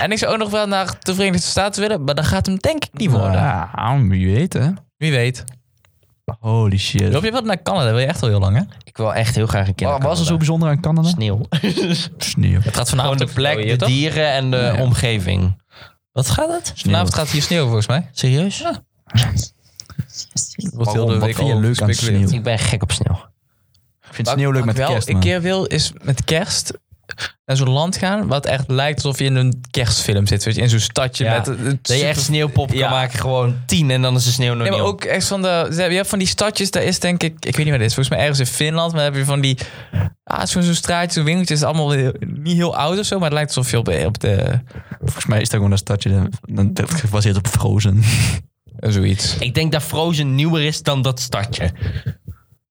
[SPEAKER 3] en ik zou ook nog wel naar de Verenigde Staten willen. Maar dat gaat hem denk ik niet worden.
[SPEAKER 2] Ah, wie weet, hè?
[SPEAKER 3] Wie weet.
[SPEAKER 2] Holy shit.
[SPEAKER 3] Loop je wat naar Canada? Wil je echt al heel lang, hè?
[SPEAKER 1] Ik wil echt heel graag een keer.
[SPEAKER 2] Wat
[SPEAKER 1] naar
[SPEAKER 2] was er zo
[SPEAKER 1] Canada.
[SPEAKER 2] bijzonder aan Canada?
[SPEAKER 1] Sneeuw.
[SPEAKER 2] Sneeuw.
[SPEAKER 3] Het gaat
[SPEAKER 1] Gewoon
[SPEAKER 3] vanavond
[SPEAKER 1] de
[SPEAKER 3] ook
[SPEAKER 1] plek,
[SPEAKER 3] hier,
[SPEAKER 1] de
[SPEAKER 3] Nou, toch?
[SPEAKER 1] dieren en de
[SPEAKER 2] Ja.
[SPEAKER 1] omgeving. Wat gaat het?
[SPEAKER 3] Vanavond gaat hier sneeuw volgens mij.
[SPEAKER 1] Serieus?
[SPEAKER 3] Wordt
[SPEAKER 2] Waarom? Wat vind je
[SPEAKER 3] al
[SPEAKER 2] leuk aan
[SPEAKER 3] gespeculeerd.
[SPEAKER 2] sneeuw?
[SPEAKER 1] Ik ben gek op sneeuw.
[SPEAKER 2] Ik vind sneeuw leuk
[SPEAKER 3] Wat
[SPEAKER 2] met
[SPEAKER 3] ik wel
[SPEAKER 2] kerst,
[SPEAKER 3] een
[SPEAKER 2] man.
[SPEAKER 3] keer wil is met kerst naar zo'n land gaan, wat echt lijkt alsof je in een kerstfilm zit. Weet je, in zo'n stadje
[SPEAKER 1] Ja.
[SPEAKER 3] met... het- het
[SPEAKER 1] Dat je echt
[SPEAKER 3] super-
[SPEAKER 1] sneeuwpop
[SPEAKER 3] Ja.
[SPEAKER 1] kan maken, gewoon tien en dan is de sneeuw nog
[SPEAKER 3] Nee,
[SPEAKER 1] niet
[SPEAKER 3] maar
[SPEAKER 1] op.
[SPEAKER 3] ook echt van de... ze hebben- Je hebt van die stadjes, daar is denk ik... Ik weet niet waar dit is. Volgens mij ergens in Finland. Maar dan heb je van die... Ah, het is gewoon zo'n straatje, zo'n winkeltje. Het is allemaal heel- niet heel oud of zo. Maar het lijkt alsof je op, de- op de...
[SPEAKER 2] Volgens mij is dat gewoon een stadje dat- dat gebaseerd op Frozen.
[SPEAKER 3] Zoiets.
[SPEAKER 1] Ik denk dat Frozen nieuwer is dan dat stadje.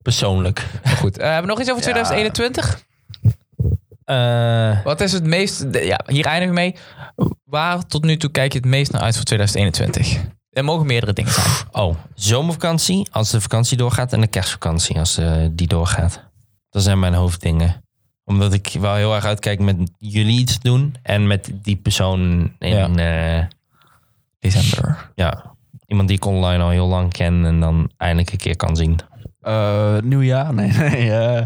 [SPEAKER 1] Persoonlijk.
[SPEAKER 3] Maar goed. eh, hebben we nog iets over 2021?
[SPEAKER 1] Eh,
[SPEAKER 3] Wat is het meest... de- ja, hier eindigen we mee. Waar tot nu toe kijk je het meest naar uit voor 2021? Er mogen meerdere dingen zijn.
[SPEAKER 1] oh, zomervakantie als de vakantie doorgaat en de kerstvakantie als eh, die doorgaat. Dat zijn mijn hoofddingen. Omdat ik wel heel erg uitkijk met jullie iets doen en met die persoon in... eh,
[SPEAKER 3] December.
[SPEAKER 1] ja, iemand die ik online al heel lang ken en dan eindelijk een keer kan zien.
[SPEAKER 2] Eh, nieuwjaar? Nee, nee. eh,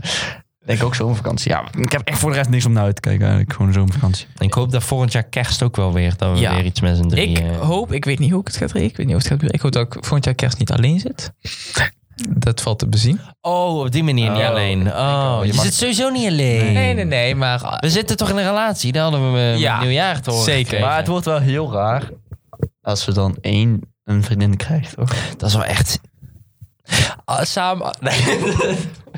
[SPEAKER 2] denk ook zomervakantie. Ja, ik heb echt voor de rest niks om naar uit te kijken. Eigenlijk gewoon zomervakantie.
[SPEAKER 1] En ik hoop dat volgend jaar kerst ook wel weer, dat we
[SPEAKER 3] Ja.
[SPEAKER 1] weer iets met z'n drieën... eh,
[SPEAKER 3] Ik hoop... Ik weet niet hoe ik het ga draaien. Ik weet niet hoe het gaat gebeuren. Ik hoop dat ik volgend jaar kerst niet alleen zit. Dat valt te bezien.
[SPEAKER 1] Oh, op die manier niet
[SPEAKER 2] Oh.
[SPEAKER 1] alleen. Oh,
[SPEAKER 2] je
[SPEAKER 1] je
[SPEAKER 2] mag-
[SPEAKER 1] zit sowieso niet alleen.
[SPEAKER 3] Nee, nee, nee. Maar
[SPEAKER 1] We zitten toch in een relatie? Daar hadden we eh,
[SPEAKER 3] Ja,
[SPEAKER 1] met nieuwjaar te horen.
[SPEAKER 3] zeker.
[SPEAKER 1] gekregen.
[SPEAKER 2] Maar het wordt wel heel raar als we dan één een vriendin krijgt, toch?
[SPEAKER 1] Dat is wel echt...
[SPEAKER 3] eh,
[SPEAKER 1] Ah, Samen... Nee.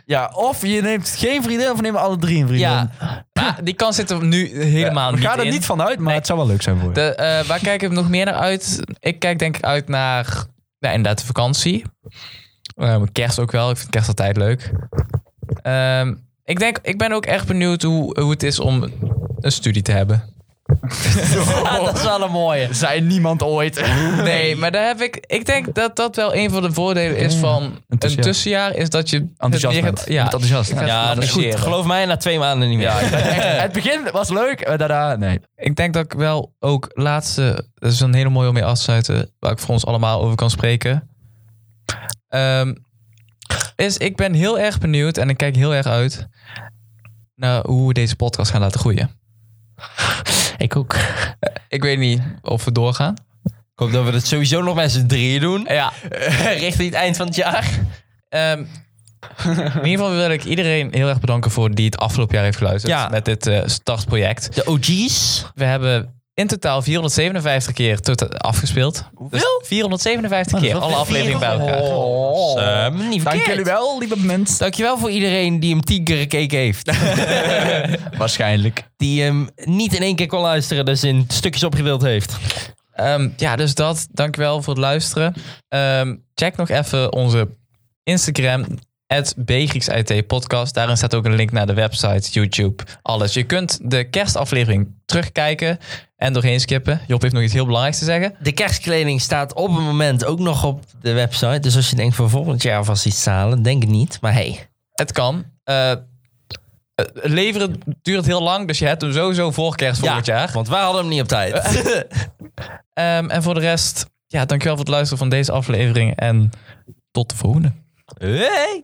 [SPEAKER 2] Ja, of je neemt geen vriendin of we nemen alle drie een vriendin. Eh,
[SPEAKER 3] Ja, maar die kans zit er nu helemaal
[SPEAKER 2] we
[SPEAKER 3] niet
[SPEAKER 2] gaan er
[SPEAKER 3] in.
[SPEAKER 2] niet van uit, maar
[SPEAKER 3] Nee.
[SPEAKER 2] het zou wel leuk zijn voor je.
[SPEAKER 3] De, eh, waar kijk ik nog meer naar uit? Ik kijk denk ik uit naar ja, inderdaad de vakantie. Ehm, kerst ook wel. Ik vind kerst altijd leuk. Ehm, ik, denk, ik ben ook echt benieuwd hoe, hoe het is om een studie te hebben.
[SPEAKER 1] Ah, dat is wel een mooie.
[SPEAKER 2] Zijn niemand ooit.
[SPEAKER 3] Nee, maar daar heb ik. Ik denk dat dat wel een van de voordelen is van een
[SPEAKER 2] tussenjaar.
[SPEAKER 3] tussenjaar. Is dat je. het
[SPEAKER 2] Enthousiast
[SPEAKER 3] meer gaat-
[SPEAKER 2] bent. Je
[SPEAKER 3] Ja,
[SPEAKER 2] bent enthousiast.
[SPEAKER 1] Ja,
[SPEAKER 3] ga
[SPEAKER 1] dat is goed.
[SPEAKER 3] appreciëren.
[SPEAKER 1] Geloof mij, na twee maanden niet meer.
[SPEAKER 2] het begin was leuk, maar daarna nee.
[SPEAKER 3] Ik denk dat ik wel ook laatste, dat is een hele mooie om mee af te sluiten, waar ik voor ons allemaal over kan spreken. Ehm, is ik ben heel erg benieuwd en ik kijk heel erg uit naar hoe we deze podcast gaan laten groeien.
[SPEAKER 1] Ik ook.
[SPEAKER 3] Ik weet niet of we doorgaan.
[SPEAKER 1] Ik hoop dat we dat sowieso nog met z'n drieën doen.
[SPEAKER 3] Ja.
[SPEAKER 1] Eh, Richting het eind van het jaar.
[SPEAKER 3] Ehm, in ieder geval wil ik iedereen heel erg bedanken voor die het afgelopen jaar heeft geluisterd
[SPEAKER 1] Ja.
[SPEAKER 3] met dit eh, startproject.
[SPEAKER 1] De OG's.
[SPEAKER 3] We hebben in totaal 457 keer tot afgespeeld. Hoeveel? Oh, 457 keer, alle afleveringen bij elkaar.
[SPEAKER 1] Sam, Oh, niet
[SPEAKER 2] Oh. Dank
[SPEAKER 1] verkeerd.
[SPEAKER 2] jullie wel, lieve mensen.
[SPEAKER 1] Dankjewel voor iedereen die hem tien keer gekeken heeft.
[SPEAKER 2] Waarschijnlijk.
[SPEAKER 1] Die hem niet in één keer kon luisteren, dus in stukjes opgedeeld heeft.
[SPEAKER 3] Ehm, ja, dus dat. Dankjewel voor het luisteren. Ehm, check nog even onze Instagram. Het BGrieksit podcast. Daarin staat ook een link naar de website, YouTube, alles. Je kunt de kerstaflevering terugkijken en doorheen skippen. Job heeft nog iets heel belangrijks te zeggen.
[SPEAKER 1] De kerstkleding staat op het moment ook nog op de website. Dus als je denkt voor volgend jaar vast iets te halen, denk het niet. Maar hey,
[SPEAKER 3] Het kan. Eh, eh, leveren duurt heel lang, dus je hebt hem sowieso voor kerst volgend jaar.
[SPEAKER 1] want wij hadden hem niet op tijd.
[SPEAKER 3] Ehm, en voor de rest, ja, dankjewel voor het luisteren van deze aflevering en tot de volgende.
[SPEAKER 1] hey.